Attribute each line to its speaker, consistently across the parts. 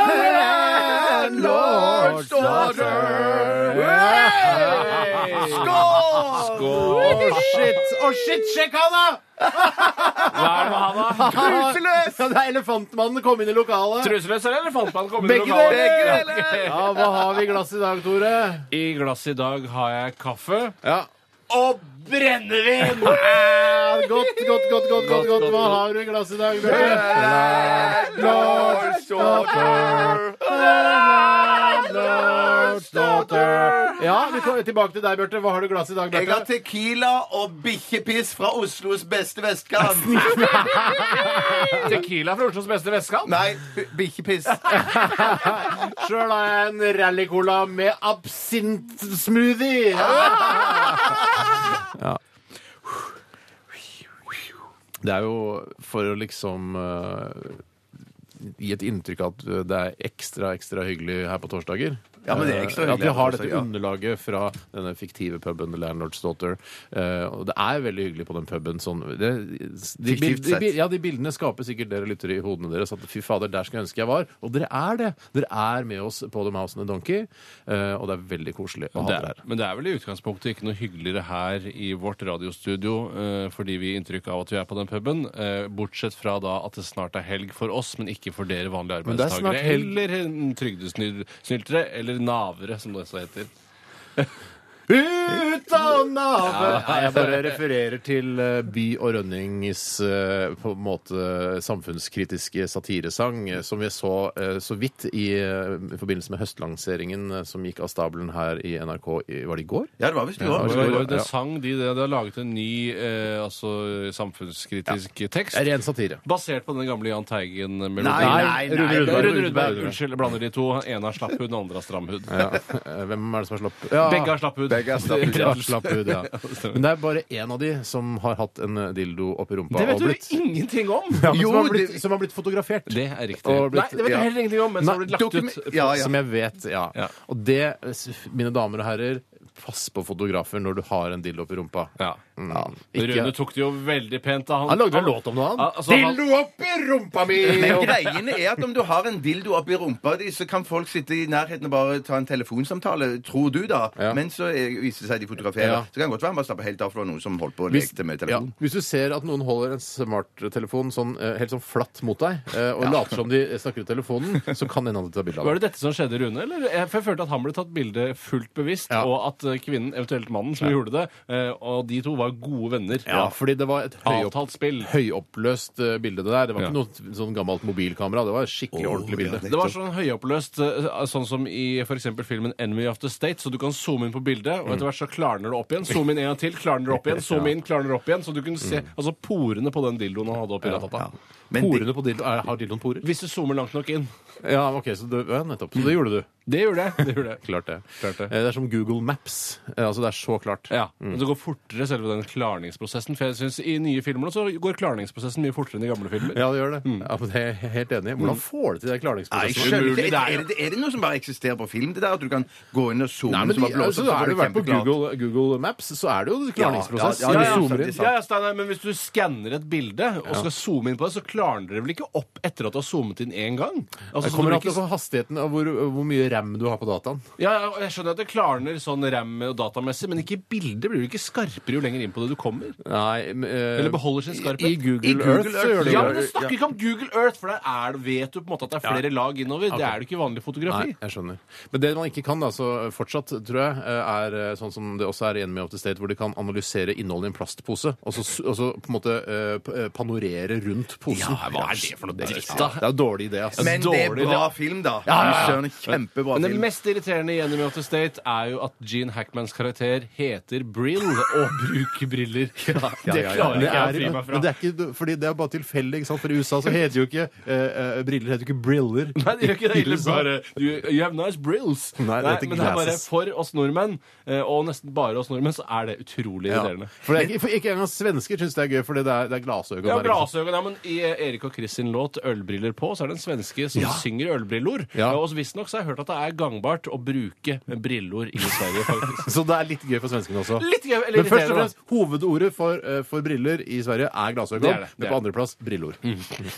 Speaker 1: Landlord's daughter. Skål! Skål! Shit. Å, shit, sjekk han, da!
Speaker 2: Hva er det med han, da?
Speaker 1: Truseløs! Ja, det er Elefantmannen kom inn i lokalet.
Speaker 2: Truseløs eller elefantmann? kommer
Speaker 1: Begge
Speaker 2: i lokalet.
Speaker 1: deler.
Speaker 2: Ja,
Speaker 1: Ja,
Speaker 2: ok.
Speaker 1: Hva har vi i glasset i dag, Tore?
Speaker 2: I glasset i dag har jeg kaffe.
Speaker 1: Ja.
Speaker 2: Og brennevin!
Speaker 1: Godt, godt, godt, godt, godt, godt. Hva har du i glasset i dag? Bjørn?
Speaker 2: Lars Stolper.
Speaker 1: Landlord's daughter. Ja, vi kommer tilbake til deg, Bjarte. Hva har du i glasset i dag,
Speaker 3: Jeg har
Speaker 1: Bjarte?
Speaker 3: tequila og bikkjepiss fra Oslos beste vestkant.
Speaker 2: Tequila fra Oslos beste vestkant.
Speaker 3: Nei, bikkjepiss.
Speaker 1: Sjøl har jeg en rally-cola med absintsmoothie. Ja. Det er jo for å liksom eh, gi et inntrykk av at det er ekstra, ekstra hyggelig her på torsdager.
Speaker 3: Ja, men det er ekstra
Speaker 1: Eh,
Speaker 3: hyggelig
Speaker 1: At vi
Speaker 3: her på
Speaker 1: har
Speaker 3: torsdag,
Speaker 1: dette
Speaker 3: ja.
Speaker 1: underlaget fra denne fiktive puben Landlord's Daughter. Eh, og det er veldig hyggelig på den puben. Sånn, det, de,
Speaker 3: Fiktivt
Speaker 1: bild- de,
Speaker 3: sett.
Speaker 1: bi- ja, de bildene skaper sikkert dere lyttere i hodene deres at fy fader, der skulle jeg ønske jeg var. Og dere er det. Dere er med oss på The Mouse and the Donkey, eh, og det er veldig koselig å ha
Speaker 2: Det
Speaker 1: dere
Speaker 2: er,
Speaker 1: her.
Speaker 2: men det er vel i utgangspunktet ikke noe hyggeligere her i vårt radiostudio, eh, fordi vi gir inntrykk av at vi er på den puben, eh, bortsett fra da at det snart er helg for oss, men ikke for dere vanlige
Speaker 1: Men det er snart
Speaker 2: arbeidstakere.
Speaker 1: helg.
Speaker 2: Eller eh, trygdesnyltere, eller navere, som det også heter.
Speaker 1: Ut av navet! Nei, jeg bare refererer til eh, By og Rønnings eh, på en måte samfunnskritiske satiresang, eh, som vi så eh, så vidt i, eh, i forbindelse med høstlanseringen eh, som gikk av stabelen her i NRK i, Var det i går?
Speaker 3: Ja, det var visst du
Speaker 1: det
Speaker 3: òg.
Speaker 1: var-
Speaker 2: Det, det
Speaker 1: ja.
Speaker 2: sang de det. De har laget en ny eh, altså, samfunnskritisk tekst.
Speaker 1: Det er Ren satire.
Speaker 2: Basert på den gamle Jahn Teigen-melodien.
Speaker 1: Nei, nei, nei,
Speaker 2: Rune Rudberg.
Speaker 1: Rune
Speaker 2: Rune
Speaker 1: Rudberg.
Speaker 2: Rudberg. Unnskyld, jeg blander de to. Den ene har slapp hud, den andre har stram hud.
Speaker 1: Ja. eh, Hvem er det som har slapp ja.
Speaker 2: Begge har slapp hud.
Speaker 3: Begge har slapp hud,
Speaker 1: Ja, slapp hud, ja.
Speaker 2: det stemmer.
Speaker 1: Men det er bare én av de som har hatt en eh, dildo oppi rumpa.
Speaker 2: Det vet
Speaker 1: og
Speaker 2: du
Speaker 1: blitt,
Speaker 2: ingenting om!
Speaker 1: ja, men
Speaker 3: Jo,
Speaker 1: som, har blitt,
Speaker 3: det-
Speaker 1: som har blitt fotografert.
Speaker 2: Det er riktig.
Speaker 1: Og blitt-
Speaker 2: Nei, det vet du
Speaker 3: ja.
Speaker 2: heller ingenting om, men så har det blitt
Speaker 1: Nei,
Speaker 2: lagt
Speaker 1: dokumen-
Speaker 2: ut.
Speaker 3: Ja, ja.
Speaker 1: Som jeg vet, ja.
Speaker 2: Ja.
Speaker 1: Og det, s- mine damer og herrer, pass på fotografer når du har en dildo oppi rumpa.
Speaker 2: Ja.
Speaker 1: Mm.
Speaker 2: Rune
Speaker 1: Ikke,
Speaker 2: tok det jo veldig pent da han
Speaker 1: han lagde en låt om det, han.
Speaker 2: Ja, altså, han-
Speaker 1: dildo oppi rumpa mi!
Speaker 3: Men greien er at om du har en dildo oppi rumpa di, så kan folk sitte i nærheten og bare ta en telefonsamtale, tror du da.
Speaker 1: Ja.
Speaker 3: Men så eh, viser det seg de fotograferer.
Speaker 1: Ja.
Speaker 3: Så kan det godt være man slapper helt av for det var noen som holdt på å
Speaker 1: Hvis-
Speaker 3: leke med telefonen.
Speaker 1: Ja. Hvis du ser at noen holder en smarttelefon sånn, eh, helt sånn flatt mot deg, eh, og later som de snakker i telefonen, så kan en av de ta bilde av
Speaker 2: Var det dette som skjedde, Rune? Eller? Jeg, for jeg følte at han ble tatt bilde fullt bevisst,
Speaker 1: Ja.
Speaker 2: og at eh, kvinnen, eventuelt mannen, som gjorde det, eh, og de to var gode venner.
Speaker 1: Ja, fordi det var et høyopp,
Speaker 2: Avtalt spill.
Speaker 1: høyoppløst eh, bilde det der. Det var
Speaker 2: Ja.
Speaker 1: ikke noe sånn gammelt mobilkamera. Det var et skikkelig ordentlig bilde.
Speaker 2: Det var sånn høyoppløst, eh, sånn som i for eksempel filmen 'Enemy of the State', så du kan zoome inn på bildet, og etter hvert så klarner det opp igjen. Zoom inn en gang til, klarner det opp igjen, zoom inn, klarner det opp igjen. Så du kunne se altså porene på den dildoen han hadde oppi ratata.
Speaker 3: Men de-
Speaker 1: Porene på dildo, er, Har dildoen porer?
Speaker 2: Hvis du zoomer langt nok inn.
Speaker 1: Ja, ok, så det, ja, nettopp. Så det gjorde du.
Speaker 2: Det gjorde jeg. Det gjorde jeg.
Speaker 1: Klart det.
Speaker 2: Klart det.
Speaker 1: Eh, Det er som Google Maps. Eh, Altså, det er så klart.
Speaker 2: Ja, men Det går fortere, selve den klarningsprosessen. For jeg synes I nye filmer nå så går klarningsprosessen mye fortere enn i gamle filmer.
Speaker 1: Ja, det gjør det. Ja, men det er jeg helt enig. i. Hvordan får du til det
Speaker 3: Nei, jeg
Speaker 1: klarningsprosessen?
Speaker 3: skjønner
Speaker 2: Mm. umulig,
Speaker 3: ikke.
Speaker 2: det er
Speaker 3: er, det, er det noe som bare eksisterer på film, det der? At du kan gå inn og zoome
Speaker 1: Nei,
Speaker 3: så
Speaker 1: men de,
Speaker 3: bare blåser,
Speaker 1: altså,
Speaker 3: så
Speaker 1: har
Speaker 3: får
Speaker 1: du vært på
Speaker 3: kjempeklart.
Speaker 1: Google, Google Maps, så er det jo klarningsprosess.
Speaker 3: Ja, ja, ja,
Speaker 1: Du
Speaker 3: ja,
Speaker 1: zoomer inn.
Speaker 3: sant.
Speaker 2: Ja, ja, Steinar, men hvis du skanner et bilde og skal zoome inn på det, så klarner det vel ikke opp etter at du har zoomet inn én gang? Altså,
Speaker 1: Det
Speaker 2: så
Speaker 1: kommer
Speaker 2: du
Speaker 1: an på hastigheten og hvor, hvor mye ram du har på dataen.
Speaker 2: Ja, ja, og jeg skjønner at det klarner sånn ram- og datamessig, men ikke i bildet blir du ikke skarpere jo lenger inn på det du kommer.
Speaker 1: Nei, men, eh,
Speaker 2: Eller beholder sin skarphet.
Speaker 1: I Google,
Speaker 3: I Google
Speaker 1: Earth så gjør det
Speaker 2: Ja,
Speaker 1: jo-
Speaker 2: men du snakker ikke om Google Earth, for der er, det- vet du på en måte at det er flere lag innover. Det er det ikke i vanlig fotografi.
Speaker 1: Nei, jeg skjønner. Men det man ikke kan, da, så fortsatt, tror jeg, er sånn som det også er i Enemy of the State, hvor de kan analysere innholdet i en plastpose, og så, og så på en måte eh, p- eh, panorere rundt posen.
Speaker 2: Ja, hva er det for noe dritt,
Speaker 1: Ja,
Speaker 2: da?
Speaker 1: Det er en dårlig idé, ass.
Speaker 3: Men det er
Speaker 2: Dårlig,
Speaker 3: bra film, da.
Speaker 1: ja, ja.
Speaker 3: Fy søren, bra
Speaker 2: Men det
Speaker 3: film.
Speaker 2: mest irriterende i Enemy of the State er jo at Gene Hackmans karakter heter Brill og bruker briller. Det klarer
Speaker 1: Men
Speaker 2: ikke jeg å
Speaker 1: det
Speaker 2: fri
Speaker 1: er-
Speaker 2: meg
Speaker 1: Men
Speaker 2: fra.
Speaker 1: det er ikke, fordi det er bare tilfeldig, ikke sant? For i USA så heter jo ikke eh, eh, briller heter jo ikke briller.
Speaker 2: Nei, det gjør ikke det.
Speaker 1: I
Speaker 2: Eller
Speaker 1: USA.
Speaker 2: bare you, you have nice brills.
Speaker 1: Nei, det heter
Speaker 2: men det er bare
Speaker 1: glasses.
Speaker 2: for oss nordmenn, eh, og nesten bare oss nordmenn, så er det utrolig
Speaker 1: Ja.
Speaker 2: irriterende.
Speaker 1: For, det er ikke, for ikke engang svensker syns det er gøy, fordi det er, det er glasøgon
Speaker 2: Ja,
Speaker 1: der, ikke sant?
Speaker 2: glasøgon, ja, men I eh, Erik og Chris sin låt 'Ølbriller på' så er det en svenske som synger ølbrillor.
Speaker 1: Ja.
Speaker 2: Og visstnok så har jeg hørt at det er gangbart å bruke brillor i Sverige, faktisk.
Speaker 1: Så det er litt gøy for svenskene også.
Speaker 2: Litt gøy, eller
Speaker 1: Men først og
Speaker 2: irriterende,
Speaker 1: fremst, hovedordet for, eh, for briller i Sverige er glasøgon.
Speaker 2: Det er det, det
Speaker 1: Men
Speaker 2: er Mm.
Speaker 1: på andreplass brillord.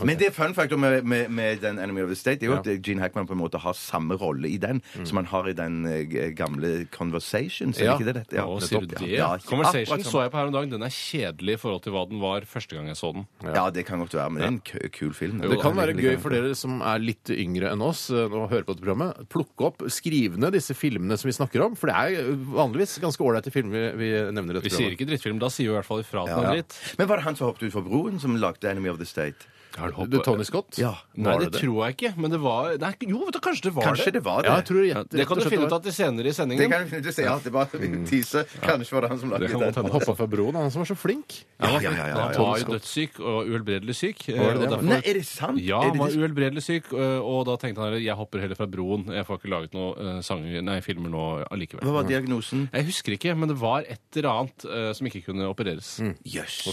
Speaker 3: Men det er fun factor med, med, med den Enemy of the State er jo at eh, Gene Hackman på en måte har samme rolle i den som han har i den eh, g- gamle Conversations. Er
Speaker 1: Mm. Ja.
Speaker 3: det ikke det dette?
Speaker 2: Å, sier du
Speaker 3: nettopp,
Speaker 2: det?
Speaker 3: Ja, ja,
Speaker 2: Conversation
Speaker 3: akkurat
Speaker 2: så
Speaker 3: samme.
Speaker 2: jeg på her om dagen. Den er kjedelig i forhold til hva den var første gang jeg så den.
Speaker 3: Ja, det kan godt være, men det er en k kul film.
Speaker 1: Det kan være gøy for dere som er litt yngre enn oss eh, og hører på dette programmet. Plukke opp, skriv ned disse filmene som vi snakker om. For det er eh, vanligvis ganske ålreite filmer vi vi nevner. i dette
Speaker 2: Vi sier
Speaker 1: programmet.
Speaker 2: ikke drittfilm, da sier vi i hvert fall ifra til
Speaker 3: Ja.
Speaker 2: en dritt.
Speaker 3: Men var det han som hoppet ut fra broen, som lagde Enemy of the State?
Speaker 1: Du, Tony Scott?
Speaker 3: Ja.
Speaker 2: Nei,
Speaker 1: Var
Speaker 2: det, tror jeg ikke. Men det var Nei, jo, vet du, kanskje det var
Speaker 3: Kanskje det var det?
Speaker 1: Ja, jeg tror
Speaker 2: Ja, det kan du finne ut av til senere i
Speaker 3: Det
Speaker 2: sendingen.
Speaker 3: kan vi ikke si. Ja, det var en teaser. Kanskje var det han som lagde
Speaker 2: Mm. Det kan
Speaker 3: den.
Speaker 2: godt hende.
Speaker 1: Han hoppa fra broen, han som var så flink.
Speaker 3: Ja, ja, ja, ja,
Speaker 2: Han
Speaker 3: ja.
Speaker 2: var jo dødssyk og uhelbredelig syk. eh,
Speaker 1: Var det det,
Speaker 2: og
Speaker 1: ja?
Speaker 3: Nei, er det sant?
Speaker 2: Ja,
Speaker 3: Er
Speaker 2: han
Speaker 3: det
Speaker 2: var
Speaker 3: det-
Speaker 2: uhelbredelig syk, eh, og da tenkte han jeg hopper heller fra broen. Jeg får ikke laget noen sanger, nei, filmer
Speaker 3: Hva
Speaker 2: nå allikevel.
Speaker 3: var diagnosen?
Speaker 2: Jeg husker ikke, men det var et eller annet eh, som ikke kunne opereres.
Speaker 3: Jøss.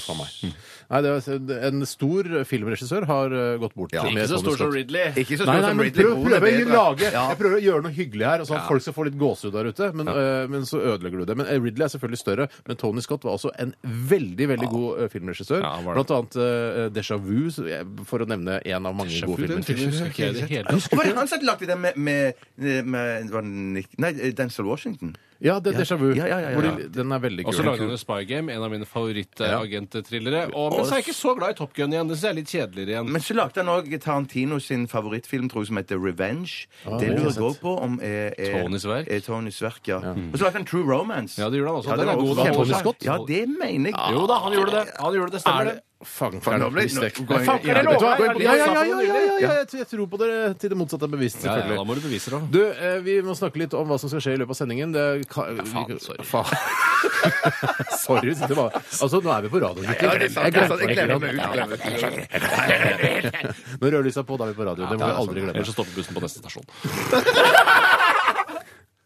Speaker 1: Nei, det er, en stor filmregissør har eh, gått bort.
Speaker 3: Ja.
Speaker 1: med Tony Scott.
Speaker 2: Ridley.
Speaker 3: Ikke så
Speaker 1: Nei,
Speaker 3: stor
Speaker 1: nei,
Speaker 3: som
Speaker 1: men
Speaker 3: Ridley
Speaker 1: prøv,
Speaker 3: Moore.
Speaker 1: prøv,
Speaker 3: det er
Speaker 1: å lage,
Speaker 3: bedre. Ja.
Speaker 1: Jeg prøver å gjøre noe hyggelig her, sånn at folk skal få litt gåsehud der ute. Men, øh, men så ødelegger du det. Men eh, Ridley er selvfølgelig større. Men Tony Scott var også en veldig veldig god eh, filmregissør.
Speaker 2: Ja, han var det.
Speaker 1: Blant annet uh, Déjà Vu, så jeg- for å nevne en av mange gode
Speaker 2: Den
Speaker 1: filmer.
Speaker 2: filmen husker ikke jeg i det hele tatt.
Speaker 3: Og var det han som lagde den med, med, med var det Nick, Nei, eh, Denzel Washington?
Speaker 1: Ja, det er Déjà Vu.
Speaker 3: Ja, ja, ja, ja.
Speaker 1: hvor de- Den er veldig
Speaker 2: Og så lagde
Speaker 1: kul.
Speaker 2: han jo Spy Game, en av mine favorittagenttrillere. Og- Men så er jeg ikke så glad i Top Gun igjen. Det synes jeg er litt kjedeligere igjen.
Speaker 3: Men så lagde han òg Tarantino sin favorittfilm, tror jeg, som heter Revenge. det
Speaker 1: det har
Speaker 3: lurer
Speaker 1: jeg
Speaker 3: jeg òg på om er, er
Speaker 2: Ah, Tonys verk.
Speaker 3: Er Tonys verk, ja. Og så lagde han True Romance.
Speaker 2: Ja, det gjorde han også.
Speaker 3: Ja, det
Speaker 2: Den er
Speaker 3: var
Speaker 2: god.
Speaker 3: også-
Speaker 2: da.
Speaker 1: Var Tony Scott?
Speaker 3: Ja, det mener jeg.
Speaker 2: Jo da, han gjorde det. Han gjorde det,
Speaker 1: Er
Speaker 2: Stemmer det.
Speaker 1: det Fang,
Speaker 3: Nå
Speaker 1: fang,
Speaker 3: ble-
Speaker 1: visst
Speaker 3: nå-
Speaker 1: vekk. Nei, fang,
Speaker 3: Ja,
Speaker 1: er det
Speaker 3: vet
Speaker 1: lov?
Speaker 3: du hva?
Speaker 1: Gå inn på- Ja, ja, ja, ja, ja, ja,
Speaker 3: Ja.
Speaker 1: jeg jeg tror på dere til det motsatte er bevisst,
Speaker 2: Ja, ja,
Speaker 1: selvfølgelig.
Speaker 2: da må du bevise det. da.
Speaker 1: Du, eh, vi må snakke litt om hva som skal skje i løpet av sendingen. Det er ka ja,
Speaker 2: faen, sorry.
Speaker 1: sorry. Det var, altså, nå er vi på radioen,
Speaker 3: Ja, det er sant, det er sant. Jeg glemmer meg ut.
Speaker 1: glemmer
Speaker 3: glemmer meg ut.
Speaker 1: det. Når rødlyset er på, da er vi på radioen. Det må vi aldri glemme.
Speaker 2: Ellers så stopper bussen på neste stasjon.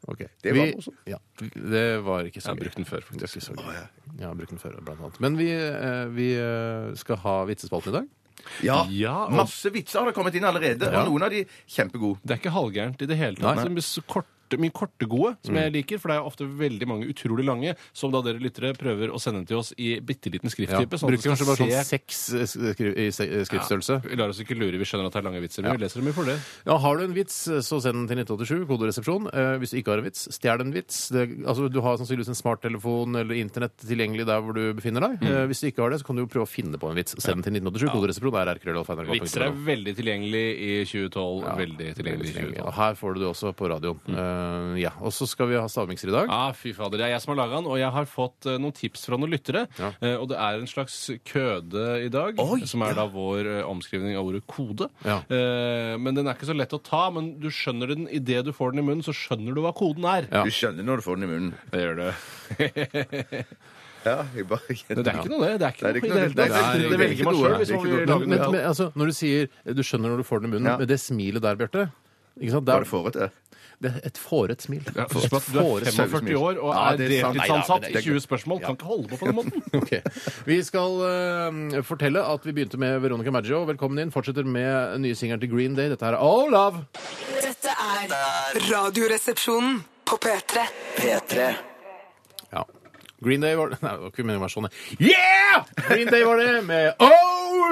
Speaker 1: Ok.
Speaker 3: Det var
Speaker 1: Vi-
Speaker 3: morsomt.
Speaker 1: Ja, det var ikke så
Speaker 2: Jeg har
Speaker 1: gøy.
Speaker 2: brukt den før, faktisk.
Speaker 1: Det er ikke så gøy. Ja, jeg har brukt den før, blant annet. Men vi, eh, vi eh, skal ha vitsespalten i dag.
Speaker 3: Ja.
Speaker 2: Ja, og-
Speaker 3: Masse vitser har det kommet inn allerede, og noen av de kjempegode.
Speaker 2: Det er ikke halvgærent i det hele tatt.
Speaker 1: Nei. Mm.
Speaker 2: Det er så korte, mye korte gode, som jeg liker, for det er ofte veldig mange utrolig lange, som da dere lyttere prøver å sende til oss i bitte liten skrifttype. sånn at
Speaker 1: Bruker
Speaker 2: det
Speaker 1: kanskje
Speaker 2: skal
Speaker 1: bare sånn
Speaker 2: se-
Speaker 1: seks eh, skri i se- eh, skriftstørrelse.
Speaker 2: Vi lar oss ikke lure, vi skjønner at det er lange vitser, men vi leser dem jo for det.
Speaker 1: Ja, Har du en vits, eh, så send den til 1987, koderesepsjon. Eh, hvis du ikke har en vits, stjel en vits. Det, altså, du har sannsynligvis en smarttelefon eller internett tilgjengelig der hvor du befinner
Speaker 2: Mm.
Speaker 1: deg. Eh, hvis du ikke har det, så kan du jo prøve å finne på en vits. Send den til 1987, koderesepsjon. er rkrøllalfa.nrk.no.
Speaker 2: Vitser er veldig tilgjengelig i 2012. Veldig tilgjengelig i
Speaker 1: Ja,
Speaker 2: 2012.
Speaker 1: og her får du det også på radioen. Eh, ja, Og så skal vi ha stavmikser i dag.
Speaker 2: Ja, fy fader. Det er jeg som har laga den, og jeg har fått eh, noen tips fra noen lyttere. Eh, og det er en slags køde i dag, som er da vår eh, omskrivning av ordet kode.
Speaker 1: Ja.
Speaker 2: Eh, men den er ikke så lett å ta, men du skjønner den idet du får den i munnen, så skjønner du hva koden er.
Speaker 1: Ja.
Speaker 3: Du skjønner når du får den i munnen.
Speaker 2: Det gjør du.
Speaker 3: Ja, jeg bare
Speaker 2: Det er ikke noe, det. Det er ikke
Speaker 3: Nei,
Speaker 2: noe
Speaker 3: det er ikke
Speaker 2: i det hele
Speaker 3: noe.
Speaker 2: tatt.
Speaker 3: Nei, det
Speaker 2: Det,
Speaker 3: er
Speaker 2: det velger
Speaker 3: ikke
Speaker 2: man
Speaker 3: noe.
Speaker 2: sjøl hvis
Speaker 3: Det er ikke
Speaker 2: man vil
Speaker 3: noe.
Speaker 2: lage
Speaker 1: Men,
Speaker 2: noe.
Speaker 1: men altså, når du sier eh, 'du skjønner når du får den i munnen',
Speaker 3: Ja.
Speaker 1: med det smilet der, Bjarte ikke sant?
Speaker 3: Var
Speaker 1: Der,
Speaker 3: det fårete?
Speaker 1: det er et fåret smil.
Speaker 2: Ja,
Speaker 1: Et
Speaker 2: Husk på at du er
Speaker 1: fåret smil.
Speaker 2: 45 år og
Speaker 3: Ja,
Speaker 2: er
Speaker 3: det er sant. Nei,
Speaker 2: deltidsansatt
Speaker 3: da, men
Speaker 2: i
Speaker 3: det er
Speaker 2: 20 spørsmål. Kan ikke holde på på den måten.
Speaker 1: Ok. Vi skal eh, fortelle at vi begynte med Veronica Maggio. Velkommen inn. Fortsetter med nye singelen til Green Day. Dette her er Oh Love!
Speaker 4: Dette er Radioresepsjonen på P3.
Speaker 5: P3
Speaker 1: Ja. Green Day var det Nei, det var ikke meningen å være sånn. Yeah! Green Day var det med Oh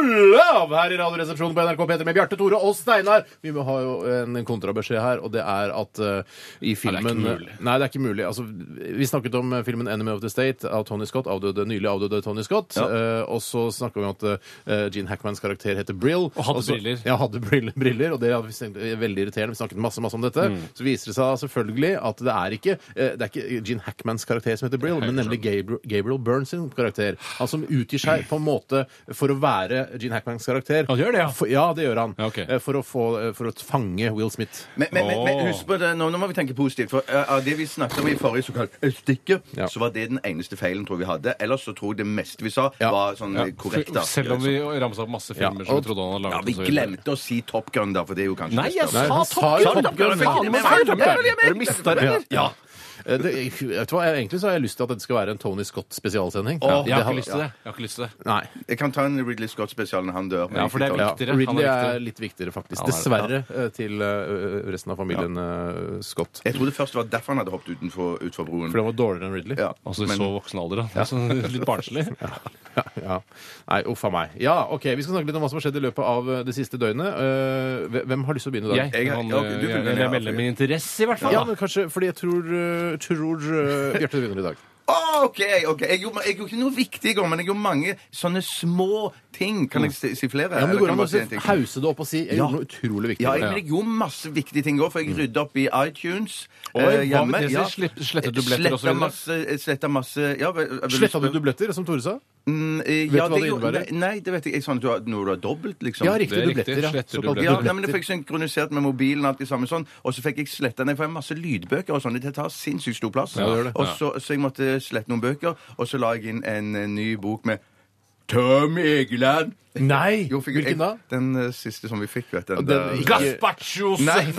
Speaker 1: Love her i Radioresepsjonen på NRK P3 med Bjarte Tore og Steinar. Vi må ha jo en kontrabeskjed her, og det er at eh, i filmen
Speaker 2: ikke mulig.
Speaker 1: Nei, det er ikke mulig. Altså, vi snakket om eh, filmen 'Enemy of the State' av Tony Scott, avdøde, nylig avdøde Tony Scott. Eh, og så snakka vi om at eh, Gene Hackmans karakter heter Brill. Og
Speaker 2: hadde
Speaker 1: så-
Speaker 2: briller.
Speaker 1: Ja, hadde briller, briller og det hadde vi tenkt, er veldig irriterende. Vi snakket masse masse om dette.
Speaker 2: Mm.
Speaker 1: Så viser det seg selvfølgelig at det er ikke eh, Det er ikke Gene Hackmans karakter som heter Brill, men nemlig Gabriel, Gabriel Byrne sin karakter. Han som utgir seg på en måte for å være med Gene Hackmans karakter.
Speaker 2: Han gjør det, ja?
Speaker 1: For, ja, det gjør han.
Speaker 2: Ja, ok.
Speaker 1: Eh, For, å få, eh, for å fange Will Smith.
Speaker 3: Men, men, men, men
Speaker 2: Åh.
Speaker 3: husk på det, nå, nå må vi tenke positivt. For eh, av det vi snakket om i forrige såkalt eh, stikker,
Speaker 1: Ja.
Speaker 3: så var det den eneste feilen tror jeg vi hadde. Ellers så tror jeg det meste vi sa,
Speaker 1: Ja.
Speaker 3: var sånn
Speaker 2: Ja.
Speaker 3: eh, korrekt. da.
Speaker 2: Selv om vi ramsa opp masse filmer
Speaker 1: Ja,
Speaker 2: som
Speaker 1: og-
Speaker 2: vi trodde han hadde laget.
Speaker 3: Ja, vi
Speaker 2: og så videre.
Speaker 3: glemte å si Top Gun, da, for det er jo kanskje
Speaker 2: Nei, jeg
Speaker 3: det
Speaker 2: sa
Speaker 1: han
Speaker 2: Top
Speaker 1: sa jo
Speaker 2: Gun!
Speaker 1: Top Gun.
Speaker 2: Faen, men
Speaker 3: Nei, det var det jeg mente.
Speaker 2: Er du mista det, eller?
Speaker 1: Ja. Eh, Det, vet du hva, jeg, egentlig så har jeg lyst til at dette skal være en Tony Scott-spesialsending.
Speaker 3: Åh,
Speaker 2: Jeg har
Speaker 3: Ja.
Speaker 2: ikke lyst til det. Jeg har ikke lyst til det.
Speaker 1: Nei.
Speaker 3: Jeg kan ta en Ridley Scott-spesial når han dør. men
Speaker 2: Ja, for det er
Speaker 3: ikke
Speaker 2: viktig.
Speaker 3: ta-
Speaker 1: Ja,
Speaker 2: Viktigere. Han
Speaker 1: Ridley
Speaker 2: er viktigere.
Speaker 1: er litt viktigere, faktisk.
Speaker 2: Han er det.
Speaker 1: Dessverre eh, til eh, resten av familien eh, Scott.
Speaker 3: Jeg trodde først det var derfor han hadde hoppet utenfor, utfor broen.
Speaker 1: For den var dårligere enn Ridley.
Speaker 3: Ja,
Speaker 2: Altså i
Speaker 3: men-
Speaker 2: så voksen alder, da. Det er sånn litt barnslig.
Speaker 1: Ja, ja. Nei, uff a meg. Ja, OK. Vi skal snakke litt om hva som har skjedd i løpet av eh, det siste døgnet. Eh, hvem- Hvem har lyst til å begynne i dag?
Speaker 2: Jeg,
Speaker 3: Jeg-
Speaker 2: han,
Speaker 3: ja, ok, du
Speaker 2: jeg,
Speaker 3: begynner,
Speaker 2: jeg,
Speaker 3: ja,
Speaker 2: melder
Speaker 3: for-
Speaker 2: min interesse, i hvert fall.
Speaker 1: Ja,
Speaker 2: da.
Speaker 1: men kanskje fordi jeg tror, eh, tror eh, Bjarte du begynner i dag.
Speaker 3: Å, Ah, OK! ok. Jeg gjorde, jeg gjorde ikke noe viktig i går, men jeg gjorde mange sånne små ting. Kan jeg si, si flere?
Speaker 1: Mm. Ja, men
Speaker 3: Eller
Speaker 1: Det går
Speaker 3: kan
Speaker 1: an
Speaker 3: jeg
Speaker 1: å
Speaker 3: bare si en ting?
Speaker 1: hause det opp og si jeg
Speaker 3: Ja.
Speaker 1: gjorde noe utrolig viktig.
Speaker 3: Ja,
Speaker 1: i
Speaker 3: jeg,
Speaker 1: dag.
Speaker 3: men jeg gjorde masse viktige ting òg, for
Speaker 1: Mm.
Speaker 3: jeg rydda opp i iTunes. eh,
Speaker 2: Oi, hva med det? Slipp- slettet du billetter og så
Speaker 3: Sletta
Speaker 2: videre?
Speaker 3: masse, eh, sletta masse ja, vel- vel-
Speaker 1: Sletta du dubletter, som Tore sa?
Speaker 3: Mm, eh,
Speaker 1: du
Speaker 3: ja,
Speaker 1: hva det
Speaker 3: gjorde-
Speaker 1: innebærer?
Speaker 3: Nei, det vet jeg ikke. Sånn at du har, når du har dobbelt, liksom.
Speaker 1: Ja,
Speaker 2: det
Speaker 1: riktig.
Speaker 2: er riktig.
Speaker 1: Dubletter. ja.
Speaker 2: Sletter
Speaker 1: Såkalte
Speaker 3: Ja,
Speaker 2: dubletter.
Speaker 3: nei, men det
Speaker 1: dubletter.
Speaker 3: fikk synkronisert med mobilen og alt det samme sånn. Og så fikk jeg sletta Nei, for jeg har masse lydbøker og sånn. Det tar sinnssykt stor plass.
Speaker 1: Ja, det gjør det.
Speaker 3: Og så, så jeg måtte slette noen bøker, og så la jeg inn en, eh, ny bok med Tom Egeland.
Speaker 1: Nei!
Speaker 3: Jo, fikk jeg-
Speaker 1: Hvilken da?
Speaker 3: Den eh, siste som vi fikk, vet du.
Speaker 1: Og
Speaker 3: Den,
Speaker 1: den
Speaker 3: der-
Speaker 1: ikke-
Speaker 2: Gazpachos
Speaker 3: Nei.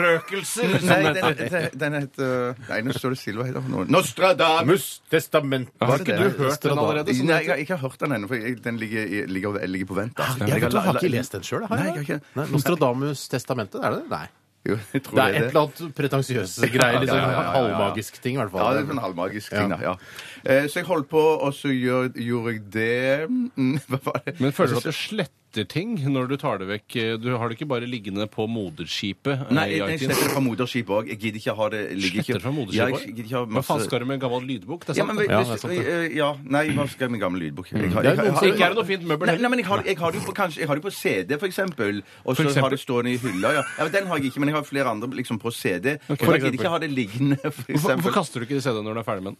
Speaker 2: forfrøkelser! som
Speaker 3: Nei,
Speaker 2: det
Speaker 3: den,
Speaker 2: heter.
Speaker 3: den, den heter Nei, nå står det Silva her. da. Nå- Nostradamus!
Speaker 1: Testament.
Speaker 3: Var
Speaker 2: Har
Speaker 3: det
Speaker 2: ikke
Speaker 3: det?
Speaker 2: du hørt den allerede?
Speaker 3: Nei, jeg har ikke hørt den ennå, for jeg, den ligger, i- ligger, over- ligger på vent. da.
Speaker 1: Jeg vet, du,
Speaker 3: la-
Speaker 1: jeg har ikke
Speaker 3: la-
Speaker 1: lest den sjøl.
Speaker 3: Nei, jeg har ikke.
Speaker 1: Nostradamus testamentet, er det det? Nei.
Speaker 3: Jo, jeg tror
Speaker 1: Det er et
Speaker 3: det.
Speaker 1: eller annet pretensiøse greier. Liksom,
Speaker 3: Ja, ja, ja, ja, ja.
Speaker 1: Halvmagisk ting, i hvert
Speaker 3: Ja,
Speaker 1: fall.
Speaker 3: det er sånn en halvmagisk ting, da. Ja. Eh, Så jeg holdt på, og så gjør, gjorde jeg det Mm, Hva var det?
Speaker 2: Men føler du at du sletter ting når du tar det vekk? Du har det ikke bare liggende på moderskipet? eh,
Speaker 3: Nei,
Speaker 2: i
Speaker 3: jeg, jeg
Speaker 2: iTunes?
Speaker 3: sletter det fra moderskipet òg. Jeg gidder ikke ha det ligger ikke-
Speaker 2: Sletter fra
Speaker 3: Ja, jeg
Speaker 2: moderskipet?
Speaker 3: gidder ikke ha
Speaker 2: Hva faen
Speaker 3: masse-
Speaker 2: skal du med en gammel lydbok? Det
Speaker 3: Ja,
Speaker 2: er sant.
Speaker 3: men hvis,
Speaker 2: det.
Speaker 1: Ja, det er sant, det.
Speaker 3: eh, ja, nei, hva skal jeg med gammel lydbok? Jeg har-
Speaker 1: Det er
Speaker 3: jeg har-
Speaker 1: noen som-
Speaker 2: Ikke er det noe fint møbel
Speaker 3: Nei, nei,
Speaker 2: heller.
Speaker 3: men jeg har, jeg har det jo på, kanskje, jeg har det på CD, for eksempel. Og
Speaker 2: For
Speaker 3: så
Speaker 2: eksempel?
Speaker 3: har det stående i hylla. Ja. Ja, men den har jeg ikke, men jeg har flere andre liksom, på CD.
Speaker 2: Ok.
Speaker 3: For jeg gidder ikke ha det liggende, for
Speaker 2: Hvorfor, hvorfor
Speaker 3: eksempel.
Speaker 2: kaster du ikke CD-en når du er ferdig med den?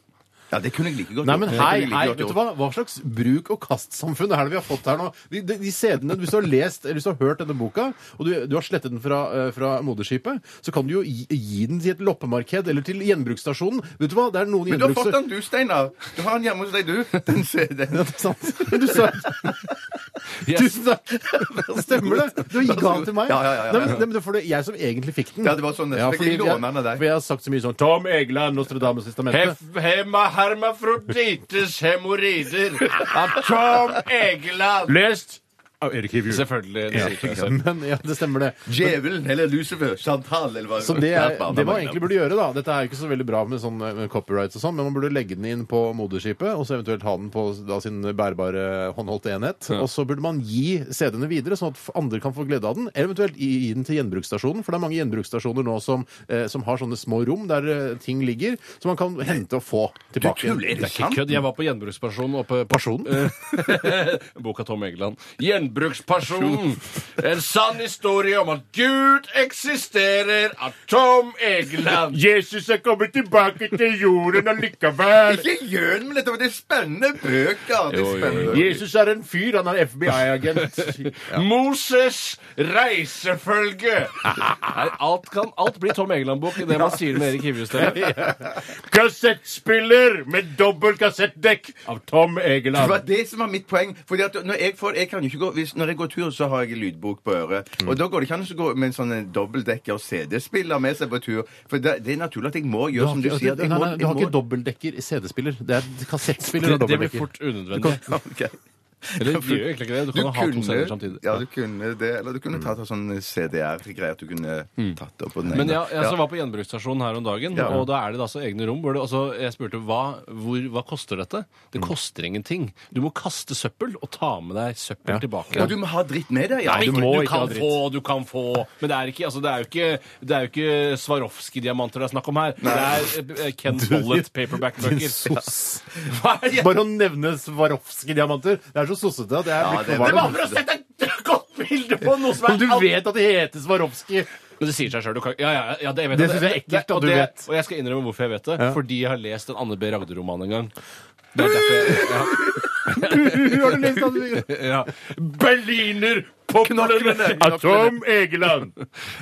Speaker 3: Ja, det kunne jeg like godt
Speaker 1: Nei, men
Speaker 3: gjort. Det kunne
Speaker 1: hei,
Speaker 3: jeg like
Speaker 1: hei,
Speaker 3: godt
Speaker 1: vet du
Speaker 3: gjort.
Speaker 1: hva? Hva slags bruk og kast-samfunn er det vi har fått her nå? De, de, de CD-ene, Hvis du har lest eller hvis du har hørt denne boka, og du, du har slettet den fra, eh, fra moderskipet, så kan du jo gi, gi den til et loppemarked eller til gjenbruksstasjonen. Vet du hva? Det er noen
Speaker 3: Men du har fått
Speaker 1: gjenbruks...
Speaker 3: den, du, Steinar. Du har den hjemme hos deg, du. Den CD-en.
Speaker 1: Ja, det er sant. Men du sa Tusen takk! Stemmer det? Du
Speaker 3: Vær så
Speaker 1: ga den
Speaker 3: god.
Speaker 1: til meg.
Speaker 3: Ja, ja, ja, ja.
Speaker 1: Nei, men, nei, men det er for det jeg som egentlig fikk den.
Speaker 3: Ja, det var sånn, så fikk jeg
Speaker 1: fordi
Speaker 3: låne den av deg.
Speaker 1: For jeg har sagt så mye sånn Tom Egeland, Nostradamus testamentet.
Speaker 2: Hema hermafrodites hemoroider av Tom Egeland.
Speaker 1: Lest av Erik Review.
Speaker 2: Selvfølgelig. Det
Speaker 1: Ja,
Speaker 2: sier ikke seg selv.
Speaker 1: men ja, det stemmer det.
Speaker 3: Djevelen eller Lucifer. Chantal eller hva
Speaker 1: Så det, er, det man egentlig burde gjøre, da Dette er jo ikke så veldig bra med sånn eh, copyrights og sånn, men man burde legge den inn på moderskipet, og så eventuelt ha den på da sin bærbare håndholdte enhet. Og så burde man gi CD-ene videre, sånn at f- andre kan få glede av den. Eventuelt gi, gi den til gjenbruksstasjonen, for det er mange gjenbruksstasjoner nå som, eh, som har sånne små rom der eh, ting ligger, som man kan hente og få tilbake.
Speaker 3: tuller, er det
Speaker 1: Det er ikke
Speaker 3: sant?
Speaker 2: Kødd, jeg var på gjenbrukspasjonen oppe på
Speaker 1: Personen?
Speaker 2: Boka Tom Egeland. Gjenbrukspasjonen! En sann historie om at Gud eksisterer av Tom Egeland!
Speaker 1: Jesus er kommet tilbake til jorden allikevel!
Speaker 3: Ikke gjør den med dette, men det er spennende bøker. Det er
Speaker 2: Jo, jo, jo.
Speaker 3: spennende. bøker.
Speaker 1: Jesus er en fyr, han er FBI-agent.
Speaker 2: Moses' reisefølge! Nei, alt, kan, alt blir Tom Egeland-bok i det man sier med Erik Hivjestad.
Speaker 1: Kassettspiller med dobbelt kassettdekk av Tom
Speaker 3: Det var
Speaker 1: Egeland.
Speaker 3: det som var mitt poeng. Fordi at når jeg, får, jeg kan jo ikke gå, hvis, når jeg går tur, så har jeg lydbok på øret.
Speaker 2: Mm.
Speaker 3: Og da går det ikke an å gå med en sånn en dobbeltdekker og CD-spiller med seg på tur. For det, det er naturlig at jeg må gjøre som du sier. at
Speaker 1: nei,
Speaker 3: Jeg må,
Speaker 1: nei, du har ikke dobbeltdekker i CD-spiller. Det er kassettspiller
Speaker 2: Det,
Speaker 1: og
Speaker 2: det blir
Speaker 1: dobbeltdekker.
Speaker 2: fort unødvendig.
Speaker 3: dobbeltdekker.
Speaker 2: Eller det gjør egentlig ikke det. Du kan jo ha to sender samtidig.
Speaker 3: ja, du kunne det, eller du kunne
Speaker 1: Mm.
Speaker 3: tatt av sånn CDR-greier. At du kunne tatt det opp på den
Speaker 2: Men
Speaker 3: ene.
Speaker 2: jeg, jeg altså var på gjenbruksstasjonen her om dagen,
Speaker 3: Ja.
Speaker 2: og da er det altså egne rom. Hvor det, altså, jeg spurte hva, hvor, hva koster dette?
Speaker 3: Mm.
Speaker 2: Det koster ingenting. Du må kaste søppel og ta med deg søppel tilbake.
Speaker 3: Og du må ha dritt med deg, ja.
Speaker 2: Nei,
Speaker 3: Du
Speaker 2: du,
Speaker 3: må-
Speaker 1: må ikke ha
Speaker 2: kan
Speaker 1: dritt.
Speaker 2: få, du kan få. Men det er, ikke, altså, det er jo ikke, det er jo ikke Swarovski-diamanter det er snakk om her. Det er eh, Ken Follett
Speaker 1: Din
Speaker 2: paperback-bøker.
Speaker 1: sos.
Speaker 2: Hva er det?
Speaker 1: Bare å nevne Swarovski-diamanter. Det er så sossete at jeg
Speaker 3: Ja,
Speaker 1: er blitt
Speaker 3: det-
Speaker 1: for
Speaker 3: det var
Speaker 1: varm.
Speaker 3: for å
Speaker 2: sette et godt bilde på noe
Speaker 1: Men du vet at de heter Swarovski.
Speaker 2: Men det sier seg sjøl. Ja, ja, ja, det, jeg vet
Speaker 1: Det
Speaker 2: at
Speaker 1: synes jeg er ekkelt at
Speaker 2: og
Speaker 1: du
Speaker 2: det-
Speaker 1: vet.
Speaker 2: Og jeg skal innrømme hvorfor jeg vet det.
Speaker 1: Ja.
Speaker 2: Fordi jeg har lest en Anne B. Ragde-roman en gang. Det er derfor jeg, ja.
Speaker 1: Har du lyst til at vi-
Speaker 2: ja. Berliner! Knoklene!
Speaker 1: Atom Egeland!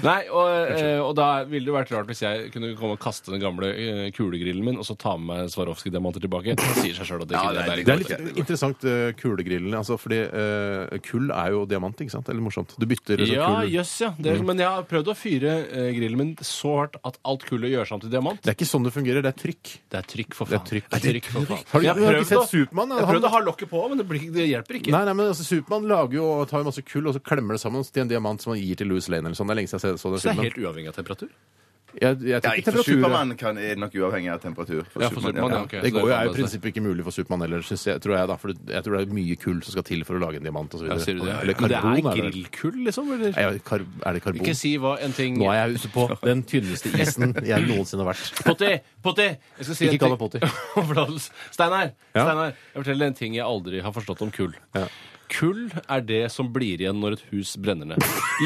Speaker 2: Nei, og, eh, og da ville det vært rart hvis jeg kunne komme og kaste den gamle eh, kulegrillen min, og så ta med meg Swarovski-diamanter tilbake. Det sier seg sjøl at det ikke
Speaker 3: Ja, nei,
Speaker 2: det er
Speaker 3: det
Speaker 1: Det
Speaker 3: går
Speaker 1: er litt interessant, eh, kulegrillen. Altså, fordi eh, kull er jo diamant, ikke sant? Eller morsomt. Du bytter liksom
Speaker 2: Ja,
Speaker 1: kull.
Speaker 2: jøss, ja. Det, men jeg har prøvd å fyre eh, grillen min så hardt at alt kullet gjør seg om til diamant.
Speaker 1: Det er ikke sånn det fungerer. Det er trykk.
Speaker 2: Det er trykk, for
Speaker 1: Det er
Speaker 2: faen.
Speaker 1: trykk.
Speaker 2: Det er trykk, for faen.
Speaker 1: Har du-
Speaker 2: Jeg
Speaker 1: du har ikke
Speaker 2: prøvd
Speaker 1: sett
Speaker 2: å-
Speaker 1: Supermann?
Speaker 2: Jeg
Speaker 1: Han-
Speaker 2: prøvde å ha lokket på, men det, blir, ikke- det hjelper ikke.
Speaker 1: Nei, nei, men altså, Supermann lager jo og tar jo masse kull, og så klemmer det sammen til en diamant som han gir til Louis Lane. eller sånn. Det er lenge siden jeg så den
Speaker 2: Så det er
Speaker 1: filmen.
Speaker 2: helt uavhengig av temperatur?
Speaker 1: Jeg, jeg
Speaker 3: Ja, ikke
Speaker 1: tror ikke
Speaker 3: for
Speaker 1: temperaturen
Speaker 3: Supermann kan- er nok uavhengig av temperatur.
Speaker 2: Ja, for Superman, ja, ok.
Speaker 1: Det
Speaker 2: Så
Speaker 1: går jo, er jo i
Speaker 2: annerledes.
Speaker 1: prinsippet ikke mulig for Supermann heller, synes jeg, tror jeg. da, For jeg tror det er mye kull som skal til for å lage en diamant osv.
Speaker 2: Ja, sier du det?
Speaker 1: Eller
Speaker 2: Men det
Speaker 1: karbon.
Speaker 2: er
Speaker 1: er det.
Speaker 2: grillkull, liksom? Eller?
Speaker 1: Nei, ja, kar er det karbon?
Speaker 2: Ikke si hva en ting
Speaker 1: Nå er jeg ute på den tynneste isen jeg noensinne har vært.
Speaker 2: Potti! Potti! Jeg skal si
Speaker 1: Ikke
Speaker 2: en
Speaker 1: kall
Speaker 2: ting-
Speaker 1: meg Potti.
Speaker 2: Overlatelse. Steinar,
Speaker 1: Ja?
Speaker 2: Steinar, jeg forteller deg en ting jeg aldri har forstått om kull.
Speaker 1: Ja.
Speaker 2: Kull er det som blir igjen når et hus brenner ned.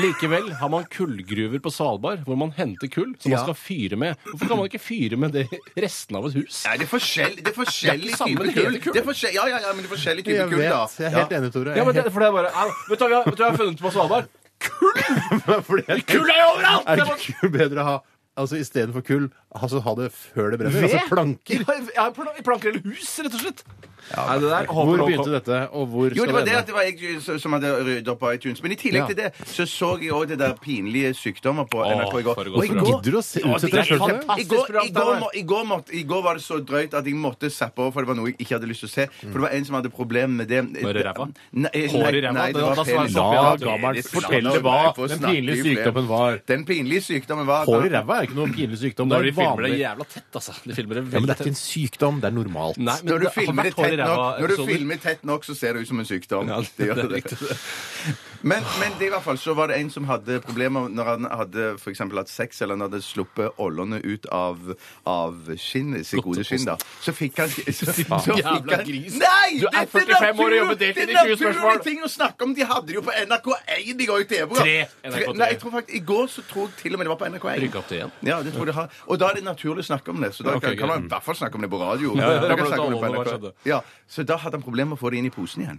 Speaker 2: Likevel har man kullgruver på Svalbard hvor man henter kull som
Speaker 1: Ja.
Speaker 2: man skal fyre med. Hvorfor kan man ikke fyre med det i resten av et hus?
Speaker 3: Nei, det er forskjell- det er forskjellig
Speaker 2: Det er ikke
Speaker 3: type
Speaker 2: samme
Speaker 3: kull.
Speaker 2: type kull.
Speaker 3: Det er forskjell- Ja, ja, ja, men det er forskjellig type
Speaker 1: Jeg
Speaker 3: kull, da.
Speaker 1: vet, jeg er helt
Speaker 3: Ja.
Speaker 1: enig, Tore.
Speaker 2: Ja, men
Speaker 1: Jeg
Speaker 2: det, for det er bare, au, vet, du, hva vi har- vet du hva jeg har funnet på Svalbard?
Speaker 1: er helt- fordi jeg
Speaker 2: Kull er jo overalt!
Speaker 1: Er
Speaker 2: Det
Speaker 1: det
Speaker 2: er bare-
Speaker 1: ikke bedre å ha altså istedenfor kull, altså ha det før det brenner?
Speaker 2: Ved?
Speaker 1: Altså planker.
Speaker 2: Ja, ja, plan- planker eller hus, rett og slett. Nei, det der, håper
Speaker 1: Hvor
Speaker 2: nå-
Speaker 1: begynte dette, og hvor
Speaker 3: Jo, det var
Speaker 1: skal
Speaker 3: det
Speaker 1: det
Speaker 3: at
Speaker 1: ende?
Speaker 3: det var jeg eh, som- som hadde ryddet opp på iTunes. Men i tillegg
Speaker 1: Ja.
Speaker 3: til det så så jeg òg det der pinlige sykdommer på NRK i går.
Speaker 2: foregående
Speaker 3: Og i
Speaker 2: program.
Speaker 3: går
Speaker 1: Gidder du å se-
Speaker 3: Ja,
Speaker 1: utsette
Speaker 3: det er
Speaker 1: deg selv for det?
Speaker 3: fantastisk I går, i, går, må- i, går måtte, I går var det så drøyt at jeg måtte zappe over, for det var noe jeg ikke hadde lyst til å se. For det var en som hadde problemer med det.
Speaker 2: Var det ræva?
Speaker 3: Nei, nei,
Speaker 2: Hår i ræva?
Speaker 3: Nei, det
Speaker 2: Det var
Speaker 3: var
Speaker 2: sånn-
Speaker 3: penis.
Speaker 2: La
Speaker 1: gammel
Speaker 3: Penis.
Speaker 1: fortelle hva
Speaker 3: Nei, for å
Speaker 1: den
Speaker 3: snakke
Speaker 1: pinlige
Speaker 3: i flere.
Speaker 1: sykdommen var.
Speaker 3: Den pinlige sykdommen var
Speaker 1: Hår i ræva er ikke noen pinlig sykdom.
Speaker 2: Når
Speaker 1: det
Speaker 2: de
Speaker 1: er
Speaker 2: filmer det
Speaker 1: vanlig.
Speaker 2: jævla tett, altså. De filmer det
Speaker 1: Ja, men det
Speaker 2: veldig
Speaker 1: er ikke
Speaker 2: tett.
Speaker 1: en sykdom. Det er normalt.
Speaker 2: Nei, men
Speaker 3: når du,
Speaker 2: det har
Speaker 3: filmer det
Speaker 2: vært hår i
Speaker 3: tett
Speaker 2: ræva
Speaker 3: nok, når du
Speaker 2: episoder.
Speaker 3: filmer tett nok, så ser det ut som en sykdom.
Speaker 2: Ja,
Speaker 3: det gjør
Speaker 2: det er
Speaker 3: det.
Speaker 2: riktig.
Speaker 3: Men, men det i hvert fall så var det en som hadde problemer når han hadde for eksempel hatt sex, eller han hadde sluppet ållene ut av, av skinnet, sitt gode skinn, da. Så fikk han så, så fikk
Speaker 2: Jævla gris.
Speaker 3: Nei!
Speaker 2: Du er
Speaker 3: dette
Speaker 2: 45 år og jobber
Speaker 3: natur-
Speaker 2: deltid
Speaker 3: det
Speaker 2: i
Speaker 3: er
Speaker 2: 20 spørsmål.
Speaker 3: naturlige ting å snakke om. De hadde det jo på NRK1 i går i TV-program.
Speaker 2: Tre, NRK3.
Speaker 3: Nei, jeg tror faktisk, I går så tror jeg til og med det var på NRK1.
Speaker 2: Rykk opp til igjen.
Speaker 3: Ja, det tror jeg det har. Og da er det naturlig å snakke om det. Så da
Speaker 2: Ok,
Speaker 3: kan, kan
Speaker 2: greit.
Speaker 3: man i hvert fall snakke om det på radio.
Speaker 2: ja, ja.
Speaker 3: Da
Speaker 2: Da
Speaker 3: kan
Speaker 2: ble det
Speaker 3: snakke om det på
Speaker 2: alvor, hva
Speaker 3: NRK.
Speaker 2: skjedde?
Speaker 3: Ja, så da hadde han problemer med å få det inn i posen igjen.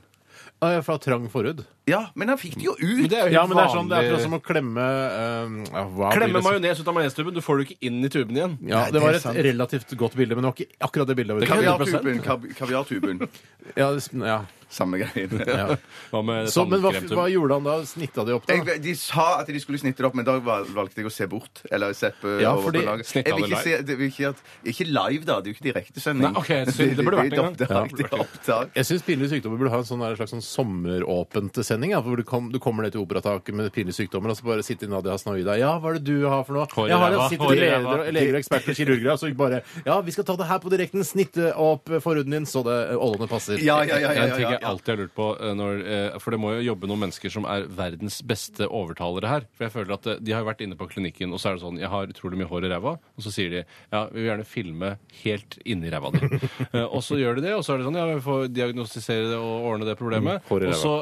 Speaker 1: Ah, ja, Fra trang forhud.
Speaker 3: Ja, men han fikk det jo ut.
Speaker 2: det er jo
Speaker 1: Ja, men det er
Speaker 2: helt
Speaker 1: sånn, det er akkurat
Speaker 2: vanlig-
Speaker 1: som å klemme eh, ja, hva blir
Speaker 2: Klemme
Speaker 1: det som-
Speaker 2: majones ut av majonestuben. Du får det jo ikke inn i tuben igjen.
Speaker 1: Ja,
Speaker 3: Nei,
Speaker 1: Det var
Speaker 3: det er
Speaker 1: et
Speaker 3: sant.
Speaker 1: relativt godt bilde, men det var ikke akkurat det bildet.
Speaker 2: kan vi ha-
Speaker 3: Kaviartuben. kab- Kaviartuben.
Speaker 1: Ja, det- ja.
Speaker 3: Samme greien.
Speaker 1: Ja.
Speaker 2: Hva med
Speaker 1: Så, men hva,
Speaker 2: tannkremtuben?
Speaker 1: hva gjorde han da? Snitta de opp, da?
Speaker 3: Jeg, de sa at de skulle snitte det opp, men da val- valgte jeg å se bort. Eller seppe
Speaker 1: Ja,
Speaker 3: over
Speaker 1: fordi-
Speaker 3: på laget.
Speaker 2: snitt
Speaker 3: Jeg vil
Speaker 2: av det
Speaker 3: ikke, se, det, vil ikke, at, ikke live, da. Det er jo ikke direktesending.
Speaker 2: Nei, ok, synd. Det burde vært en gang.
Speaker 3: Det
Speaker 2: Ja,
Speaker 3: er
Speaker 2: det
Speaker 3: et
Speaker 2: burde vært
Speaker 3: opptak.
Speaker 1: Jeg syns pinlige sykdommer burde ha en sånn der slags sånn sommeråpent sending. Ja, hvor du, kom, du kommer ned til operataket med pinlige sykdommer, og så bare sitter Nadia Hasnaoida Ja, hva er det du har for noe?
Speaker 2: Hår i
Speaker 1: jeg har
Speaker 2: ræva,
Speaker 1: det, sitter
Speaker 2: hår i
Speaker 1: leger,
Speaker 2: ræva.
Speaker 1: leger og eksperter og kirurger her, så bare Ja, vi skal ta det her på direkten. Snitte opp forhuden din så det eh, ålene passer.
Speaker 3: Ja, ja, ja. ja,
Speaker 2: En ting
Speaker 3: ja,
Speaker 2: jeg
Speaker 3: ja.
Speaker 2: alltid har lurt på, eh, når, eh, for det må jo jobbe noen mennesker som er verdens beste overtalere her. For jeg føler at eh, de har vært inne på klinikken, og så er det sånn Jeg har utrolig mye hår i ræva. Og så sier de ja, vi vil gjerne filme helt inni ræva di. Eh, og så gjør de det, og så er det sånn ja, vi får diagnostisere det og ordne det problemet.
Speaker 1: Mm, hår i
Speaker 2: og
Speaker 1: ræva.
Speaker 2: så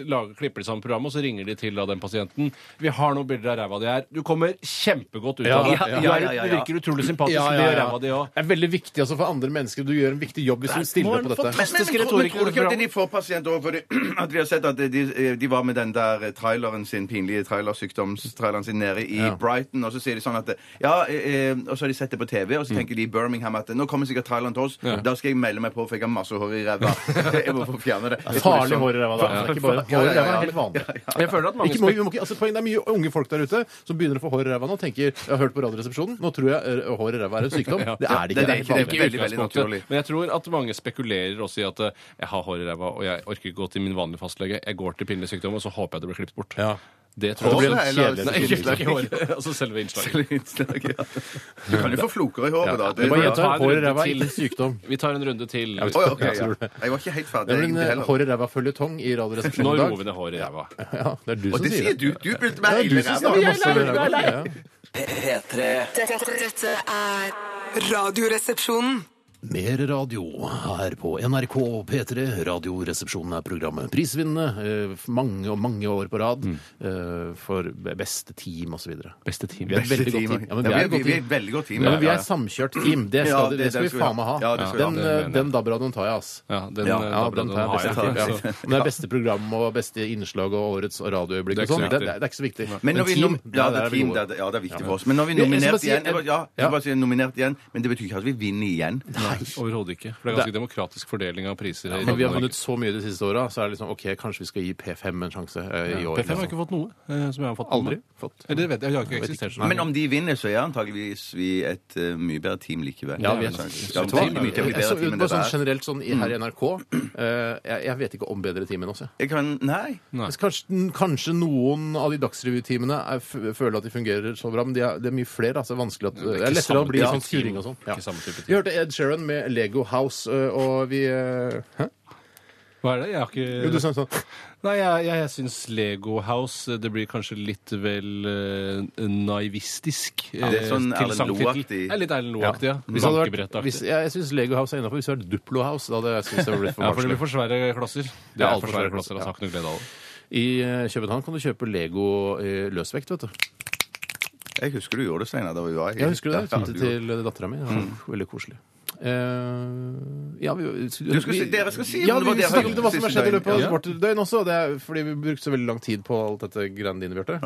Speaker 2: eh, lager, klipper de sammen programmet, og så ringer de til da, den pasienten. Vi har noen bilder av ræva di her. Du kommer kjempegodt ut
Speaker 1: Ja,
Speaker 2: av det.
Speaker 1: ja,
Speaker 2: Du,
Speaker 3: ja,
Speaker 2: er,
Speaker 3: ja, ja.
Speaker 2: du virker utrolig sympatisk.
Speaker 1: Ja,
Speaker 2: Det
Speaker 1: ja,
Speaker 2: gjør
Speaker 1: ja.
Speaker 2: ræva di òg.
Speaker 1: Det er veldig viktig altså, for andre mennesker. Du gjør en viktig jobb hvis du
Speaker 2: må
Speaker 1: stiller
Speaker 2: en
Speaker 1: på dette.
Speaker 3: Men, men, men, men tror du ikke at de får pasienter òg? At vi har sett at de, de var med den der eh, traileren sin, pinlige trailersykdomstraileren sin nede i
Speaker 1: Ja.
Speaker 3: Brighton, og så sier de sånn at Ja, eh, eh, og så har de sett det på TV,
Speaker 1: Mm.
Speaker 3: og så tenker de i Birmingham at eh, nå kommer sikkert traileren til oss, da skal jeg melde meg på, for jeg har masse hår i ræva. Jeg må få fjerne det. Jeg tror det er
Speaker 1: Farlig
Speaker 3: sånn-
Speaker 1: hår i ræva, da. Det er ikke bare
Speaker 3: Ja,
Speaker 1: hår
Speaker 3: ja,
Speaker 1: i
Speaker 3: ja,
Speaker 1: ræva,
Speaker 3: ja.
Speaker 1: er helt vanlig.
Speaker 2: Jeg føler at mange
Speaker 1: Ikke, må, vi må ikke, altså, poenget er mye unge folk der ute som begynner å få hår i ræva nå. tenker, jeg har hørt på radioresepsjonen, nå tror jeg ø, hår i ræva er en sykdom.
Speaker 2: Ja.
Speaker 1: Det er det
Speaker 3: Det
Speaker 1: ikke.
Speaker 3: er
Speaker 1: Det er
Speaker 3: ikke
Speaker 1: helt
Speaker 3: det.
Speaker 1: vanlig.
Speaker 3: veldig, veldig
Speaker 2: utgangspunktet.
Speaker 3: naturlig.
Speaker 2: Men jeg tror at mange spekulerer også i at eh, jeg har hår i ræva, og jeg orker ikke gå til min vanlige fastlege. Jeg går til pinlig sykdom, og så håper jeg det blir klippet bort.
Speaker 1: Ja.
Speaker 2: Det tror
Speaker 3: Håret,
Speaker 2: jeg
Speaker 3: eller-
Speaker 2: blir Nei, ikke, ikke håret. Altså selve innslaget.
Speaker 3: Du kan jo få floker i håret, da.
Speaker 1: Det
Speaker 3: er bra.
Speaker 1: bare
Speaker 2: ta
Speaker 1: gjentar
Speaker 2: en
Speaker 1: hår i
Speaker 2: runde
Speaker 1: ræva er
Speaker 2: til.
Speaker 1: ikke en sykdom.
Speaker 2: Vi tar en runde til.
Speaker 1: Ja, vi-
Speaker 3: Oi, ok,
Speaker 1: Ja,
Speaker 3: ja.
Speaker 1: tror det. eh,
Speaker 3: Jeg var ikke helt ferdig.
Speaker 1: Det er vel
Speaker 3: egentlig
Speaker 1: en
Speaker 3: heller.
Speaker 1: hår i ræva-føljetong i
Speaker 2: Nå
Speaker 1: Radioresepsjonen i
Speaker 2: roer
Speaker 1: dag.
Speaker 2: vi ned håret i ræva.
Speaker 1: Ja, det er du
Speaker 3: Og
Speaker 1: som
Speaker 3: det
Speaker 1: sier
Speaker 3: sier
Speaker 1: det.
Speaker 3: du. Du pulte
Speaker 1: Ja,
Speaker 3: meg
Speaker 1: det er du
Speaker 3: hele
Speaker 1: som
Speaker 3: ræva.
Speaker 1: sier det. Masse hår i ræva. Ja.
Speaker 5: P- P3.
Speaker 4: Dette, dette er Radioresepsjonen
Speaker 1: Mer radio her på NRK P3. Radioresepsjonen er programmet. Prisvinnende eh, for mange og mange år på rad eh, for be- beste team osv.
Speaker 2: Beste team.
Speaker 1: Vi er et veldig godt team. Ja, men vi er et godt
Speaker 3: vi er
Speaker 1: team.
Speaker 3: et veldig godt team.
Speaker 1: Ja, men vi
Speaker 3: ja,
Speaker 1: er et samkjørt team. Det
Speaker 3: Ja,
Speaker 1: skal, det,
Speaker 3: det-
Speaker 1: det
Speaker 3: det
Speaker 1: skal vi
Speaker 3: skal vi
Speaker 1: faen meg ha.
Speaker 3: Ja, det skal vi
Speaker 1: den
Speaker 2: ha.
Speaker 1: eh,
Speaker 2: Det mener jeg.
Speaker 1: den DAB-radioen tar jeg, ass.
Speaker 2: Ja, den,
Speaker 3: Ja, ja,
Speaker 2: eh,
Speaker 1: Ja,
Speaker 2: DAB-radioen
Speaker 1: den tar jeg
Speaker 2: har jeg
Speaker 1: bestemt.
Speaker 2: ikke,
Speaker 1: Ja.
Speaker 2: så-
Speaker 1: Men det er beste program og beste innslag og årets radioøyeblikk
Speaker 2: Det er
Speaker 1: og sånn.
Speaker 2: ikke så
Speaker 1: Det,
Speaker 2: viktig.
Speaker 1: det, det er ikke så viktig.
Speaker 3: Men når vi
Speaker 1: team,
Speaker 3: nom- ja,
Speaker 1: der
Speaker 3: det
Speaker 1: er
Speaker 3: er
Speaker 1: vi
Speaker 3: team,
Speaker 1: gode.
Speaker 3: det er, ja, det er viktig for oss. Men når vi
Speaker 1: Ja, jeg skal bare
Speaker 3: nominerte
Speaker 1: si-
Speaker 3: igjen jeg bare- Ja, jeg
Speaker 1: Ja.
Speaker 3: skal bare si nominert igjen, men det betyr ikke at vi vinner igjen.
Speaker 2: Overhodet ikke. For det er ganske demokratisk fordeling av priser.
Speaker 1: Når vi har vunnet så mye de siste åra, så er det liksom OK, kanskje vi skal gi P5 en sjanse eh, i år.
Speaker 2: P5 har
Speaker 1: liksom.
Speaker 2: ikke fått noe eh, som jeg har fått.
Speaker 1: Aldri fått.
Speaker 2: Eller det vet jeg, jeg har ikke eksistert sånn.
Speaker 3: Men om de vinner, så er antageligvis vi et eh, mye bedre team likevel.
Speaker 1: Ja, vi er
Speaker 3: Ja,
Speaker 1: Vet
Speaker 3: ja,
Speaker 1: du hva?
Speaker 3: team er mye
Speaker 1: Jeg
Speaker 3: bedre
Speaker 1: så-
Speaker 3: team enn
Speaker 1: Bare
Speaker 3: det
Speaker 1: sånn
Speaker 3: der.
Speaker 1: generelt sånn i- her i NRK eh, jeg, jeg vet ikke om bedre team enn oss, jeg.
Speaker 3: Jeg kan Nei.
Speaker 2: Nei.
Speaker 1: Altså, Kanskje, kanskje noen av de Dagsrevy-teamene er- f- føler at de fungerer så bra, men de er, det er mye flere. Altså, det er vanskelig at, det er
Speaker 2: ikke
Speaker 1: lettere å
Speaker 2: samme
Speaker 1: bli
Speaker 2: type
Speaker 1: sånn
Speaker 2: team.
Speaker 1: skuring og sånn. Ja.
Speaker 2: Ikke samme type team.
Speaker 1: Vi hørte Ed Sheeran med Lego House, eh, og vi eh, Hæ?
Speaker 2: Hva er det? Jeg har ikke
Speaker 1: Jo, du sa sånn
Speaker 2: Nei, jeg, jeg, jeg syns Lego House eh, Det blir kanskje litt vel eh, naivistisk. eh,
Speaker 3: det er sånn
Speaker 2: til
Speaker 3: Erlend
Speaker 2: sangtittel.
Speaker 3: Loe-aktig.
Speaker 2: Ja, litt Erlend Loe-aktig, ja.
Speaker 1: Hvis det hadde vært,
Speaker 2: Bankebrettaktig.
Speaker 1: hvis, jeg jeg syns Lego House er innafor. Hvis det hadde vært Duplo House, da hadde jeg syntes det blitt for
Speaker 2: Ja, for det
Speaker 1: barnslig.
Speaker 2: blir for svære klosser. Det
Speaker 1: Ja,
Speaker 2: er
Speaker 1: alt
Speaker 2: for svære klosser, altså. Har ikke noe glede av det.
Speaker 1: I eh, København kan du kjøpe Lego eh, løsvekt, vet du.
Speaker 3: Jeg husker du gjorde det, Steinar, da vi var i
Speaker 1: Jeg husker det. Jeg
Speaker 3: Ja,
Speaker 1: kjøpte
Speaker 3: du-
Speaker 1: til dattera mi. Ja,
Speaker 2: Mm.
Speaker 1: veldig koselig. Eh, ja, vi,
Speaker 3: Du skal si- dere skal si
Speaker 1: ja,
Speaker 3: om det
Speaker 1: vi,
Speaker 3: var det jeg har
Speaker 1: snakket om
Speaker 3: gjort
Speaker 1: hva som har
Speaker 3: siste
Speaker 1: skjedd i løpet av
Speaker 3: døgn. Ja.
Speaker 1: vårt døgn også. Det er fordi vi brukte så veldig lang tid på alt dette greiene dine, Bjarte.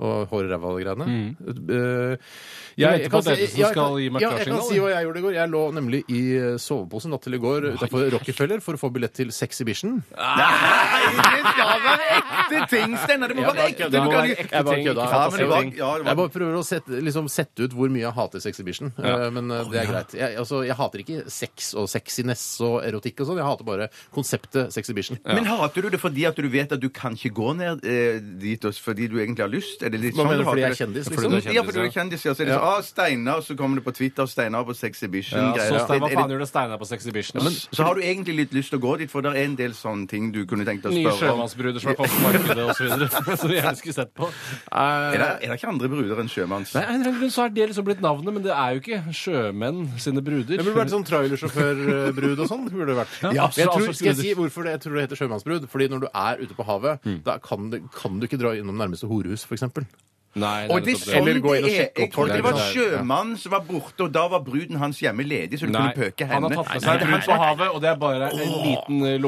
Speaker 1: Og Eh, hårræva-greiene.
Speaker 3: Mm.
Speaker 2: venter på at Ebbesen skal gi meg
Speaker 1: ja, jeg kan
Speaker 2: klarsignal,
Speaker 1: si hva jeg gjorde i går. Jeg lå nemlig i eh, soveposen natt til i går utenfor Rockefeller for å få billett til Sexhibition.
Speaker 3: Nei, det skal være ekte ting, Steinar! Det må være ekte!
Speaker 2: det
Speaker 3: Du
Speaker 2: må
Speaker 3: kan
Speaker 2: være
Speaker 3: jo-
Speaker 2: ekte
Speaker 1: Jeg bare
Speaker 2: ting,
Speaker 1: kødda.
Speaker 2: ikke
Speaker 3: Ja, men det var-
Speaker 2: ting.
Speaker 3: ja, det var-
Speaker 1: Jeg bare prøver å sette, liksom, sette ut hvor mye jeg hater Sex Exhibition. eh, Men eh, det er greit. Jeg, altså, jeg hater ikke sex og sexiness og erotikk og sånn. Jeg hater bare konseptet Sex Exhibition.
Speaker 3: Men hater du det fordi at du vet at du kan ikke gå ned eh, dit også, fordi du egentlig har lyst? Er det litt
Speaker 1: Hva
Speaker 3: sånn
Speaker 1: mener du,
Speaker 3: hater
Speaker 1: fordi jeg er
Speaker 3: det?
Speaker 1: kjendis,
Speaker 3: Fordi
Speaker 1: liksom?
Speaker 3: du er kjendis, Ja, fordi du er kjendis. Ja, så er det sånn, ah, Steinar, så kommer det på Twitter, Steinar på
Speaker 2: Ja,
Speaker 3: Sexhibition-greier.
Speaker 2: så Stein, hva
Speaker 3: Er det-
Speaker 2: faen gjør det Steinar på Sexhibition?
Speaker 3: Men, så har du egentlig litt lyst til å gå dit, for det er en del sånne ting du kunne tenkt deg å
Speaker 2: Nye
Speaker 3: spørre om.
Speaker 2: sjømannsbruder som er kommet på markedet osv. Som vi gjerne skulle sett på.
Speaker 3: Er det, er det ikke andre bruder enn sjømanns?
Speaker 2: Nei, av en eller annen grunn så er det liksom blitt navnet, men det er jo ikke sjømenn sine bruder.
Speaker 1: Det burde vært sånn trailersjåførbrud og sånn. det burde det vært.
Speaker 2: Ja,
Speaker 1: Men jeg tror,
Speaker 2: altså,
Speaker 1: skal jeg
Speaker 2: skulle
Speaker 1: si hvorfor det, jeg tror det heter sjømannsbrud? Fordi når du er ute på havet,
Speaker 3: Mm.
Speaker 1: da kan, det, kan du ikke dra innom nærmeste horehus, f.eks.
Speaker 2: Nei, det
Speaker 3: Og
Speaker 2: er
Speaker 3: det er
Speaker 2: nettopp
Speaker 3: sånn
Speaker 1: Eller
Speaker 3: det
Speaker 1: gå inn og
Speaker 3: er. Jeg
Speaker 1: sjekke opp
Speaker 3: trodde
Speaker 2: folk.
Speaker 3: det var
Speaker 2: Ja.
Speaker 3: sjømannen som var borte, og da var bruden hans hjemme ledig, så du
Speaker 2: Nei,
Speaker 3: kunne pøke
Speaker 2: han
Speaker 3: henne.
Speaker 2: har tatt med seg brun på havet, og det er bare en liten eh,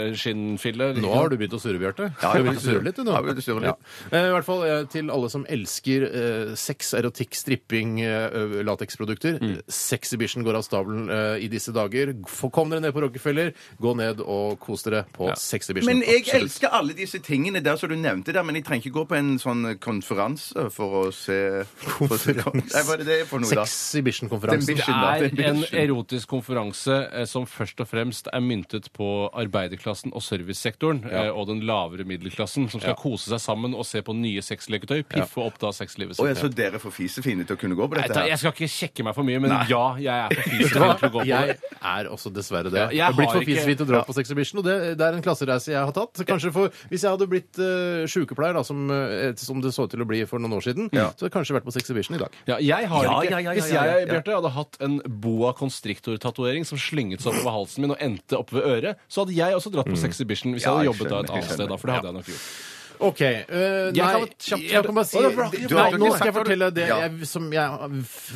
Speaker 2: lommeskinnfille.
Speaker 1: Nå har du begynt å surre, Bjarte.
Speaker 3: Ja,
Speaker 1: Du
Speaker 3: jeg
Speaker 1: har begynt å surre
Speaker 3: surrer.
Speaker 1: litt, du,
Speaker 3: Ja,
Speaker 1: nå.
Speaker 3: jeg har begynt å surre litt.
Speaker 1: Ja. Eh, I hvert fall eh, til alle som elsker eh, sex, erotikk, stripping, eh, lateksprodukter.
Speaker 3: Mm.
Speaker 1: Sexhibition går av stabelen eh, i disse dager. Få- Kom dere ned på Rockefeller, gå ned og kos dere på Sexhibition.
Speaker 3: Men jeg
Speaker 1: Absolutt.
Speaker 3: elsker alle disse tingene der som du nevnte der, men jeg trenger ikke gå på en sånn konferanse for å se for å se- Nei, hva er det det er for noe, da?
Speaker 1: Sexhibition-konferansen.
Speaker 3: Dembition, da.
Speaker 2: Det er en
Speaker 3: Dembition.
Speaker 2: erotisk konferanse eh, som først og fremst er myntet på arbeiderklassen og servicesektoren eh, og den lavere middelklassen, som skal kose seg sammen og se på nye sexleketøy, piffe opp da sexlivet
Speaker 3: Å,
Speaker 2: sitt.
Speaker 3: ja, så dere er for fisefine til å kunne gå på
Speaker 2: Nei,
Speaker 3: dette
Speaker 2: ta-
Speaker 3: her?
Speaker 2: Jeg skal ikke sjekke meg for mye, men ja, jeg er for fysisk til å gå på det.
Speaker 1: Jeg er også dessverre det. Jeg
Speaker 2: jeg
Speaker 1: har blitt
Speaker 2: har
Speaker 1: for
Speaker 2: ikke-
Speaker 1: fisefin til å dra på Sexhibition, og det, det er en klassereise jeg har tatt. Kanskje for, Hvis jeg hadde blitt eh, sykepleier, da, som, eh, som det så ut til å bli for noen år siden, så hadde jeg kanskje vært på Sexhibition i dag.
Speaker 2: Ja, jeg har
Speaker 3: Ja,
Speaker 2: ikke.
Speaker 3: ja, ja, ja,
Speaker 2: Hvis
Speaker 3: ja, ja,
Speaker 2: jeg
Speaker 3: ja.
Speaker 2: Bjørte, hadde hatt en boa constrictor-tatovering som slynget seg oppover halsen min og endte oppe ved øret, så hadde jeg også dratt på Sexhibition hvis jeg
Speaker 3: Mm. Ja,
Speaker 2: hadde
Speaker 3: jeg
Speaker 2: jobbet da
Speaker 3: skjønner,
Speaker 2: et
Speaker 3: jeg
Speaker 2: annet sted. Da, for det hadde jeg nok gjort.
Speaker 1: OK. eh, nei,
Speaker 2: Jeg kan kjapt-
Speaker 1: jeg kan bare si
Speaker 2: Å, det var-
Speaker 1: Nei,
Speaker 3: du har ikke
Speaker 1: Nå
Speaker 3: sagt hva
Speaker 1: skal jeg
Speaker 3: du-
Speaker 1: fortelle det
Speaker 3: Ja.
Speaker 1: jeg, som jeg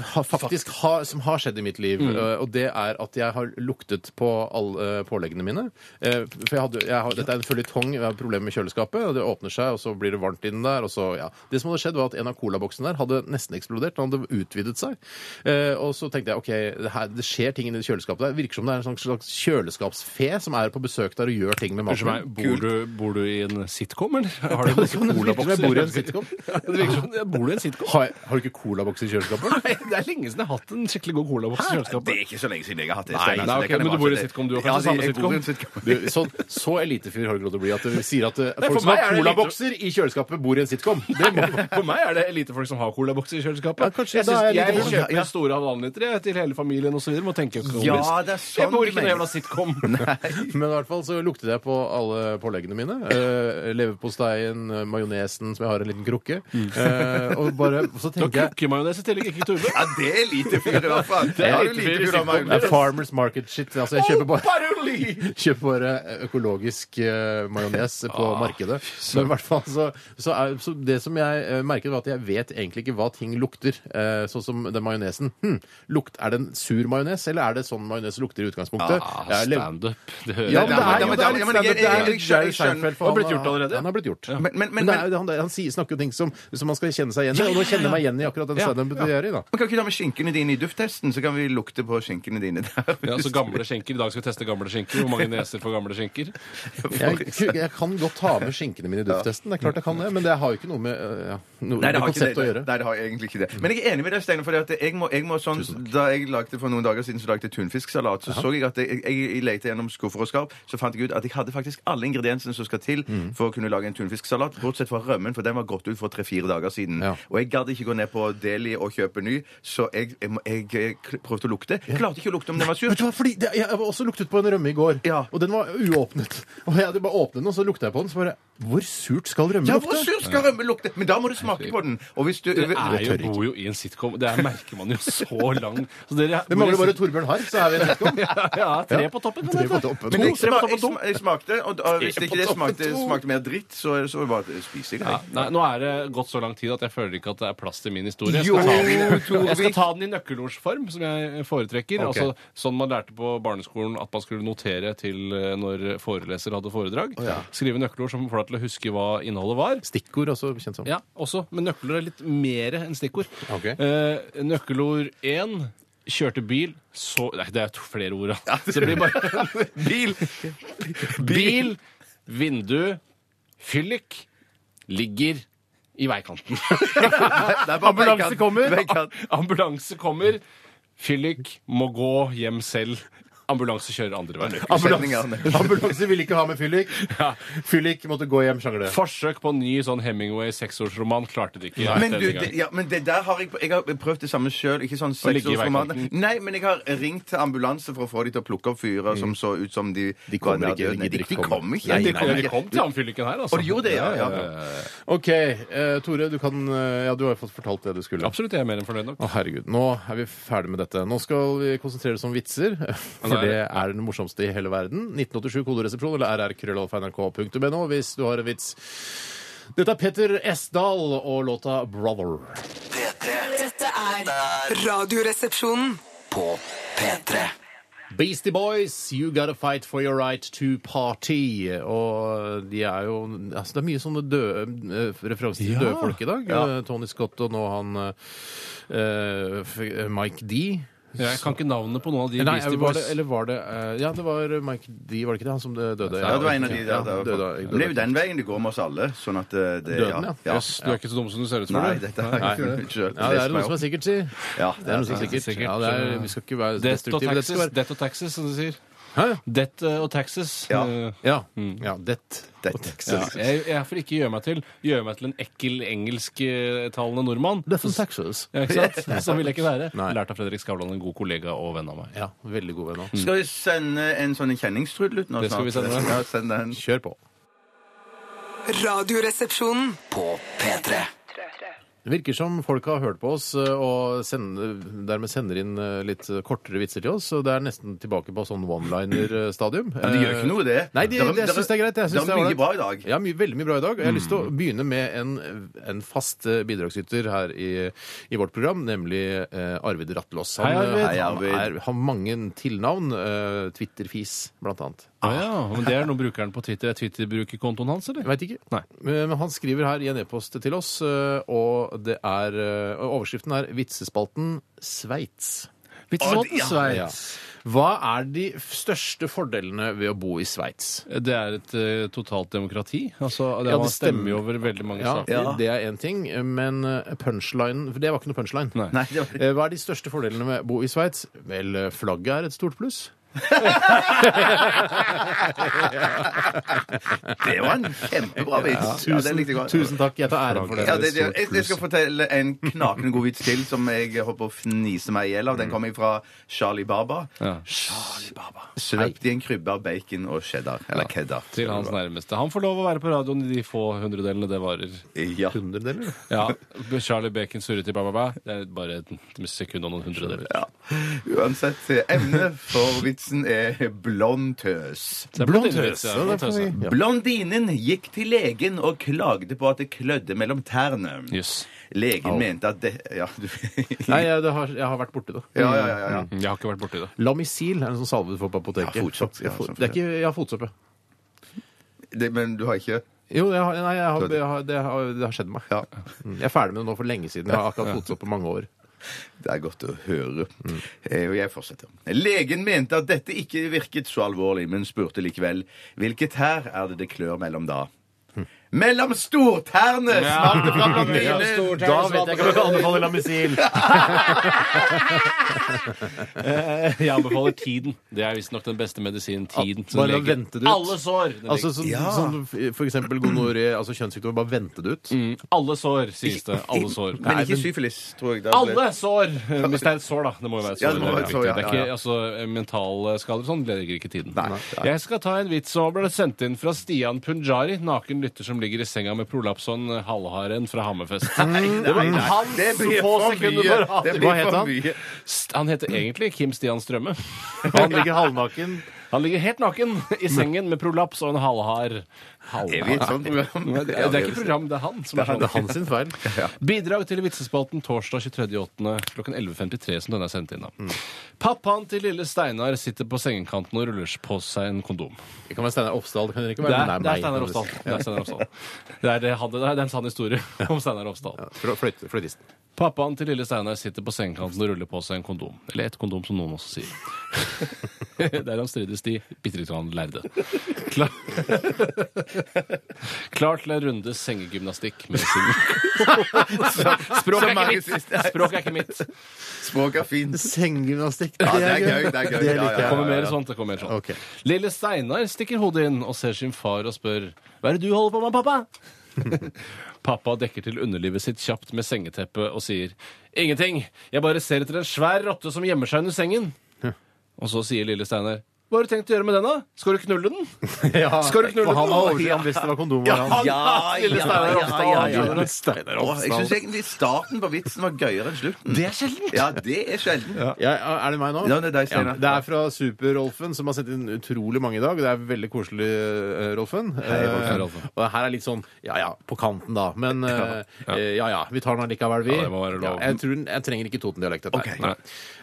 Speaker 1: har, faktisk har, som har skjedd i mitt liv. eh, Og det er at jeg har luktet på alle eh, påleggene mine. Eh, For jeg hadde, jeg har, dette er en føljetong. Jeg har problemer med kjøleskapet. og Det åpner seg, og så blir det varmt inni der. Og så, ja. Det som hadde skjedd, var at en av colaboksene der hadde nesten eksplodert. Den hadde utvidet seg. Eh, Og så tenkte jeg OK, det, her, det skjer ting inni det kjøleskapet der. Virker som det er en sånn slags kjøleskapsfe som er på besøk der og gjør ting med maten.
Speaker 2: Unnskyld meg, bor du, bor du i en sitcom, eller? Har du
Speaker 1: Ja, det kan
Speaker 2: noen
Speaker 1: virke som jeg
Speaker 2: colabokser?
Speaker 1: bor i en sitcom.
Speaker 2: Ja, det virker som ja, Bor du i en sitcom?
Speaker 1: Har, jeg- har du ikke colaboks i kjøleskapet?
Speaker 2: Nei, det er lenge siden jeg har hatt en skikkelig god colaboks
Speaker 3: Det
Speaker 2: i
Speaker 3: er
Speaker 2: kjøleskapet.
Speaker 3: ikke så lenge siden jeg har hatt det.
Speaker 2: Nei,
Speaker 3: Steinar,
Speaker 2: nei,
Speaker 3: så
Speaker 2: ok,
Speaker 3: det kan jeg
Speaker 2: men du
Speaker 3: bare
Speaker 2: bor i
Speaker 3: si det.
Speaker 2: sitcom, du har
Speaker 3: Ja,
Speaker 2: kanskje samme
Speaker 3: jeg bor i en
Speaker 1: Du, så, så elitefyr har du ikke lov til å bli at du sier at eh,
Speaker 2: for
Speaker 1: folk som
Speaker 2: meg
Speaker 1: har
Speaker 2: er det lite-
Speaker 1: colabokser i kjøleskapet, bor i en sitcom. Det må
Speaker 2: For meg er det lite folk som har colabokser i kjøleskapet.
Speaker 1: Ja, kanskje
Speaker 2: jeg
Speaker 1: da er
Speaker 2: synes,
Speaker 1: jeg
Speaker 2: jeg
Speaker 1: litt-
Speaker 2: vil kjøpe store halvannenliter jeg, til hele familien osv. Må tenke økonomisk.
Speaker 3: Ja, det er sånn
Speaker 2: jeg bor ikke i en
Speaker 3: du
Speaker 2: jævla sitcom.
Speaker 1: Men i hvert fall så luktet jeg på alle påleggene mine. Eh, Leverpostei, kjøttdeigen, eh, majonesen som jeg har i en liten krukke. Eh, og bare, og så
Speaker 2: Mm. Du har
Speaker 1: tenker jeg
Speaker 2: kukkemajones i tillegg, ikke tube.
Speaker 3: Ja, det er lite fyr, i hvert fall. Det
Speaker 2: er
Speaker 3: er
Speaker 2: lite
Speaker 3: jo
Speaker 2: fyr i
Speaker 3: lite fyr
Speaker 2: sikkert.
Speaker 3: av meg.
Speaker 1: det er Farmers Market shit. Altså, jeg kjøper bare
Speaker 2: Paroli!
Speaker 1: Kjøp bare økologisk eh, majones på
Speaker 3: Ah,
Speaker 1: markedet. Men i hvert fall så, så, er, så Det som jeg eh, merket, var at jeg vet egentlig ikke hva ting lukter. Eh, sånn som den majonesen. Hm, lukt, er det en sur majones, eller er det sånn majones lukter i utgangspunktet?
Speaker 2: Ah,
Speaker 1: Jeg lev-
Speaker 2: Standup. Det hører
Speaker 1: ja, men
Speaker 2: jeg.
Speaker 1: det er
Speaker 3: Ja,
Speaker 1: jo
Speaker 3: men-
Speaker 1: det
Speaker 3: ja,
Speaker 1: er
Speaker 3: men- ja,
Speaker 1: litt
Speaker 3: men-
Speaker 1: standup. Det er
Speaker 3: jeg-
Speaker 1: litt
Speaker 3: jeg-
Speaker 1: Jerry
Speaker 3: jeg skjønner-
Speaker 1: Seinfeld. for
Speaker 2: Han har
Speaker 1: han
Speaker 2: blitt gjort allerede.
Speaker 1: Han har blitt gjort.
Speaker 3: Men- men- men-
Speaker 1: det er, jo- han, han sier, snakker jo ting som, som man skal kjenne seg igjen i, og nå kjenner jeg meg igjen i akkurat den
Speaker 2: Ja,
Speaker 1: standupen du gjør i. da.
Speaker 3: Men kan ikke du ta med skinkene dine i dufttesten, så kan vi lukte på skinkene dine der?
Speaker 2: Ja, så gamle skinker. I dag skal vi teste gamle skinker. Hvor mange neser får gamle skinker?
Speaker 1: Jeg, jeg kan godt ta med skinkene mine i dufttesten, det er klart jeg kan det, men det har jo ikke noe med, eh, ja, noe,
Speaker 3: Nei, det
Speaker 1: med
Speaker 3: har ikke det.
Speaker 1: konseptet å gjøre.
Speaker 3: Nei, det har egentlig ikke det. Men jeg er enig med deg, Steinar. For jeg må, jeg må sånn, da jeg lagde for noen dager siden så lagde jeg tunfisksalat, så så jeg at jeg, jeg, jeg lette gjennom skuffer og skarp, så fant jeg ut at jeg hadde faktisk alle ingrediensene som skal til for å kunne lage en tunfisksalat, bortsett fra rømmen, for den var gått ut for tre-fire dager siden.
Speaker 1: Ja.
Speaker 3: Og jeg gadd ikke gå ned på Deli og kjøpe ny, så jeg, jeg, må- jeg, eh, kl- prøvde å lukte. Klarte ikke å lukte om den var sur.
Speaker 1: Vet du hva, fordi det, Jeg var også luktet på en rømme i går,
Speaker 3: Ja.
Speaker 1: og den var uåpnet. Og jeg hadde bare åpnet den, og så lukta jeg på den. Så bare Hvor surt skal rømme
Speaker 3: Ja, hvor
Speaker 1: lukte?
Speaker 3: sur skal rømme lukte? Men da må du smake på den. Og hvis du
Speaker 2: Det er jo,
Speaker 1: tør ikke.
Speaker 2: bor jo i en sitcom. Det er, merker man jo så lang så dere,
Speaker 1: Det mangler bare Torbjørn Harr, så er vi en retcom.
Speaker 2: Ja, tre på toppen.
Speaker 1: Tre på
Speaker 2: dette.
Speaker 1: toppen.
Speaker 3: Men jeg,
Speaker 2: Tre på
Speaker 3: sma- jeg,
Speaker 2: toppen, to.
Speaker 3: sma- jeg smakte, og, og hvis
Speaker 2: Tre
Speaker 3: ikke
Speaker 2: på
Speaker 3: det
Speaker 2: toppen,
Speaker 3: smakte,
Speaker 2: to.
Speaker 3: smakte mer dritt, så, så var det bare å spise det.
Speaker 2: Ja,
Speaker 3: jeg.
Speaker 2: nei, nå er det gått så lang tid at jeg føler ikke at det er plass til min historie. Jeg
Speaker 3: Jo,
Speaker 2: skal ta den, jeg skal
Speaker 3: Torvik.
Speaker 2: ta den i nøkkelordsform, som jeg foretrekker.
Speaker 1: Ok.
Speaker 2: Altså, sånn man lærte på barneskolen at man skulle notere til eh, når foreleser hadde foredrag.
Speaker 1: ja.
Speaker 2: Skrive nøkkelord som får deg til å huske hva innholdet var.
Speaker 1: Stikkord også kjent som.
Speaker 2: Ja, også, men nøkkelord er litt mer enn stikkord.
Speaker 1: Ok.
Speaker 2: Eh, nøkkelord én kjørte bil, så Nei, det er to flere ord, da. Så det blir bare Bil! Bil, vindu, fyllik, ligger i veikanten.
Speaker 3: Det er bare
Speaker 2: Ambulanse
Speaker 3: veikant-
Speaker 2: kommer.
Speaker 3: veikant.
Speaker 2: Ambulanse kommer. Fyllik må gå hjem selv. Ambulanse kjører andre veien.
Speaker 3: Setningene.
Speaker 1: Ambulanse ville ikke ha med fyllik. Fyllik måtte gå hjem, sjangle.
Speaker 2: Forsøk på en ny sånn Hemingway seksårsroman klarte det ikke.
Speaker 3: Men, du,
Speaker 2: denne gangen.
Speaker 3: det, ja, men det der har jeg Jeg har prøvd det samme sjøl. Ikke sånn
Speaker 2: ligge i
Speaker 3: seksårsroman.
Speaker 2: veikanten.
Speaker 3: Nei, men jeg har ringt til ambulanse for å få de til å plukke opp fyrer som så ut som de
Speaker 1: Mm. De kommer
Speaker 3: var
Speaker 1: ikke,
Speaker 3: nærdøde.
Speaker 1: de
Speaker 3: Nei,
Speaker 1: gidder
Speaker 3: De
Speaker 1: ikke
Speaker 3: de
Speaker 1: komme.
Speaker 3: kommer ikke.
Speaker 2: Ja,
Speaker 3: Nei,
Speaker 2: de kom,
Speaker 3: nei,
Speaker 2: de
Speaker 3: nei.
Speaker 2: kom til han fylliken her, altså.
Speaker 3: Og de gjorde det, ja. ja.
Speaker 1: OK, eh, Tore, du kan eh, Ja, du har jo fått fortalt det du skulle.
Speaker 2: Absolutt, jeg er mer enn fornøyd nok.
Speaker 1: Å, herregud. Nå er vi ferdig med dette. Nå skal vi konsentrere oss om vitser, for
Speaker 2: Nei.
Speaker 1: det er den morsomste i hele verden. 1987 kodoresepsjon eller rrkrøllalfa.nrk.no hvis du har en vits. Dette er Petter Esdal og låta 'Brother'.
Speaker 5: P3
Speaker 4: Dette er Radioresepsjonen.
Speaker 5: på P3.
Speaker 1: Beastie Boys, You Gotta Fight For Your Right To Party. Og de er jo altså Det er mye sånne døde, eh, referanser til døde folk i dag. Eh, Tony Scott og nå han eh, f- eh, Mike D.
Speaker 2: Jeg kan ikke navnet på noen av de
Speaker 1: Nei,
Speaker 2: Beastie
Speaker 1: var
Speaker 2: Boys.
Speaker 1: det, eller var det eh, Ja, det var Mike D, var det ikke det? Han som døde?
Speaker 3: Ja, det var en av de
Speaker 1: Ja,
Speaker 3: der.
Speaker 1: døde-
Speaker 3: der.
Speaker 1: døde-
Speaker 3: Men det er jo den veien det går med oss alle. Sånn at eh, det
Speaker 1: Døden, ja.
Speaker 3: ja.
Speaker 2: Jøss, du er ikke så dum som du ser ut som.
Speaker 3: Nei,
Speaker 2: du.
Speaker 3: dette har jeg ikke funnet sjøl.
Speaker 1: Ja, det er noe som er sikkert, si.
Speaker 3: Ja,
Speaker 1: Det er noe som er sikkert.
Speaker 2: sikkert.
Speaker 1: Ja, det er, vi skal ikke være
Speaker 2: Death og
Speaker 1: destruktive. Dette skal
Speaker 2: taxes,
Speaker 1: være-
Speaker 2: death og taxes, som du sier.
Speaker 1: Hæ?
Speaker 2: Death eh, og taxes.
Speaker 3: Ja.
Speaker 2: Eh,
Speaker 1: Ja. ja det.
Speaker 3: Dette.
Speaker 2: Ja, jeg, jeg får ikke gjøre meg til Gjøre meg til en ekkel engelsktalende nordmann.
Speaker 1: Death and Taxes.
Speaker 2: Ja, ikke sant? Sånn vil jeg ikke være.
Speaker 1: Nei.
Speaker 2: Lært av Fredrik Skavlan, en god kollega og venn av meg.
Speaker 1: Ja, veldig god venn
Speaker 2: Mm.
Speaker 1: òg.
Speaker 3: Skal vi sende en sånn kjenningstrudel ut nå?
Speaker 2: Det skal vi
Speaker 3: snart?
Speaker 2: sende.
Speaker 3: Ja, send den.
Speaker 1: Kjør på.
Speaker 4: Radioresepsjonen.
Speaker 5: På P3.
Speaker 1: Det virker som folk har hørt på oss eh, og sender, dermed sender inn eh, litt eh, kortere vitser til oss. Så det er nesten tilbake på sånn one-liner-stadium.
Speaker 3: Men det gjør ikke noe, det.
Speaker 1: Eh, Nei, det-
Speaker 3: Der-
Speaker 1: jeg
Speaker 3: der-
Speaker 1: syns det er greit. Jeg synes
Speaker 3: der er mye
Speaker 1: ålreit.
Speaker 3: bra i dag. Mm.
Speaker 1: Ja, mye, veldig mye bra i dag. Og jeg har lyst til å begynne med en, en fast eh, bidragsyter her i, i vårt program, nemlig eh, Arvid Ratlås. Han,
Speaker 2: Hei, Arvid.
Speaker 1: eh,
Speaker 3: Hei,
Speaker 1: han
Speaker 3: Arvid.
Speaker 1: er, har mange tilnavn. eh, Twitter-fis, blant annet.
Speaker 2: Ah, ja, men det er noe brukeren på Twitter er Twitter-brukerkontoen hans, eller?
Speaker 1: Jeg vet ikke.
Speaker 2: Nei.
Speaker 1: Men men han skriver her i en e-post til oss, eh, og det er eh, og Overskriften er 'Vitsespalten Sveits'.
Speaker 2: Vitsespalten Sveits.
Speaker 1: Hva er de største fordelene ved å bo i Sveits?
Speaker 2: Det er et eh, totalt demokrati. Altså, det,
Speaker 1: Ja,
Speaker 2: man
Speaker 1: det stemmer.
Speaker 2: stemmer jo over veldig mange
Speaker 1: Ja,
Speaker 2: saker.
Speaker 1: Det er én ting, men eh, punchlinen For det var ikke noe punchline.
Speaker 2: Nei.
Speaker 3: Nei, det var...
Speaker 1: Eh, Hva er de største fordelene med å bo i Sveits? Vel, eh, flagget er et stort pluss.
Speaker 3: Det var en kjempebra vits. Ja, den
Speaker 1: Tusen,
Speaker 3: likte jeg godt.
Speaker 1: tusen takk. Jeg tar æren for det.
Speaker 3: Ja, det, det, jeg, jeg skal fortelle en knakende god vits til som jeg holdt på å fnise meg i hjel av.
Speaker 1: Mm.
Speaker 3: Den kommer fra Charlie Baba. Charlie Baba. Svøpt i en krybbe av bacon og cheddar. Eller cheddar.
Speaker 2: Til hans nærmeste. Han får lov å være på radioen i de få hundredelene det varer.
Speaker 3: Ja.
Speaker 1: Hundredeler?
Speaker 2: Ja, Charlie Bacon surret i Bababa. Det er bare et sekund og noen hundredeler.
Speaker 3: ja. Uansett, emnet for vitsen er blond tøs.
Speaker 2: Det er
Speaker 1: Blond høs.
Speaker 2: blondtøs, ja,
Speaker 1: Ja, det får
Speaker 2: blondtøs,
Speaker 1: vi-
Speaker 2: ja.
Speaker 1: ja.
Speaker 3: Blondinen gikk til legen og klagde på at det klødde mellom tærne.
Speaker 2: Jøss.
Speaker 3: Legen mente at det Ja, du
Speaker 1: Nei, jeg, Mm. det har, jeg har vært borti det.
Speaker 3: Ja, ja, ja. ja.
Speaker 2: Jeg har ikke vært borti det.
Speaker 1: Lamisil er en sånn salve du får på apoteket.
Speaker 3: Ja, fotsopp. Ja,
Speaker 1: Fo-
Speaker 3: sånn
Speaker 1: det er ikke, ja, fotsopp, ja.
Speaker 3: Det, men du har ikke
Speaker 1: Jo, jeg har, nei, jeg har, jeg har, det, har, det har skjedd meg.
Speaker 3: Ja.
Speaker 1: Mm, Jeg er ferdig med det nå for lenge siden. Jeg har akkurat fotsopp på mange år.
Speaker 3: Det er godt å høre. Eh, Og jeg fortsetter. Legen mente at dette ikke virket så alvorlig, men spurte likevel hvilket tær er det det klør mellom da? Mellom stortærne! Smalt det fram av mine.
Speaker 1: Da vet jeg ikke om jeg kan anbefale Lamisil.
Speaker 2: Jeg anbefaler tiden. Det er visstnok den beste medisinen. Tiden. som
Speaker 1: Bare
Speaker 2: leger.
Speaker 1: vente det ut.
Speaker 2: Alle sår! Den
Speaker 1: Altså,
Speaker 2: leger.
Speaker 1: sånn, sånn, for eksempel gonoré, altså kjønnssykdommer. Bare vente det ut.
Speaker 2: Mm, alle sår, sies det. Alle sår.
Speaker 3: Men ikke syfilis, tror jeg. Da ble-
Speaker 2: Alle sår! Eh, Hvis det er et sår, da. Det må jo være et sår.
Speaker 3: Ja, det må være et
Speaker 2: er
Speaker 3: sår, ja,
Speaker 2: viktig. det er
Speaker 3: ja,
Speaker 2: ikke
Speaker 3: ja.
Speaker 2: altså, eh, mentale skader og sånn. Det legger ikke tiden.
Speaker 3: Nei.
Speaker 2: Jeg skal ta en vits som ble sendt inn fra Stian Punjari, naken lytter som ligger i senga med prolaps og en halvharen fra Hammerfest. Det var hans
Speaker 3: Det blir
Speaker 2: Mm, få
Speaker 3: for
Speaker 2: sekunder
Speaker 3: mye.
Speaker 2: på
Speaker 3: Det
Speaker 2: radio.
Speaker 1: Hva
Speaker 3: blir
Speaker 1: het
Speaker 3: for
Speaker 1: han?
Speaker 3: mye.
Speaker 2: St- Han heter egentlig Kim Stian Strømme.
Speaker 1: Han ligger halvnaken.
Speaker 2: Han ligger helt naken i sengen med prolaps og en halvhar.
Speaker 3: Er vi i et sånt sånn program?
Speaker 2: Nei, Det er, det er ikke program, det er han som er
Speaker 1: Det er
Speaker 2: sånn.
Speaker 1: hans sin feil.
Speaker 2: Bidrag til Vitsespalten torsdag 23.8. klokken 11.53, som denne er sendt inn av. Pappaen til lille Steinar sitter på sengekanten og ruller på seg en kondom.
Speaker 1: Det kan være Steinar Ofsdal. Det kan ikke
Speaker 2: Det
Speaker 1: være
Speaker 2: er, det er Steinar
Speaker 1: meg.
Speaker 2: Opsdal. Det er Steinar Opsdal. Det er, det, han- det er en sann historie om Steinar Opsdal.
Speaker 1: Fløy- fløyt- Fløytisten.
Speaker 2: Pappaen til lille Steinar sitter på sengekanten og ruller på seg en kondom. Eller et kondom, som noen også sier. Der han strides de bitte litt grann lærde. Klar, Klar til en runde sengegymnastikk med sin Språk er
Speaker 3: Som
Speaker 2: ikke
Speaker 3: mange
Speaker 2: mitt!
Speaker 3: siste-
Speaker 2: Språk er ikke mitt.
Speaker 3: Språk er fint.
Speaker 1: Senggymnastikk.
Speaker 3: Ja, det er gøy. Det er gøy.
Speaker 1: Det
Speaker 3: Ja,
Speaker 1: liker
Speaker 3: ja,
Speaker 2: Det kommer
Speaker 3: ja,
Speaker 2: mer
Speaker 3: ja.
Speaker 2: sånt. det kommer mer sånt.
Speaker 1: Ok.
Speaker 2: Lille Steinar stikker hodet inn og ser sin far og spør Hva er det du holder på med, pappa? pappa dekker til underlivet sitt kjapt med sengeteppet og sier Ingenting. Jeg bare ser etter en svær rotte som gjemmer seg under sengen. og så sier lille Steinar Hva har du tenkt å gjøre med den, da? Skal du knulle den?
Speaker 1: Ja.
Speaker 2: Skal du knulle
Speaker 1: Og han
Speaker 2: den?
Speaker 1: var overtrengt hvis det var kondom. var han.
Speaker 3: Ja, ja,
Speaker 2: Lille Steinar Ofstad.
Speaker 3: ja, ja, ja.
Speaker 1: Lille Steinar
Speaker 3: Å, Jeg syns
Speaker 1: Ofsdal.
Speaker 3: egentlig starten på vitsen var gøyere enn slutten.
Speaker 2: Det er sjeldent.
Speaker 3: Ja, det er sjelden.
Speaker 1: Ja, er det meg nå?
Speaker 3: Ja, det er deg, Steinar.
Speaker 1: det er fra Super-Rolfen, som har sendt inn utrolig mange i dag. Det er veldig koselig, eh, Rolfen.
Speaker 3: Rolfen.
Speaker 1: Eh,
Speaker 2: Hei, Rolfen.
Speaker 1: Og her er litt sånn ja ja, på kanten, da. Men eh, eh, ja ja, vi tar den allikevel, vi.
Speaker 2: Ja, det må være lov.
Speaker 1: Ja, jeg, tror, den- jeg trenger ikke Toten-dialekt. dette her.
Speaker 3: Ok.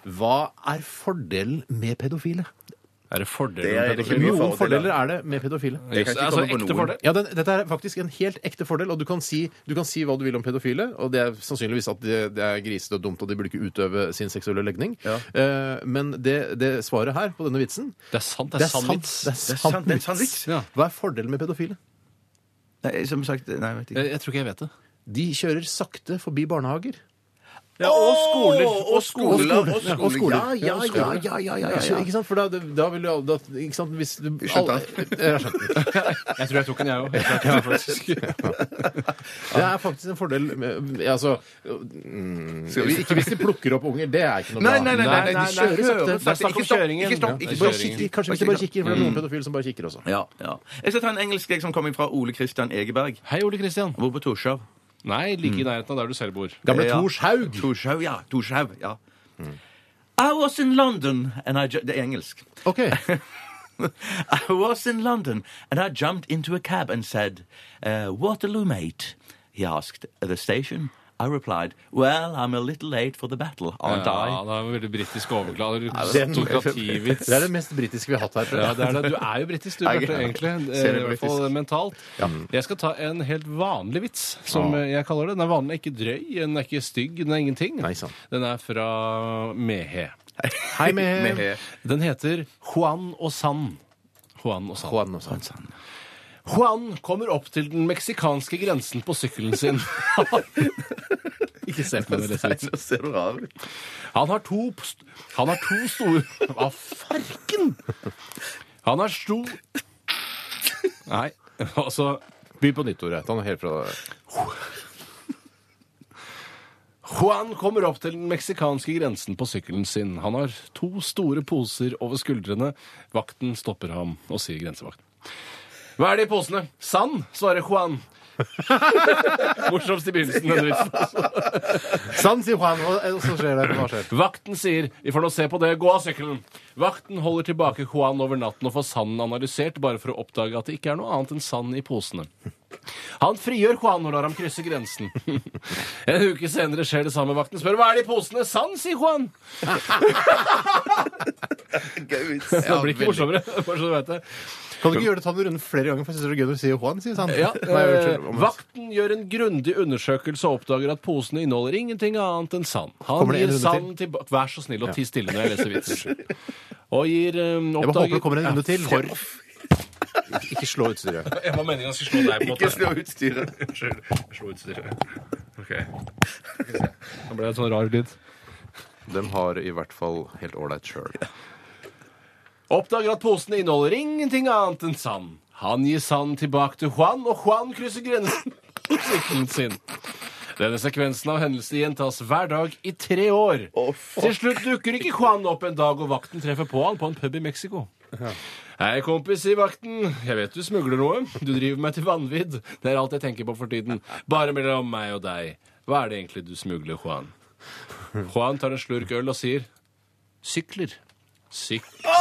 Speaker 2: Nei.
Speaker 1: Hva er fordelen med pedofile?
Speaker 2: Er det
Speaker 3: Det
Speaker 2: fordelen
Speaker 3: er
Speaker 2: med
Speaker 3: det
Speaker 2: pedofili?
Speaker 3: ikke
Speaker 1: Noen fordeler er det med pedofile.
Speaker 3: Jeg kan ikke
Speaker 2: Altså,
Speaker 3: komme på
Speaker 2: ekte
Speaker 3: noen.
Speaker 2: fordel?
Speaker 1: Ja, den, Dette er faktisk en helt ekte fordel, og du kan si, du kan si hva du vil om pedofile. Og det er sannsynligvis at det, det er grisete og dumt, og de burde ikke utøve sin seksuelle legning. Eh, men det, det svaret her på denne vitsen
Speaker 2: Det er sant. Det er sann vits.
Speaker 1: Det er
Speaker 3: Det er
Speaker 1: sant.
Speaker 3: sant, det er en sann vits.
Speaker 2: Ja.
Speaker 1: Hva er fordelen med pedofile?
Speaker 3: Nei, som sagt, nei, jeg vet ikke.
Speaker 2: Eh, Jeg, jeg tror ikke jeg vet det.
Speaker 1: De kjører sakte forbi barnehager.
Speaker 2: Ja, og skoler.
Speaker 3: Å, og skoler. Og skoler.
Speaker 1: Og skoler.
Speaker 3: Ja, ja, ja, ja, ja, ja, ja,
Speaker 1: Ikke sant? For da, da vil du da, ikke sant? Hvis du,
Speaker 3: Skjønte
Speaker 1: Jeg skjønte det.
Speaker 2: Jeg tror jeg tok den, jeg òg.
Speaker 1: Det er faktisk en fordel med, altså, mm,
Speaker 3: Skal vi-
Speaker 1: Ikke hvis de plukker opp unger. Det er ikke noe
Speaker 3: Nei,
Speaker 1: bra.
Speaker 3: nei, nei, nei, nei,
Speaker 2: Nei,
Speaker 3: de
Speaker 2: nei,
Speaker 3: kjører
Speaker 2: nei,
Speaker 3: sakte.
Speaker 2: det er snakk om
Speaker 3: Ikke stopp,
Speaker 2: kjøringen.
Speaker 3: Ikke stopp,
Speaker 2: Ja,
Speaker 3: ikke
Speaker 2: det er
Speaker 1: Bare
Speaker 3: stopp.
Speaker 1: kikker, kanskje hvis de bare kikker, mm. for det er noen pedofile som bare kikker også.
Speaker 3: Ja, ja. Jeg skal ta en engelsk jeg, som kommer fra Ole Kristian Egeberg.
Speaker 2: Hei, Ole Kristian.
Speaker 3: Hvor på Torshov?
Speaker 2: Nei, like i nærheten av der du selv bor.
Speaker 1: Gamle
Speaker 3: Ja. Mm.
Speaker 1: Torshaug.
Speaker 3: Torshov, ja. Torshov, ja. I was in London and I ju- Det er engelsk.
Speaker 1: Ok.
Speaker 3: I was in London and I jumped into a cab and said, uh, Waterloo, mate. He asked, at the station? I replied, Well, I'm a little late for the battle, aren't
Speaker 2: Ja, det er en veldig britisk overklad. Aristokrativits.
Speaker 1: Det er det mest britiske vi har hatt her. tror
Speaker 2: Ja,
Speaker 1: jeg.
Speaker 2: det er det. Du er jo britisk, du, Bjarte, egentlig.
Speaker 3: Ser
Speaker 2: Eh,
Speaker 3: det
Speaker 2: I hvert fall
Speaker 3: britisk.
Speaker 2: mentalt. Jeg skal ta en helt vanlig vits, som eh, jeg kaller det. Den er vanlig, ikke drøy, den er ikke stygg, den er ingenting.
Speaker 1: Nei, sant.
Speaker 2: Den er fra Mehe.
Speaker 1: Hei med
Speaker 3: Mehe.
Speaker 2: Den heter Juan og San. Juan og San.
Speaker 1: Juan og sånn.
Speaker 2: Juan kommer opp til den meksikanske grensen på sykkelen sin. Ikke se på meg lese vitsen.
Speaker 3: Så ser du rar ut.
Speaker 2: Han har to pst- Han har to store Hva farken? Han har sto... Nei, altså
Speaker 1: By på nytt, Tore. Ta noe helt fra
Speaker 2: Juan kommer opp til den meksikanske grensen på sykkelen sin. Han har to store poser over skuldrene. Vakten stopper ham og sier grensevakten. Hva er det i posene? Sand, svarer Juan. Morsomst i begynnelsen. denne vitsen.
Speaker 1: San sier Juan, og så skjer det. Hva skjer?
Speaker 2: Vakten sier 'vi får nå se på det, gå av sykkelen'. Vakten holder tilbake Juan over natten og får sanden analysert, bare for å oppdage at det ikke er noe annet enn sand i posene. Han frigjør Juan og lar ham krysse grensen. En uke senere skjer det samme. Vakten spør 'hva er det i posene'? Sand, sier Juan. det blir ikke morsommere. bare så du vet det.
Speaker 1: Kan du ikke gjøre det ta den runden flere ganger, for jeg syns det er gøy når du sier Juan, sier San.
Speaker 2: Ja,
Speaker 1: Nei,
Speaker 2: eh,
Speaker 1: unnskyld, om-
Speaker 2: vakten gjør en grundig undersøkelse og oppdager at posene inneholder ingenting annet enn sand. Han
Speaker 1: Kommer det en
Speaker 2: gir
Speaker 1: runde
Speaker 2: sand tilbake Vær så snill og ti stille når jeg leser vitser. Og gir
Speaker 1: Jeg bare
Speaker 2: eh,
Speaker 1: håper det
Speaker 2: oppdager
Speaker 1: kommer en runde til. Ikke slå utstyret.
Speaker 2: Jeg var meningen jeg skulle slå deg, på en
Speaker 3: Ikke
Speaker 2: måte.
Speaker 3: slå ut styret.
Speaker 2: Unnskyld. Jeg slo utstyret. OK. Nå ble det en sånn rar lyd.
Speaker 1: De har i hvert fall helt ålreit sjøl.
Speaker 2: Oppdager at posene inneholder ingenting annet enn sand. Han gir sand tilbake til Juan, og Juan krysser grensen på sykkelen sin. Denne sekvensen av hendelser gjentas hver dag i tre år. til slutt dukker ikke Juan opp en dag, og vakten treffer på han på en pub i Mexico. Hei, kompis, sier vakten. Jeg vet du smugler noe. Du driver meg til vanvidd. Det er alt jeg tenker på for tiden. Bare mellom meg og deg. Hva er det egentlig du smugler, Juan? Juan tar en slurk øl og sier sykler. Sykler.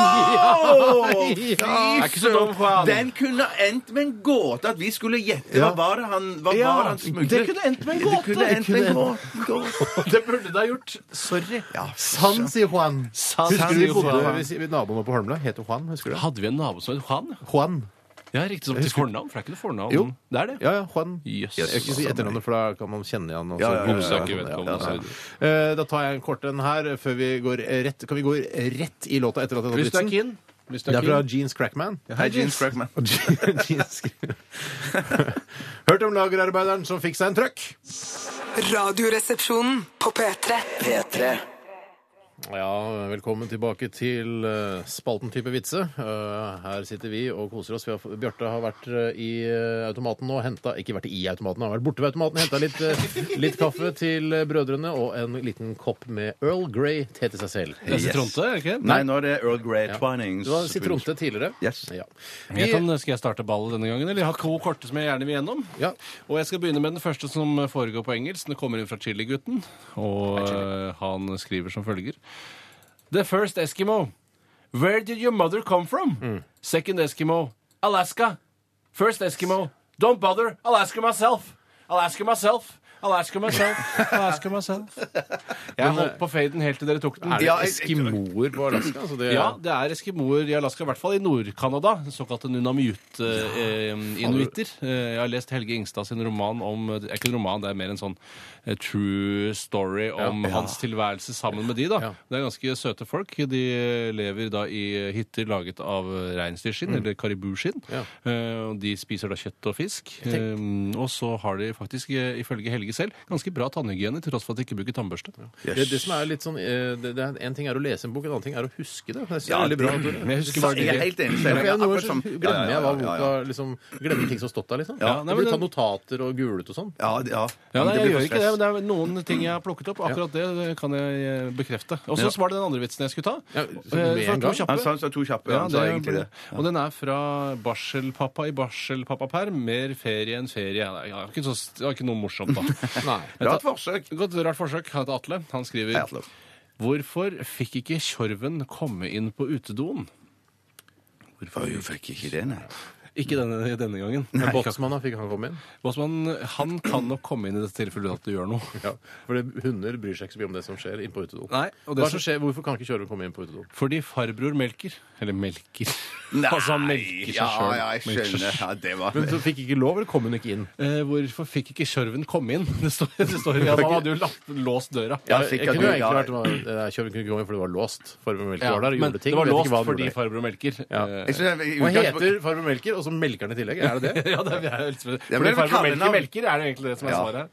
Speaker 2: Det er ikke så dumt, Juan.
Speaker 3: Den kunne endt med en gåte, at vi skulle gjette hva var det han, hva
Speaker 2: Ja,
Speaker 3: var det han smuglet.
Speaker 2: det kunne endt med en gåte.
Speaker 3: Det kunne endt med en gåte.
Speaker 2: Det burde du ha gjort. Sorry.
Speaker 1: San sier Juan.
Speaker 2: San
Speaker 1: Husker du
Speaker 2: sier
Speaker 1: vi
Speaker 2: Juan.
Speaker 1: bodde ved- ved naboen vår på Holmlia? Het jo Juan, husker du?
Speaker 2: Hadde vi en nabo som het Juan?
Speaker 1: Juan.
Speaker 2: Ja, riktig som til fornavn, for det er ikke noe fornavn.
Speaker 1: Jo.
Speaker 2: Det er det.
Speaker 1: Ja, ja, Juan.
Speaker 2: Jøss.
Speaker 1: Jeg skal ikke si etternavnet, for da kan man kjenne igjen. og så-
Speaker 3: Ja, ja, ja, ja, ja.
Speaker 2: Oppsøker vedkommende, og så videre.
Speaker 1: Eh, Da tar jeg en kort en her før vi går rett Kan vi gå rett i låta etter at jeg har tatt
Speaker 2: Hvis du er
Speaker 1: vitsen?
Speaker 2: keen. Hvis du
Speaker 1: Det
Speaker 2: er
Speaker 1: er fra
Speaker 2: keen.
Speaker 1: Jeans Crackman.
Speaker 3: Hei, Jeans Crackman.
Speaker 1: Jeans Crack- Hørt om lagerarbeideren som fikk seg en trøkk?
Speaker 4: Radioresepsjonen på P3.
Speaker 5: P3
Speaker 1: Ja, velkommen tilbake til eh, spalten type vitse. Eh, her sitter vi og koser oss. Vi har, f- Bjarte har vært eh, i eh, automaten og henta Ikke vært i automaten, han har vært borte ved automaten og henta litt, eh, litt kaffe til eh, brødrene og en liten kopp med Earl Grey te til seg selv.
Speaker 2: Det er Sitronte, er det ikke?
Speaker 3: Nei, nå er det Earl Grey Twinings.
Speaker 1: Det var sitronte tidligere.
Speaker 3: Yes.
Speaker 1: Ja.
Speaker 2: Jeg
Speaker 1: Vi,
Speaker 2: kan, skal jeg starte ballet denne gangen? Eller jeg har to korte som jeg gjerne vil gjennom.
Speaker 1: Ja.
Speaker 2: Og jeg skal begynne med den første som foregår på engelsk. Den kommer inn fra Chili-gutten, og eh, han skriver som følger. The first Eskimo. Where did your mother come from? Second Eskimo. Alaska. First Eskimo. Don't bother. I'll ask her myself. I'll ask her myself. I'll ask her myself. I'll ask her myself. Jeg holdt på faden helt til dere tok den.
Speaker 1: er det
Speaker 3: Ja, jeg-
Speaker 1: eskimoer på Alaska? Altså det,
Speaker 2: Ja, det er eskimoer i Alaska, i hvert fall i Nord-Canada. Såkalte Nunamiut-inuitter. jeg har lest Helge Ingstad sin roman om Det er ikke en roman, det er mer en sånn eh, true story om hans tilværelse sammen med de, da.
Speaker 1: Ja.
Speaker 2: Det er ganske søte folk. De lever da i hytter laget av reinsdyrskinn, eller karibuskinn.
Speaker 1: Ja.
Speaker 2: Eh, og de spiser da kjøtt og fisk. Eh, og så har de faktisk, eh, ifølge Helge selv, ganske bra tannhygiene, til tross for at de ikke bruker tannbørste.
Speaker 1: Det, det som er litt sånn eh, det, det er, En ting er å lese en bok, en annen ting er å huske det. Det er
Speaker 3: Ja,
Speaker 1: veldig bra.
Speaker 3: det-
Speaker 1: Tore.
Speaker 2: Men jeg husker bare
Speaker 3: Jeg er
Speaker 2: de
Speaker 3: helt enig.
Speaker 1: Ja,
Speaker 3: Steinar.
Speaker 1: for jeg, noen ganger
Speaker 3: Akkurat som-
Speaker 1: så glemmer jeg hva
Speaker 3: Ja, ja, ja,
Speaker 1: boka
Speaker 3: ja, ja.
Speaker 1: liksom, Glemmer ting som har stått der, liksom.
Speaker 2: Ja, nei,
Speaker 1: det
Speaker 2: men
Speaker 1: blir
Speaker 2: det-
Speaker 1: kanotater og gulet og sånn.
Speaker 3: Ja, ja.
Speaker 2: Ja, nei,
Speaker 3: Det
Speaker 2: jeg
Speaker 3: blir for
Speaker 2: gjør ikke det, men det er noen ting jeg har plukket opp. og Akkurat det eh, kan jeg eh, bekrefte. Og så
Speaker 3: Ja.
Speaker 2: var det den andre vitsen jeg skulle ta.
Speaker 1: Ja,
Speaker 2: Eh,
Speaker 1: så med
Speaker 2: for
Speaker 1: en
Speaker 2: to
Speaker 1: gang.
Speaker 2: kjappe.
Speaker 3: Han sa han sa to kjappe.
Speaker 2: Ja,
Speaker 3: han
Speaker 2: det
Speaker 3: sa egentlig
Speaker 2: ble
Speaker 3: det.
Speaker 2: det. Og den er fra barselpappa i barselpappaperm. Mer ferie enn ferie. Nei, ja, ikke så, det var ikke noe morsomt, da.
Speaker 1: Nei.
Speaker 3: Rart forsøk.
Speaker 2: Godt rart forsøk. Han heter Atle. Han skriver
Speaker 3: Hei, Atle.
Speaker 2: Hvorfor fikk ikke Tjorven komme inn på utedoen?
Speaker 3: Oi, jeg fikk ikke det, nei.
Speaker 2: Ikke denne, denne gangen.
Speaker 1: Men Båtsmanna fikk han komme inn.
Speaker 2: Båtsmann, han kan nok komme inn i dette tilfellet uten at du gjør noe.
Speaker 1: Ja, for det, hunder bryr seg ikke så mye om det som skjer inne på utedo.
Speaker 2: Nei, og det
Speaker 1: Hva
Speaker 2: som-
Speaker 1: som skjer, Hvorfor kan ikke kjøreren komme inn på utedo?
Speaker 2: Fordi farbror melker. Eller melker.
Speaker 3: Nei,
Speaker 2: Altså, han melker seg
Speaker 3: ja,
Speaker 2: selv.
Speaker 3: ja, jeg
Speaker 2: Melker seg
Speaker 3: skjønner. Ja, det var
Speaker 1: Men så fikk ikke lov, eller kom hun ikke inn?
Speaker 2: Eh, hvorfor fikk ikke Kjørven komme inn? Det står, det står ja, Han hadde jo lagt, låst døra.
Speaker 3: Ja,
Speaker 1: Jeg
Speaker 3: sikkert.
Speaker 1: kunne jo
Speaker 3: Ja,
Speaker 1: egentlig vært eh, Kjøreren kunne ikke komme inn, for det var låst. Farbror Melker var der og
Speaker 2: men
Speaker 1: gjorde ting.
Speaker 2: det var
Speaker 1: vet ikke
Speaker 2: låst
Speaker 1: hva han
Speaker 2: fordi
Speaker 1: gjorde.
Speaker 2: farbror melker.
Speaker 1: Ja.
Speaker 2: Eh,
Speaker 3: Jeg synes jeg-
Speaker 1: Og han heter farbror Melker, og altså melkeren i tillegg? Er det det?
Speaker 2: ja, det er helt spesielt.
Speaker 3: Ja,
Speaker 2: For
Speaker 3: men det
Speaker 2: de
Speaker 3: er vel
Speaker 2: farmer melk i
Speaker 3: kallenavn.
Speaker 2: melker, er det egentlig det som er
Speaker 3: Ja.
Speaker 2: svaret?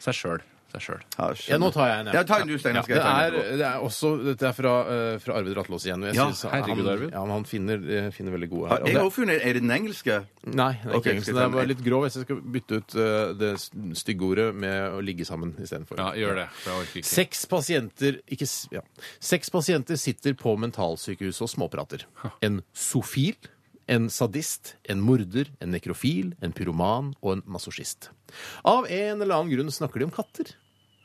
Speaker 2: Seg sjøl. Seg sjøl.
Speaker 1: Ja, nå tar jeg en, jeg.
Speaker 3: Ja, ta en du, Steinar. skal
Speaker 1: Det
Speaker 3: jeg ta en
Speaker 1: er,
Speaker 3: etterpå.
Speaker 1: det er også Dette er fra, eh, fra Arvid Ratlås igjen. og Jeg
Speaker 3: Ja,
Speaker 1: synes
Speaker 2: herregud,
Speaker 1: han,
Speaker 2: Arvid.
Speaker 1: Ja, men han finner, eh, finner veldig gode
Speaker 3: Har
Speaker 1: her. Og
Speaker 3: jeg
Speaker 1: det-
Speaker 3: også funnet, Er det den engelske?
Speaker 1: Nei, det er ikke
Speaker 3: Ok,
Speaker 1: engelsk.
Speaker 3: skal vi
Speaker 1: Den
Speaker 3: ta
Speaker 1: er
Speaker 3: en-
Speaker 1: bare litt grov. Jeg synes jeg skal bytte ut eh, det s- stygge ordet med å ligge sammen istedenfor.
Speaker 2: Ja, gjør det. For jeg orker ikke.
Speaker 1: Seks pasienter, ikke, s- ja. Seks pasienter sitter på mentalsykehus og småprater. En sofil, en sadist, en morder, en nekrofil, en pyroman og en masochist. Av en eller annen grunn snakker de om katter.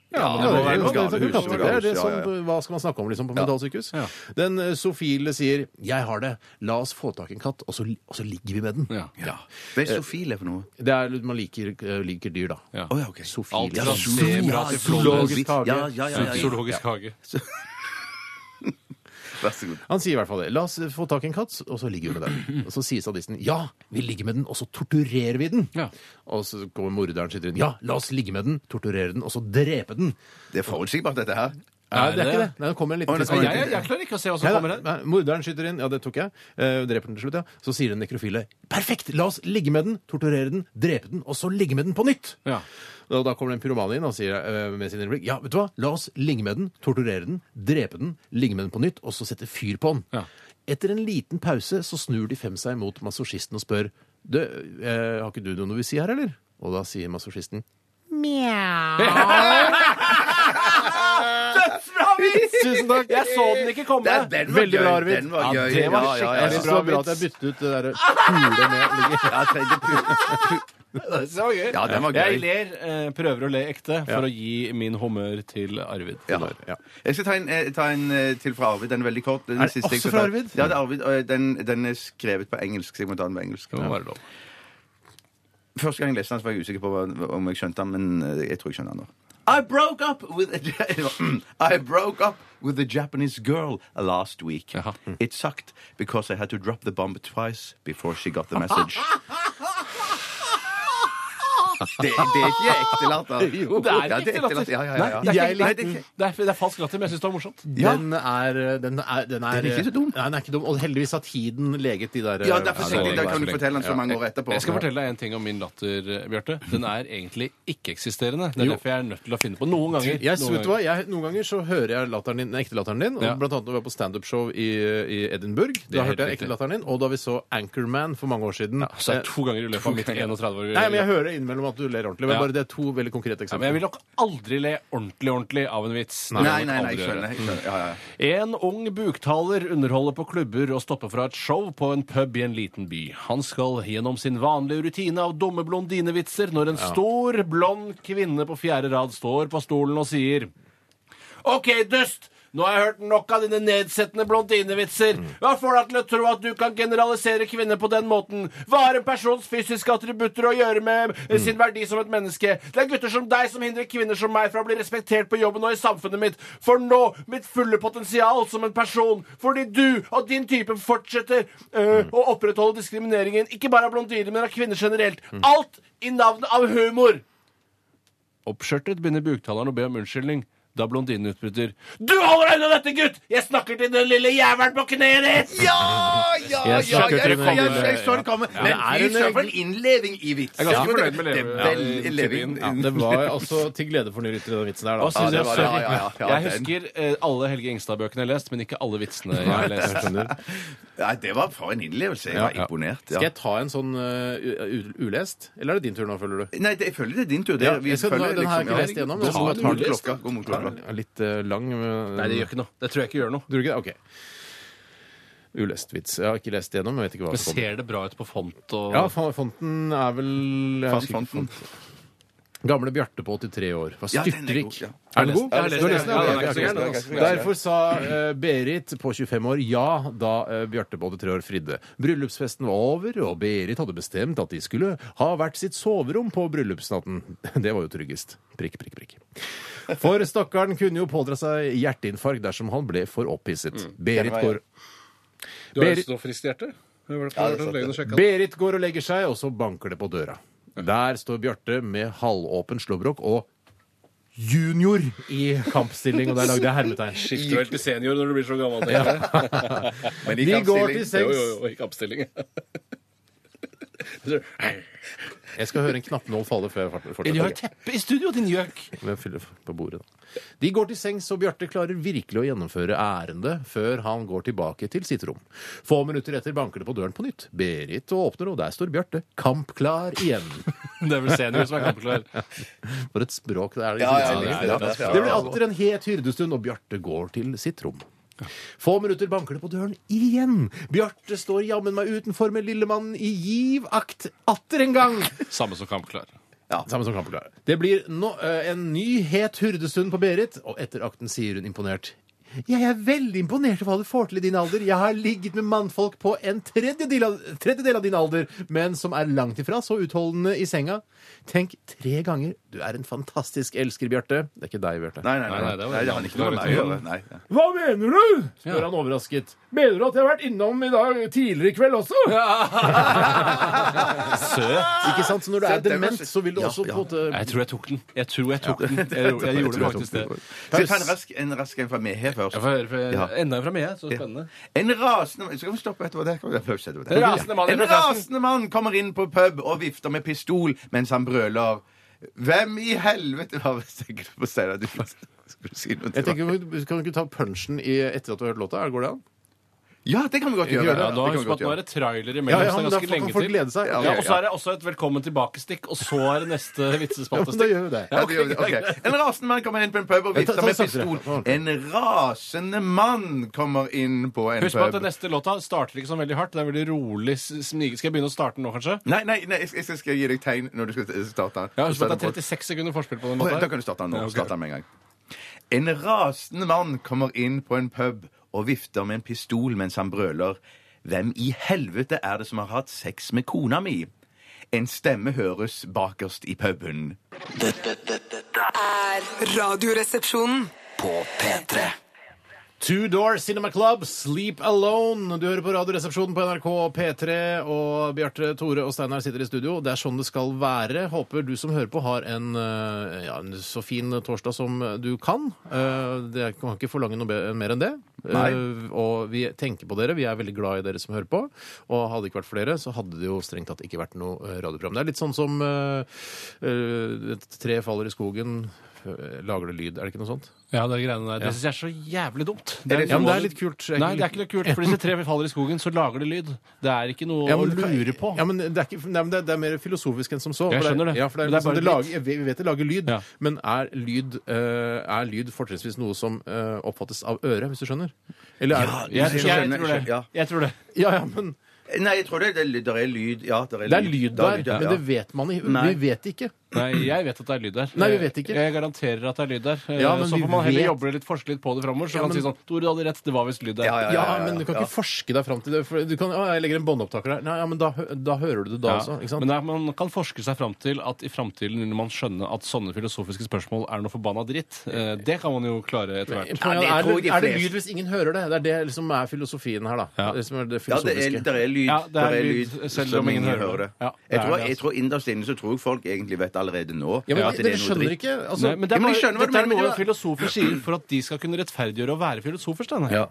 Speaker 1: Ja,
Speaker 3: det må
Speaker 1: det
Speaker 3: være
Speaker 1: er
Speaker 3: noe
Speaker 1: jo-
Speaker 3: galehus,
Speaker 1: det
Speaker 3: noe
Speaker 1: er jo- det er det
Speaker 3: galehus,
Speaker 1: som-
Speaker 3: ja,
Speaker 1: Hva skal man snakke om liksom, på mentalsykehus? Den eh, sofile sier 'Jeg har det. La oss få tak i en katt, og så, og så ligger vi med den'.
Speaker 2: Ja.
Speaker 3: Hva er sofile for noe?
Speaker 1: Det er, man liker, eh, liker dyr, da.
Speaker 2: Ja.
Speaker 3: Å ja, ok. sånn
Speaker 1: Sofile.
Speaker 2: Alt
Speaker 3: Ja,
Speaker 2: fra zebra til flånes.
Speaker 1: zoologisk hage.
Speaker 3: Ja, ja, ja, ja, ja.
Speaker 2: Zoologisk hage.
Speaker 3: Vær så god.
Speaker 1: Han sier i hvert fall det. La oss eh, få tak i en katt, og så ligger vi med den. Og så sier sadisten ja, vi ligger med den, og så torturerer vi den.
Speaker 2: Ja.
Speaker 1: Og så kommer morderen sitter inn. Ja, la oss ligge med den, torturere den, og så drepe den.
Speaker 3: Det er forutsigbart, dette her.
Speaker 1: Nei, det er
Speaker 2: det?
Speaker 1: ikke det. Nei, det kommer en liten
Speaker 3: Å, det
Speaker 2: Ja,
Speaker 3: kommer
Speaker 1: tidsmelding.
Speaker 3: en
Speaker 2: jeg, jeg klarer ikke å se hva som
Speaker 1: Nei,
Speaker 2: kommer
Speaker 1: da,
Speaker 2: her.
Speaker 1: nei, morderen skyter inn, ja det tok jeg. Eh, dreper den til slutt, ja. Så sier den nekrofile perfekt, la oss ligge med den, torturere den, drepe den, og så ligge med den på nytt.
Speaker 2: Ja.
Speaker 1: Og da kommer den pyromanen inn og sier eh, med sin replikk ja, vet du hva, la oss ligge med den, torturere den, drepe den, ligge med den på nytt, og så sette fyr på den.
Speaker 2: Ja.
Speaker 1: Etter en liten pause så snur de fem seg mot masochisten og spør du, eh, har ikke du noe du vil si her, eller? Og da sier masochisten Tusen takk!
Speaker 2: Jeg så den ikke komme!
Speaker 3: Den, den var
Speaker 1: Veldig
Speaker 3: gøy.
Speaker 1: bra, Arvid.
Speaker 3: Den var
Speaker 1: Ja,
Speaker 3: gøy.
Speaker 1: det var
Speaker 3: Ja, ja,
Speaker 1: skikkelig
Speaker 3: ja, ja.
Speaker 1: Jeg synes det var bra at jeg byttet ut det derre kule med ligge.
Speaker 3: Ja, tredje pu-
Speaker 2: Det var gøy.
Speaker 3: Ja, den var
Speaker 2: Jeg
Speaker 3: gøy.
Speaker 2: ler, eh, prøver å le ekte for å gi min humør til Arvid.
Speaker 3: Ja. Jeg skal ta en, eh, ta en eh, til fra Arvid. Den er veldig kort. Den
Speaker 1: Er det
Speaker 3: siste jeg
Speaker 1: også
Speaker 3: skal ta.
Speaker 1: fra Arvid?
Speaker 3: Ja, det er Arvid. og Den, den er skrevet på engelsk, så jeg må ta den på engelsk.
Speaker 2: Det må være lov.
Speaker 3: Første gang jeg leste den, så var jeg usikker på hva- om jeg skjønte den, men eh, jeg tror jeg skjønner den nå. I broke up with a, I broke up with a Japanese girl last week.
Speaker 2: Jaha.
Speaker 3: It sucked because I had to drop the bomb twice before she got the message. Det, det er ikke ekte latter.
Speaker 2: Jo, det er
Speaker 3: Ja,
Speaker 2: ikke ekte latter.
Speaker 3: Ja, ja, ja, ja.
Speaker 2: Nei, det er
Speaker 1: Jeg
Speaker 2: ikke-
Speaker 3: likte den.
Speaker 2: nei, det er- det er falsk latter, men jeg syns det var morsomt.
Speaker 3: Ja.
Speaker 1: Den er eh, Den er, den er,
Speaker 3: Den er ikke så dum.
Speaker 1: Nei, den er ikke dum. Og heldigvis har tiden leget de der eh,
Speaker 3: Ja, derfor tenkte
Speaker 2: Ja, det
Speaker 3: jeg,
Speaker 2: var
Speaker 3: da kan du
Speaker 2: så lenge.
Speaker 3: fortelle den så mange år etterpå.
Speaker 2: Jeg skal fortelle deg en ting om min latter, eh, Bjarte. Den er egentlig ikke-eksisterende. Det er
Speaker 1: Jo.
Speaker 2: derfor jeg er nødt til å finne på noen ganger.
Speaker 1: jeg,
Speaker 2: noen
Speaker 1: vet du hva,
Speaker 2: ganger.
Speaker 1: jeg, noen ganger så hører jeg latteren din, den ekte latteren din. og
Speaker 2: Ja.
Speaker 1: Blant annet da vi var på standup-show i, i Edinburgh. Da
Speaker 2: helt
Speaker 1: hørte jeg
Speaker 2: riktig.
Speaker 1: ekte latteren din. Og da vi så Anchorman for mange år siden.
Speaker 2: Så det er to ganger i løpet av mitt
Speaker 1: ganger.
Speaker 2: 31-år.
Speaker 1: Nei, men Jeg hører innimellom at du ler ordentlig. Men
Speaker 2: Ja.
Speaker 1: bare Det er to veldig konkrete
Speaker 2: Ja, men
Speaker 1: eksempler.
Speaker 2: jeg vil nok aldri le ordentlig ordentlig av en vits. Det vil
Speaker 3: Nei,
Speaker 2: jeg nok
Speaker 3: nei, nei,
Speaker 2: aldri
Speaker 3: jeg
Speaker 2: Mm. gjøre.
Speaker 3: skjønner. Jeg skjønner. Ja, ja.
Speaker 2: En ung buktaler underholder på klubber og stopper fra et show på en pub i en liten by. Han skal gjennom sin vanlige rutine av dumme blondinevitser når en stor, blond kvinne på fjerde rad står på stolen og sier OK, dust! Nå har jeg hørt nok av dine nedsettende blondinevitser. Hva får deg til å tro at du kan generalisere kvinner på den måten? Hva har en persons fysiske attributter å gjøre med eh, sin verdi som et menneske? Det er gutter som deg som hindrer kvinner som meg fra å bli respektert på jobben og i samfunnet mitt. For nå, mitt fulle potensial som en person, fordi du og din type fortsetter eh, å opprettholde diskrimineringen, ikke bare av blondiner, men av kvinner generelt. Alt i navnet av humor! Oppskjørtet begynner buktaleren å be om unnskyldning da blondinen utbryter Du holder deg unna dette, gutt! Jeg snakker til den lille jævelen på kneet ditt!
Speaker 3: Ja, ja, ja!
Speaker 1: Jeg skjønte
Speaker 3: Jeg, jeg,
Speaker 1: det
Speaker 3: jeg,
Speaker 1: kom-
Speaker 3: så det komme.
Speaker 1: Ja,
Speaker 3: Men
Speaker 1: det er
Speaker 3: fy
Speaker 1: en-
Speaker 3: søren, for en innleving i vitsen.
Speaker 2: Jeg er ganske fornøyd med leve-
Speaker 3: Det er veldig
Speaker 2: ja, i
Speaker 3: innleving.
Speaker 2: teorien.
Speaker 1: det var altså til glede for nyrytter, den vitsen der. da.
Speaker 2: Hva synes
Speaker 3: det
Speaker 2: jeg,
Speaker 3: var
Speaker 2: sorry.
Speaker 3: det. Ja, ja, ja, ja,
Speaker 2: jeg husker eh, alle Helge Ingstad-bøkene jeg har lest, men ikke alle vitsene jeg har
Speaker 1: Jeg
Speaker 2: lest.
Speaker 1: skjønner.
Speaker 3: Nei, det var for en innlevelse. Jeg
Speaker 1: Ja,
Speaker 3: var
Speaker 1: ja.
Speaker 3: imponert.
Speaker 1: Skal
Speaker 3: Ja.
Speaker 1: jeg ta en sånn uh, u- u- ulest? Eller er det din tur nå, føler du?
Speaker 3: Nei, det, jeg føler det er liksom din tur. Det,
Speaker 1: Ja, jeg skal- den har jeg ikke lest igjennom, men
Speaker 3: Ja,
Speaker 1: så må
Speaker 3: god
Speaker 1: jeg ta
Speaker 3: mot
Speaker 1: den.
Speaker 3: klokka. God mot klokka.
Speaker 1: altså. Ja, Litt eh, lang. men-
Speaker 2: Nei, det gjør ikke noe. Det tror jeg ikke gjør noe.
Speaker 1: Tror du ikke det? OK. Ulest vits. Jeg har ikke lest det gjennom. Jeg vet ikke hva
Speaker 2: Men
Speaker 1: som kommer.
Speaker 2: ser det bra ut på font og
Speaker 1: Ja, fa- fonten er vel jeg
Speaker 3: Fast
Speaker 1: husker ikke
Speaker 3: fonten.
Speaker 1: font. Gamle Bjarte på 83 år. var
Speaker 3: Ja, den er
Speaker 1: styrtrik.
Speaker 3: god, ja.
Speaker 1: Er den god?
Speaker 2: Jeg har lest
Speaker 1: Du
Speaker 2: den.
Speaker 1: har lest den,
Speaker 2: Ja,
Speaker 1: ja,
Speaker 2: den
Speaker 1: ok,
Speaker 2: er ikke så
Speaker 1: ok.
Speaker 2: gæren,
Speaker 3: den.
Speaker 1: Derfor sa eh, Berit på 25 år ja da eh, Bjarte på 83 år fridde. Bryllupsfesten var over, og Berit hadde bestemt at de skulle ha hvert sitt soverom på bryllupsnatten. Det var jo tryggest. Prikk, prikk, prikk. For stakkaren kunne jo pådra seg hjerteinfarkt dersom han ble for opphisset. Berit
Speaker 3: Mm. var
Speaker 1: går
Speaker 2: Du
Speaker 1: har jo
Speaker 2: så friskt hjerte.
Speaker 1: Berit går og legger seg, og så banker det på døra. Der står Bjarte med halvåpen slåbrok og junior i kampstilling, og der lagde jeg hermetegn.
Speaker 2: Skifter vel til senior når du blir så gammel.
Speaker 3: Men i
Speaker 1: De går
Speaker 3: kampstilling-
Speaker 1: til sengs.
Speaker 2: jo, ikke oppstilling.
Speaker 1: Jeg skal høre en knappnål falle før jeg fart-
Speaker 2: De har jo
Speaker 1: fortsetter.
Speaker 2: teppe i studio, din gjøk!
Speaker 1: Men fyller på bordet, da. De går til sengs, og Bjarte klarer virkelig å gjennomføre ærendet før han går tilbake til sitt rom. Få minutter etter banker det på døren på nytt. Berit åpner, og der står Bjarte kampklar igjen.
Speaker 2: Det er vel senior som er kampklar.
Speaker 1: For et språk det er.
Speaker 5: Ja, ja,
Speaker 1: det,
Speaker 5: ja,
Speaker 1: er,
Speaker 5: ja, ja.
Speaker 1: det blir atter en het hyrdestund, og Bjarte går til sitt rom. Få minutter banker det på døren igjen. Bjarte står jammen meg utenfor med Lillemannen i givakt atter en gang.
Speaker 2: Samme som kampklar.
Speaker 1: Ja, samme som kampklar. Det blir nå, eh, en ny het hyrdestund på Berit, og etter akten sier hun imponert. Jeg er veldig imponert over hva du får til i din alder. Jeg har ligget med mannfolk på en tredjedel av, tredjedel av din alder, men som er langt ifra så utholdende i senga. Tenk tre ganger. Du er en fantastisk elsker, Bjarte. Det er ikke deg, Bjarte.
Speaker 3: Nei, nei, nei.
Speaker 2: Nei,
Speaker 3: nei,
Speaker 2: nei, det var
Speaker 3: det har
Speaker 2: en
Speaker 3: ikke noe med meg å gjøre. Nei, nei.
Speaker 1: Hva mener du? spør han overrasket. Mener du at jeg har vært innom i dag tidligere i kveld også?
Speaker 2: Søt.
Speaker 1: Ikke sant? Så når du er
Speaker 3: det er
Speaker 1: dement,
Speaker 3: kanskje-
Speaker 1: så vil du
Speaker 3: Ja,
Speaker 1: også
Speaker 3: ja.
Speaker 1: på en måte
Speaker 2: Jeg tror jeg tok den. Jeg tror jeg tok den. Jeg, jeg, jeg gjorde faktisk det.
Speaker 3: Skal vi ta en rask en, rask en fra meg her først?
Speaker 2: Jeg får høre fra,
Speaker 3: Ja.
Speaker 2: enda en fra meg, så spennende.
Speaker 3: En rasende Skal vi stoppe etterpå? Der kan vi ha pause etterpå.
Speaker 2: En rasende mann i
Speaker 3: En
Speaker 2: prosessen.
Speaker 3: rasende mann kommer inn på pub og vifter med pistol mens han brøler Hvem i helvete Hva tenker du på, Steinar? Du skulle si noe
Speaker 1: jeg
Speaker 3: til meg.
Speaker 1: tenker, Kan du ikke ta punchen i, etter at du har hørt låta? Går det an?
Speaker 3: Ja, det kan vi godt
Speaker 1: gjør
Speaker 3: gjøre.
Speaker 1: det.
Speaker 2: Ja, nå,
Speaker 3: Det kan vi
Speaker 2: husk på
Speaker 3: godt
Speaker 2: at nå
Speaker 3: gjøre.
Speaker 2: er det trailer imellom, så det er
Speaker 1: da får-
Speaker 2: ganske lenge
Speaker 1: får folk
Speaker 2: til.
Speaker 1: glede seg.
Speaker 3: Ja,
Speaker 2: Ja,
Speaker 3: ok,
Speaker 2: og så er det også et velkommen tilbake-stikk, og så er det neste
Speaker 1: Ja, men da
Speaker 2: vitsespaltestikk.
Speaker 1: gjør vi det.
Speaker 3: Ja, det gjør vi. Ok. En rasende mann kommer inn på en pub og
Speaker 1: Ja, ta- ta
Speaker 3: vifter med
Speaker 1: saktere.
Speaker 3: pistol.
Speaker 1: Ja, ok.
Speaker 3: En rasende mann kommer inn på en
Speaker 2: Husk på at den
Speaker 3: pub
Speaker 2: neste låta starter ikke sånn veldig hardt. Det er veldig rolig s- snige. Skal jeg begynne å starte den nå, kanskje?
Speaker 3: Nei, nei, nei, jeg skal, jeg skal gi deg tegn når du skal starte. den.
Speaker 2: Ja, husk på at
Speaker 3: Starte
Speaker 2: det er 36 sekunder forspill på den
Speaker 3: på- Å, ja,
Speaker 2: låta.
Speaker 3: Da kan du starte den nå.
Speaker 2: Ja, ok.
Speaker 3: Starte den med en gang. En rasende mann kommer inn på en pub og vifter med en pistol mens han brøler Hvem i helvete er det som har hatt sex med kona mi? En stemme høres bakerst i puben.
Speaker 5: Dette, dette, dette
Speaker 4: Er Radioresepsjonen.
Speaker 5: på P3.
Speaker 1: Two Door Cinema Club, Sleep Alone. Du hører på Radioresepsjonen på NRK P3, og Bjarte, Tore og Steinar sitter i studio. Det er sånn det skal være. Håper du som hører på, har en, eh, ja, en så fin torsdag som du kan. Eh, Det jeg kan ikke forlange noe be- mer enn det.
Speaker 3: Nei.
Speaker 1: Eh, Og vi tenker på dere. Vi er veldig glad i dere som hører på. Og hadde det ikke vært flere, så hadde det jo strengt tatt ikke vært noe eh, radioprogram. Det er litt sånn som eh, eh, et tre faller i skogen, eh, lager det lyd, er det ikke noe sånt?
Speaker 2: Ja, det greiene der. Det syns jeg er så jævlig dumt.
Speaker 3: Er det
Speaker 1: Ja,
Speaker 3: som-
Speaker 1: men det er litt kult.
Speaker 2: Nei, det er ikke noe kult. For disse tre faller i skogen, så lager de lyd. Det er ikke noe å lure på.
Speaker 1: Ja, men det, er ikke, nei, men det, er, det er mer filosofisk enn som så.
Speaker 2: Jeg
Speaker 1: For
Speaker 2: skjønner det.
Speaker 1: Ja, for det er,
Speaker 2: Men det er
Speaker 1: liksom, det
Speaker 2: bare
Speaker 1: lager, jeg vet- vi vet det lager lyd,
Speaker 2: Ja.
Speaker 1: men er lyd, eh, er lyd fortrinnsvis noe som eh, oppfattes av øret, hvis du skjønner? Eller er
Speaker 2: Jeg, jeg,
Speaker 3: Ah, skjønner,
Speaker 2: tror det.
Speaker 3: ja.
Speaker 2: Jeg tror det.
Speaker 1: Ja, ja, men
Speaker 3: Nei, jeg tror det, det, er lyd- der er lyd. Ja, der er
Speaker 1: det er lyd
Speaker 3: Der
Speaker 1: der, men det vet man ikke.
Speaker 3: Nei.
Speaker 1: Vi vet ikke.
Speaker 2: Nei, jeg vet at det er lyd der.
Speaker 1: Nei, vi vet ikke.
Speaker 2: Jeg garanterer at det er lyd der. Eh,
Speaker 1: Ja, men
Speaker 2: så
Speaker 1: vi
Speaker 2: får man heller
Speaker 1: vet-
Speaker 2: jobbe litt, forske litt på det framover. Så
Speaker 1: Ja,
Speaker 2: kan man
Speaker 1: men-
Speaker 2: si sånn Tore, du hadde rett, det var visst lyd der.
Speaker 3: Ja, ja,
Speaker 1: Ja,
Speaker 3: ja,
Speaker 1: men du kan
Speaker 3: ja.
Speaker 1: ikke forske deg fram til det. For du kan, ja, jeg legger en båndopptaker der. Nei, ja, men da, hø- da hører du det da
Speaker 2: Ja,
Speaker 1: også. Ikke sant?
Speaker 2: Men det er- man kan forske seg fram til at i framtiden vil man skjønne at sånne filosofiske spørsmål er noe forbanna dritt. Eh, Det kan man jo klare etter hvert.
Speaker 1: Poenget
Speaker 3: det
Speaker 1: er,
Speaker 3: tror jeg de
Speaker 1: er det
Speaker 3: fleste-
Speaker 1: lyd hvis ingen hører det? Det er det som er filosofien her, da.
Speaker 2: Ja.
Speaker 1: Det som er det
Speaker 3: Ja, det er,
Speaker 1: filosofiske.
Speaker 3: der er lyd.
Speaker 2: Ja, det er
Speaker 3: der er
Speaker 2: lyd,
Speaker 3: lyd
Speaker 2: selv
Speaker 3: som
Speaker 2: om ingen hører det. Ja, det
Speaker 3: jeg,
Speaker 2: er
Speaker 3: tror,
Speaker 2: det,
Speaker 3: jeg
Speaker 2: altså.
Speaker 3: tror Innerst inne så tror jeg folk egentlig vet allerede nå
Speaker 1: Ja, men
Speaker 3: at det
Speaker 1: Dere
Speaker 3: er noe
Speaker 1: skjønner
Speaker 3: dritt.
Speaker 1: ikke altså,
Speaker 2: Nei, men det
Speaker 3: Ja,
Speaker 2: er
Speaker 3: men
Speaker 2: bare,
Speaker 3: jeg skjønner hva du
Speaker 2: dette er
Speaker 3: mener,
Speaker 2: noe
Speaker 3: ja.
Speaker 2: filosofer sier for at de skal kunne rettferdiggjøre å være filosofer. Steinar.
Speaker 1: Ja.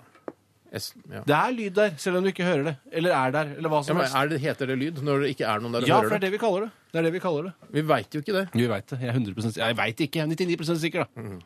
Speaker 1: Jeg s- ja.
Speaker 2: Det er lyd der, selv om du ikke hører det. Eller er der, eller hva
Speaker 1: Ja,
Speaker 2: som
Speaker 1: men
Speaker 2: helst.
Speaker 1: er det, heter det lyd når det ikke er noen der og
Speaker 2: Ja, for
Speaker 1: hører
Speaker 2: det er
Speaker 1: det?
Speaker 2: det vi kaller det. Det er det vi kaller det.
Speaker 1: Vi veit jo ikke det.
Speaker 2: Vi veit det. Jeg er 100 sikker. Jeg veit ikke. Jeg er 99 sikker, da.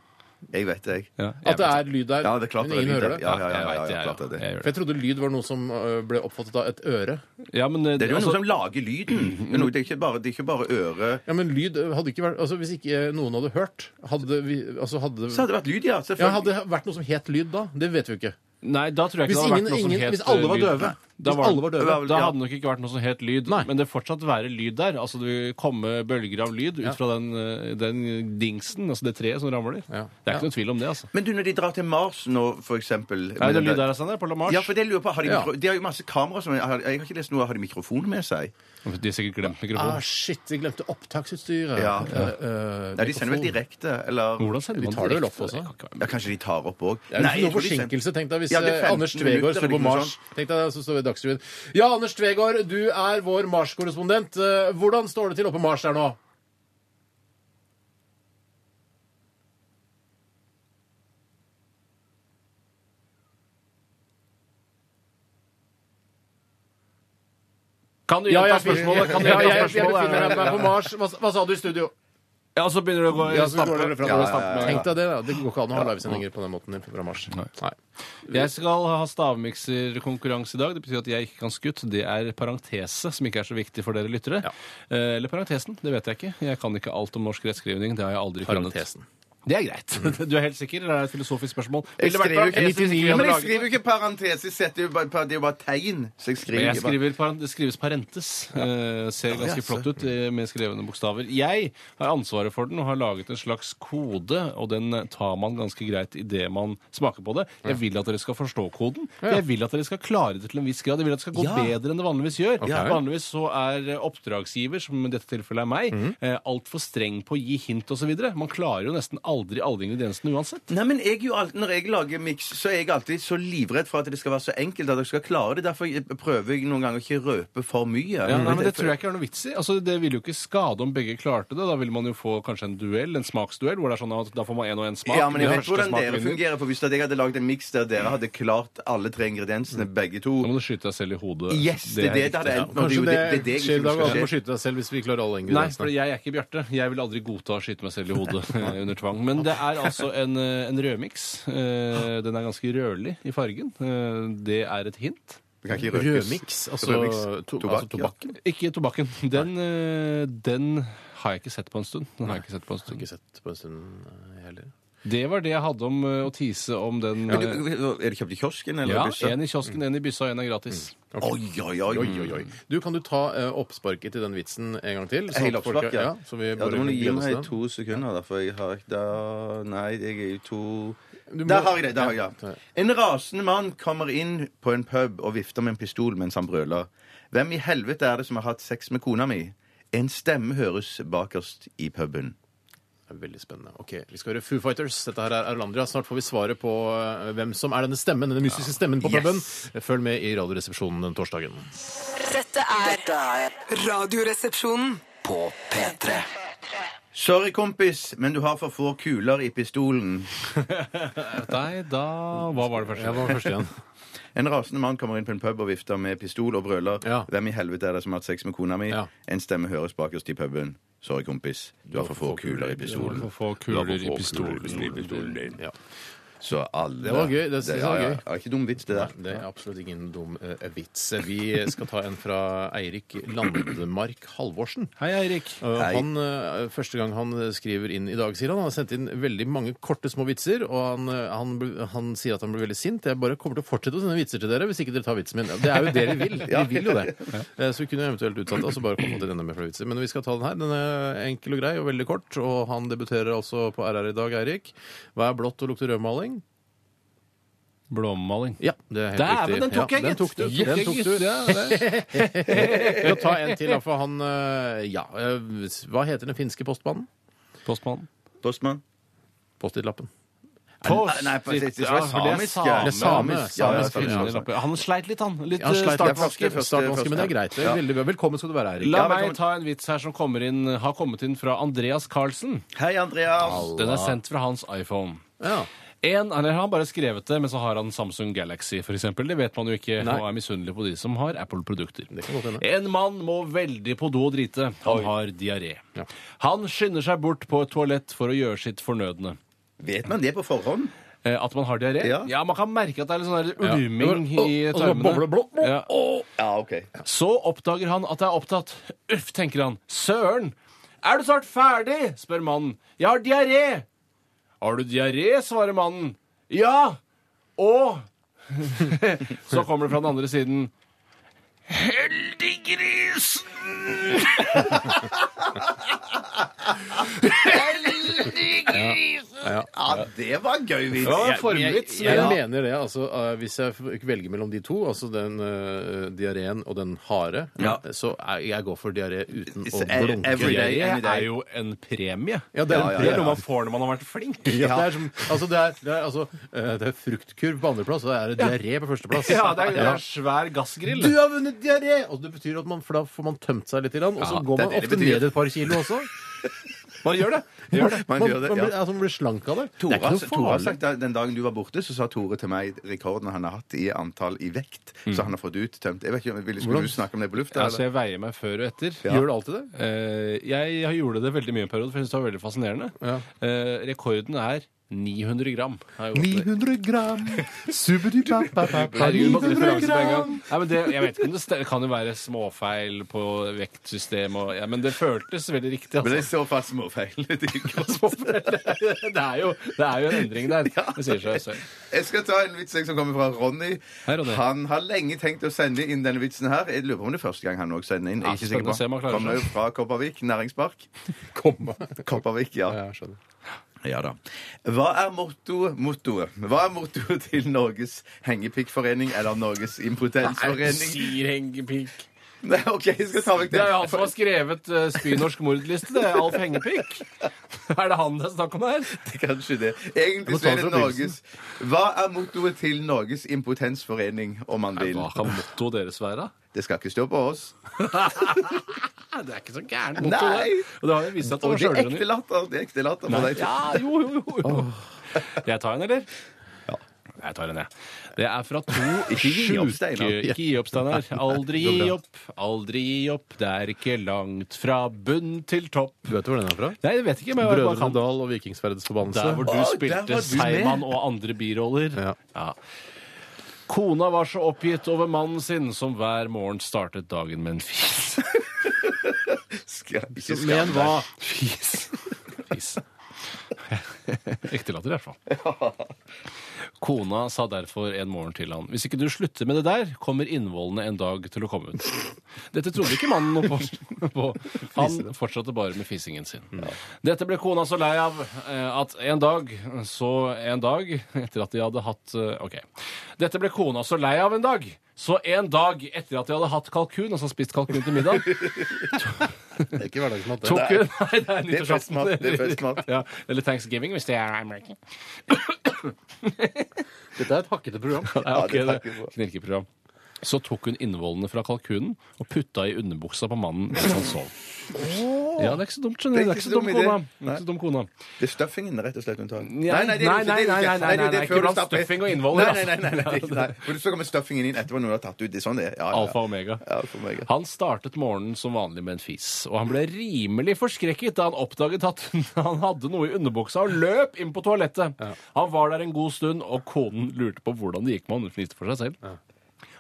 Speaker 3: Jeg vet det, jeg.
Speaker 2: Ja, jeg
Speaker 1: At det er lyd der,
Speaker 3: Ja, det er klart
Speaker 1: men
Speaker 3: det er
Speaker 1: ingen
Speaker 3: lyd
Speaker 1: hører
Speaker 3: der.
Speaker 1: det.
Speaker 3: Ja, ja, ja,
Speaker 2: Jeg
Speaker 3: ja,
Speaker 2: vet
Speaker 3: ja,
Speaker 2: det,
Speaker 3: ja,
Speaker 2: jeg
Speaker 3: klart det
Speaker 2: gjør
Speaker 3: er det.
Speaker 2: det.
Speaker 1: For jeg trodde lyd var noe som øh, ble oppfattet av et øre.
Speaker 2: Ja, men eh,
Speaker 3: Det er jo
Speaker 2: altså-
Speaker 3: noen som lager lyden. Det er, noe, det er, ikke, bare, det er ikke bare øre
Speaker 1: Ja, men lyd øh, hadde ikke vært Altså, Hvis ikke øh, noen hadde hørt, hadde vi altså, hadde,
Speaker 3: Så hadde det vært lyd, ja.
Speaker 1: ja,
Speaker 3: Selvfølgelig.
Speaker 1: hadde det vært noe som het lyd da? Det vet vi jo ikke.
Speaker 2: Nei, da tror jeg ikke
Speaker 1: Hvis,
Speaker 2: det hadde
Speaker 1: ingen,
Speaker 2: vært noe
Speaker 1: ingen,
Speaker 2: som het
Speaker 1: hvis
Speaker 6: øh,
Speaker 1: alle var
Speaker 2: lyd.
Speaker 1: døve,
Speaker 2: Da,
Speaker 1: hvis
Speaker 2: var,
Speaker 1: alle var døve
Speaker 3: vel-
Speaker 2: da
Speaker 3: ja.
Speaker 2: hadde det nok ikke vært noe som het lyd.
Speaker 1: Nei.
Speaker 2: Men det fortsatt være lyd der. Altså Det vil komme bølger av lyd ut fra den, eh, den dingsen, altså det treet som ramler.
Speaker 1: Ja.
Speaker 2: Det er ikke noe tvil om det, altså.
Speaker 3: Men du, når de drar til Mars nå, for eksempel
Speaker 2: Er det lyd der, Sander? På La Mars?
Speaker 3: Ja, for det lurer jeg på, har de,
Speaker 1: Ja.
Speaker 3: mikro... de har jo masse kameraer som Jeg har jeg har ikke lest noe. Har de mikrofon med seg?
Speaker 2: De har sikkert glemt
Speaker 1: Ah,
Speaker 2: mikrofonen.
Speaker 1: shit, vi glemte opptaksutstyret.
Speaker 3: Ja.
Speaker 1: Øh, øh,
Speaker 3: Nei, de sender vel
Speaker 1: mikrofon.
Speaker 3: direkte, eller
Speaker 2: Hvordan sender
Speaker 1: De
Speaker 2: man
Speaker 1: tar det vel
Speaker 2: direkte?
Speaker 1: opp også?
Speaker 2: Det kan ikke være-
Speaker 3: Ja, Kanskje de tar opp òg?
Speaker 1: Det er jo ikke noe forsinkelse, tenk deg, hvis
Speaker 3: Ja, det er
Speaker 1: eh,
Speaker 3: 15
Speaker 1: Anders Tvegård
Speaker 3: minutter,
Speaker 1: sto
Speaker 3: eller
Speaker 1: på
Speaker 3: noe
Speaker 1: Mars.
Speaker 3: sånt.
Speaker 1: Tenk deg, så står vi i Dagsrevyen. Ja, Anders Tvegård, du er vår Mars-korrespondent. Eh, Hvordan står det til oppe på Mars der nå?
Speaker 6: Kan du
Speaker 1: Ja,
Speaker 6: gjenta
Speaker 1: jeg,
Speaker 6: spørsmålet? Kan du
Speaker 1: ja, jeg,
Speaker 6: gjenta
Speaker 1: jeg befinner
Speaker 6: spørsmålet?
Speaker 1: meg på Mars. Hva, hva sa du i studio?
Speaker 6: Ja, så begynner du å gå i
Speaker 1: Ja, så går dere
Speaker 6: stampe.
Speaker 1: fra
Speaker 6: Ja,
Speaker 1: dere
Speaker 6: ja, ja.
Speaker 1: stamper. Tenk deg det, da. Det går ikke an å ha livesendinger på den måten fra Mars. Nei.
Speaker 6: Jeg skal ha stavmikserkonkurranse i dag. Det betyr at jeg ikke kan skutt. Det er parentese, som ikke er så viktig for dere lyttere.
Speaker 1: Ja.
Speaker 6: Eh, Eller parentesen. Det vet jeg ikke. Jeg kan ikke alt om norsk rettskrivning. Det har jeg aldri kunnet.
Speaker 1: Parentesen.
Speaker 6: Det er greit. Du er helt sikker? Eller er det et filosofisk spørsmål?
Speaker 3: Jeg
Speaker 6: Ville det vært
Speaker 3: skriver jo ikke-
Speaker 6: parentese hvis ikke vi
Speaker 3: Ja,
Speaker 6: hadde
Speaker 3: men jeg
Speaker 6: laget
Speaker 3: skriver jo ikke parentes, jeg setter jo bare, det er jo bare tegn. Så jeg skriver,
Speaker 6: Men jeg
Speaker 3: ikke bare-
Speaker 6: skriver, par- det skrives parentes. Eh, ser ganske flott ut eh, med skrevne bokstaver. Jeg har ansvaret for den og har laget en slags kode, og den tar man ganske greit idet man smaker på det. Jeg vil at dere skal forstå koden. Jeg vil at dere skal klare det til en viss grad. Jeg vil at det skal gå bedre enn det vanligvis gjør. Vanligvis så er eh, oppdragsgiver, som i dette tilfellet er meg,
Speaker 3: Mhm.
Speaker 6: eh, altfor streng på å gi hint osv. Man klarer jo nesten aldri alle ingrediensene uansett.
Speaker 3: Nei, men jeg er jo alt, Når jeg lager miks, så er jeg alltid så livredd for at det skal være så enkelt at dere skal klare det. Derfor eh, prøver jeg noen ganger å ikke røpe for mye.
Speaker 6: Ja, nei, men Det tror jeg ikke er noe vits i. Altså, det ville jo ikke skade om begge klarte det. Da ville man jo få kanskje en duell, en smaksduell, hvor det er sånn at da får man én og én smak.
Speaker 3: Ja, men jeg
Speaker 6: Den
Speaker 3: vet
Speaker 6: første
Speaker 3: hvordan
Speaker 6: smaken
Speaker 3: dere
Speaker 6: vinner.
Speaker 3: fungerer. For hvis at jeg hadde lagd en miks der dere hadde klart alle tre ingrediensene,
Speaker 6: Mm.
Speaker 3: begge to
Speaker 6: Da må du skyte deg selv i hodet.
Speaker 3: Yes, det er det det hadde
Speaker 6: riktig.
Speaker 3: endt med. Det er
Speaker 1: Kanskje
Speaker 3: jo det-
Speaker 1: det
Speaker 3: det er det jeg
Speaker 1: skjer i
Speaker 3: tror
Speaker 1: dag at du
Speaker 3: skal
Speaker 1: må skyte deg selv hvis vi ikke klarer alle
Speaker 3: altså.
Speaker 6: Nei, for
Speaker 1: ingrediensene.
Speaker 6: jeg er ikke Bjarte. Jeg vil aldri godta å skyte meg selv i hodet eh, under tvang. Men det er altså en, eh, en rødmiks. Eh, Den er ganske rødlig i fargen. Eh, Det er et hint.
Speaker 3: Vi kan ikke røkes.
Speaker 1: Rødmix, altså,
Speaker 3: Rødmix.
Speaker 1: to,
Speaker 3: Tobakk,
Speaker 1: altså tobakken.
Speaker 6: Ikke tobakken. Den, eh, den har jeg ikke sett på en stund. Den har jeg ikke sett på en
Speaker 1: Ikke
Speaker 6: stund.
Speaker 1: sett på en stund eh, heller.
Speaker 6: Det var det jeg hadde om eh, å tease om den.
Speaker 3: Men du- Er det kjøpt i kiosken eller
Speaker 6: Ja,
Speaker 3: bussa?
Speaker 6: én i kiosken, én i byssa, én er gratis.
Speaker 3: Oi, oi, oi.
Speaker 1: Oi, oi, oi. Du, kan du ta eh, oppsparket til den vitsen en gang til?
Speaker 3: Hele
Speaker 1: at folk-
Speaker 3: oppsparket?
Speaker 1: Ja, så vi
Speaker 3: Ja,
Speaker 1: bare
Speaker 3: du må gi
Speaker 1: gleder oss til
Speaker 3: meg
Speaker 1: den.
Speaker 3: to sekunder, da, for jeg har ikke da, Nei, jeg er jo to
Speaker 1: Du må-
Speaker 3: Der har jeg det! der har jeg det. En rasende mann kommer inn på en pub og vifter med en pistol mens han brøler. Hvem i helvete er det som har hatt sex med kona mi? En stemme høres bakerst i puben.
Speaker 1: Det er Veldig spennende. Ok, Vi skal høre Foo Fighters. Dette her er Erlandria. Snart får vi svaret på eh, hvem som er denne stemmen, denne mystiske stemmen på
Speaker 3: Yes.
Speaker 1: puben. Følg med i Radioresepsjonen den torsdagen.
Speaker 4: Dette er
Speaker 7: Dette er
Speaker 4: Radioresepsjonen.
Speaker 7: på P3.
Speaker 3: Sorry, kompis, men du har for få kuler i pistolen.
Speaker 6: Nei, da Hva var det første?
Speaker 1: Ja, hva var første igjen?
Speaker 3: En rasende mann kommer inn på en pub og vifter med pistol og brøler.
Speaker 1: Ja.
Speaker 3: Hvem i helvete er det som har hatt sex med kona mi?
Speaker 1: Ja.
Speaker 3: En stemme høres bakerst i puben. Sorry, kompis. Du har for få kuler i pistolen.
Speaker 6: For få kuler i
Speaker 3: pistolen.
Speaker 6: pistolen.
Speaker 1: Ja.
Speaker 3: Så alle
Speaker 1: Det var gøy. Det synes jeg var
Speaker 3: ja, ja.
Speaker 1: gøy.
Speaker 3: Ja, ikke dum vits, det der.
Speaker 1: Nei, det er absolutt ingen dum eh, vits. Vi skal ta en fra Eirik Landmark Halvorsen.
Speaker 6: Hei, Eirik.
Speaker 1: Eh, han, eh, første gang han skriver inn i dag, sier han. Han har sendt inn veldig mange korte, små vitser. Og han, eh, han, bl- han sier at han blir veldig sint. Jeg bare kommer til å fortsette å sende vitser til dere hvis ikke dere tar vitsen min. Det er jo det vi vil. Vi vil jo det. Eh, Så vi kunne eventuelt utsatt det, og så bare kommet til enda mer flere vitser. Men vi skal ta den her. Den er enkel og grei og veldig kort. Og han debuterer altså på RR i dag, Eirik. Hva er blått og lukter rødmaling?
Speaker 6: Blåmaling.
Speaker 1: Ja, det er helt
Speaker 6: Dæven,
Speaker 1: riktig.
Speaker 6: den tok jeg,
Speaker 1: ja, den tok du. Den tok du. Vi kan ta en til, da, for han eh, Ja. eh, Hva heter den finske postmannen?
Speaker 6: Postmannen.
Speaker 3: Postmann?
Speaker 1: Post-it-lappen.
Speaker 3: Post- Nei, post- det er samisk, ja.
Speaker 6: Ja,
Speaker 1: Det er same.
Speaker 3: Samisk, ja, ja,
Speaker 6: for det er
Speaker 3: samisk.
Speaker 6: same. Han sleit litt, han. Litt
Speaker 1: Ja,
Speaker 6: eh,
Speaker 1: sleit litt.
Speaker 6: startvansker.
Speaker 3: første-
Speaker 1: Startvansker, men det er greit. Det
Speaker 3: Ja.
Speaker 1: er veldig bra. Velkommen skal du være, Eirik.
Speaker 6: La
Speaker 3: Ja,
Speaker 6: meg
Speaker 3: velkommen.
Speaker 6: ta en vits her som kommer inn, har kommet inn fra Andreas Carlsen.
Speaker 3: Hei, Andreas.
Speaker 6: Den er sendt fra hans iPhone.
Speaker 1: Ja.
Speaker 6: En, eller Han har bare skrevet det, men så har han Samsung Galaxy f.eks. Det vet man jo ikke,
Speaker 1: Nei.
Speaker 6: og er misunnelig på de som har Apple-produkter.
Speaker 1: kan godt hende.
Speaker 6: En mann må veldig på do og drite. Han har diaré.
Speaker 1: Ja.
Speaker 6: Han skynder seg bort på et toalett for å gjøre sitt fornødne.
Speaker 3: Vet man det på forhånd?
Speaker 6: Eh, At man har diaré?
Speaker 3: Ja.
Speaker 6: man kan merke at det er litt sånn der ulming
Speaker 1: Ja.
Speaker 6: i
Speaker 1: Og- og så boble-
Speaker 6: tarmene.
Speaker 1: blå- blå-
Speaker 6: Ja.
Speaker 3: Ja, OK.
Speaker 6: Så oppdager han at det er opptatt. Uff, tenker han. Søren! Er du snart ferdig? spør mannen. Jeg har diaré. Har du diaré? svarer mannen. Ja. Og Så kommer det fra den andre siden. Heldiggrisen!
Speaker 3: Ja, det var en gøy vits.
Speaker 6: Det var en formvits.
Speaker 1: Jeg
Speaker 6: men-
Speaker 1: mener det, altså. eh, Hvis jeg f- velger mellom de to, altså den uh, diareen og den harde,
Speaker 3: Ja.
Speaker 1: så er, jeg går for diaré uten
Speaker 3: It's
Speaker 1: å
Speaker 3: every- every
Speaker 1: blunke.
Speaker 3: day.
Speaker 6: Diaré
Speaker 3: Everyday.
Speaker 6: er jo en premie.
Speaker 1: Ja, det er en
Speaker 6: Det
Speaker 1: premie.
Speaker 6: er noe man får når man har vært flink.
Speaker 1: Ja, det er som, altså det er, det er, altså, eh, det er fruktkurv på andreplass, og det er diaré på førsteplass.
Speaker 6: Ja, det er, det
Speaker 1: Ja.
Speaker 6: er en svær gassgrill.
Speaker 1: Du har vunnet diaré! Og det betyr at man, for da får man tømt seg litt, og så går
Speaker 3: det er det
Speaker 1: man
Speaker 3: det
Speaker 1: ofte
Speaker 3: betyr.
Speaker 1: ned et par kilo også. Man gjør det. Gjør det.
Speaker 3: Man
Speaker 1: Man,
Speaker 3: gjør det,
Speaker 1: man
Speaker 3: ja.
Speaker 1: blir, altså, man blir slank av det.
Speaker 3: Tore,
Speaker 1: det er ikke
Speaker 3: Tore
Speaker 1: noe
Speaker 3: har
Speaker 1: farlig.
Speaker 3: sagt at Den dagen du var borte, så sa Tore til meg rekorden han har hatt i antall i vekt. Så han har fått uttømt Jeg vet ikke, ville, Skulle
Speaker 1: Mm. Hvordan-
Speaker 3: du snakke om det på lufta?
Speaker 2: Altså, jeg veier meg før og etter.
Speaker 1: Gjør du alltid det?
Speaker 2: Eh, jeg gjorde det veldig mye en periode, for jeg syntes det var veldig fascinerende. Eh, rekorden er 900 gram. har jeg gått til.
Speaker 1: 900 gram
Speaker 2: Herregud,
Speaker 1: 900
Speaker 2: måtte referanse på en
Speaker 1: gram
Speaker 2: gang. Nei, men det, jeg vet ikke om det, stemmer. det kan jo være småfeil på vektsystemet, og, ja, men det føltes veldig riktig.
Speaker 3: Men det er
Speaker 2: Altså.
Speaker 3: så fast småfeil. Det er ikke så-
Speaker 2: Småfeil. Det, er jo, det er jo en endring der. Det sier seg selv.
Speaker 3: Jeg skal ta en vits jeg, som kommer fra Ronny.
Speaker 2: Hei, Ronny.
Speaker 3: Han har lenge tenkt å sende inn denne vitsen her. Jeg lurer på om det er første gang han òg sender inn. Jeg er ikke
Speaker 2: Ja,
Speaker 3: sikker
Speaker 2: spennende å se om han
Speaker 3: på.
Speaker 2: klarer
Speaker 3: Kommer jo fra Kopervik næringspark.
Speaker 1: Komma.
Speaker 3: Kopervik, ja.
Speaker 1: Ja, jeg skjønner.
Speaker 3: Ja da. Hva er motto, mottoet? Hva er mottoet til Norges hengepikkforening eller Norges impotensforening?
Speaker 2: Sier hengepikk.
Speaker 3: Nei, OK, jeg skal ta vekk
Speaker 2: Det
Speaker 3: det.
Speaker 2: er jo han som har skrevet uh, spynorsk mordliste, det. Alf Hengepikk. Er det han det er snakk om her?
Speaker 3: Kanskje det. Egentlig
Speaker 1: må
Speaker 3: så
Speaker 1: ta
Speaker 3: er
Speaker 1: det
Speaker 3: det
Speaker 1: fra begynnelsen.
Speaker 3: Norges Hva er mottoet til Norges impotensforening, om man vil?
Speaker 2: Hva kan mottoet deres være?
Speaker 3: Det skal ikke stå på oss.
Speaker 2: Nei, det er ikke så gærent motto,
Speaker 3: Nei.
Speaker 2: det. Og det har jo vist seg at
Speaker 3: Og
Speaker 2: det var
Speaker 3: det er ekte
Speaker 2: sjølironi.
Speaker 3: latter. Det altså, er ekte latter på deg.
Speaker 2: Ja, jo, jo, jo, jo. Jeg tar en, eller? Jeg tar en, jeg. Det er fra to
Speaker 3: Ikke gi opp, Steinar.
Speaker 2: sjuke Ikke gi opp, Steinar. Aldri gi opp, aldri gi opp. Det er ikke langt fra bunn til topp.
Speaker 1: Du vet hvor den er fra?
Speaker 2: Nei, jeg vet ikke. men jeg bare
Speaker 1: Brødrene
Speaker 2: kan
Speaker 1: Dal og Vikingsverdets forbannelse.
Speaker 2: Der hvor
Speaker 3: Å,
Speaker 2: du
Speaker 3: der var du
Speaker 2: spilte
Speaker 3: med.
Speaker 2: Seiman og andre biroller.
Speaker 1: Ja.
Speaker 2: Kona var så oppgitt over mannen sin som hver morgen startet dagen med en fis.
Speaker 3: Skal, ikke
Speaker 1: Så-
Speaker 3: skam
Speaker 1: Men
Speaker 3: deg.
Speaker 1: hva?
Speaker 2: Fis. Fis. Riktig latter, i hvert fall. Kona sa derfor en morgen til han Hvis ikke du slutter med det der, kommer innvollene en dag til å komme ut. Dette trodde ikke mannen noe på. på. Han fortsatte bare med fisingen sin. Dette ble kona så lei av eh, at en dag, så en dag Etter at de hadde hatt eh, OK. Dette ble kona så lei av en dag. Så en dag etter at de hadde hatt kalkun, altså spist kalkun til middag,
Speaker 1: Det er ikke hverdagsmat. det.
Speaker 2: Tok hun Nei, det er
Speaker 3: Det er festmat,
Speaker 2: nyttårsaften.
Speaker 3: det er festmat.
Speaker 2: ja, eller Thanksgiving, hvis det er American.
Speaker 1: Dette er et hakkete program.
Speaker 2: Ja, ok,
Speaker 3: det
Speaker 2: det
Speaker 3: takker jeg for.
Speaker 2: Knirkeprogram. Så tok hun innvollene fra kalkunen og putta i underbuksa på mannen mens han sov. Ja, det er ikke så dumt, skjønner du. Det er ikke så dum
Speaker 3: idé.
Speaker 2: kona. Det er ikke så dum kona.
Speaker 3: Det er stuffingen, rett og slett. hun tar. det
Speaker 2: nei,
Speaker 3: er det ikke, det er det
Speaker 2: nei,
Speaker 3: ikke.
Speaker 2: nei, nei,
Speaker 3: det er
Speaker 2: nei,
Speaker 3: det
Speaker 2: nei,
Speaker 3: før
Speaker 2: ikke
Speaker 3: du
Speaker 2: blant
Speaker 3: stapper-
Speaker 2: stuffing og innvoller,
Speaker 3: Nei, nei,
Speaker 2: altså.
Speaker 3: nei, nei, nei, nei. For så kommer stuffingen inn etterpå når du har tatt ut. Det er sånn det er. Ja, ja.
Speaker 2: Alfa og omega.
Speaker 3: Ja, alfa og omega.
Speaker 2: Han startet morgenen som vanlig med en fis, og han ble rimelig forskrekket da han oppdaget at han hadde noe i underbuksa og løp inn på toalettet. Han var der en god stund, og konen lurte på hvordan det gikk med han. Hun fniste for seg selv.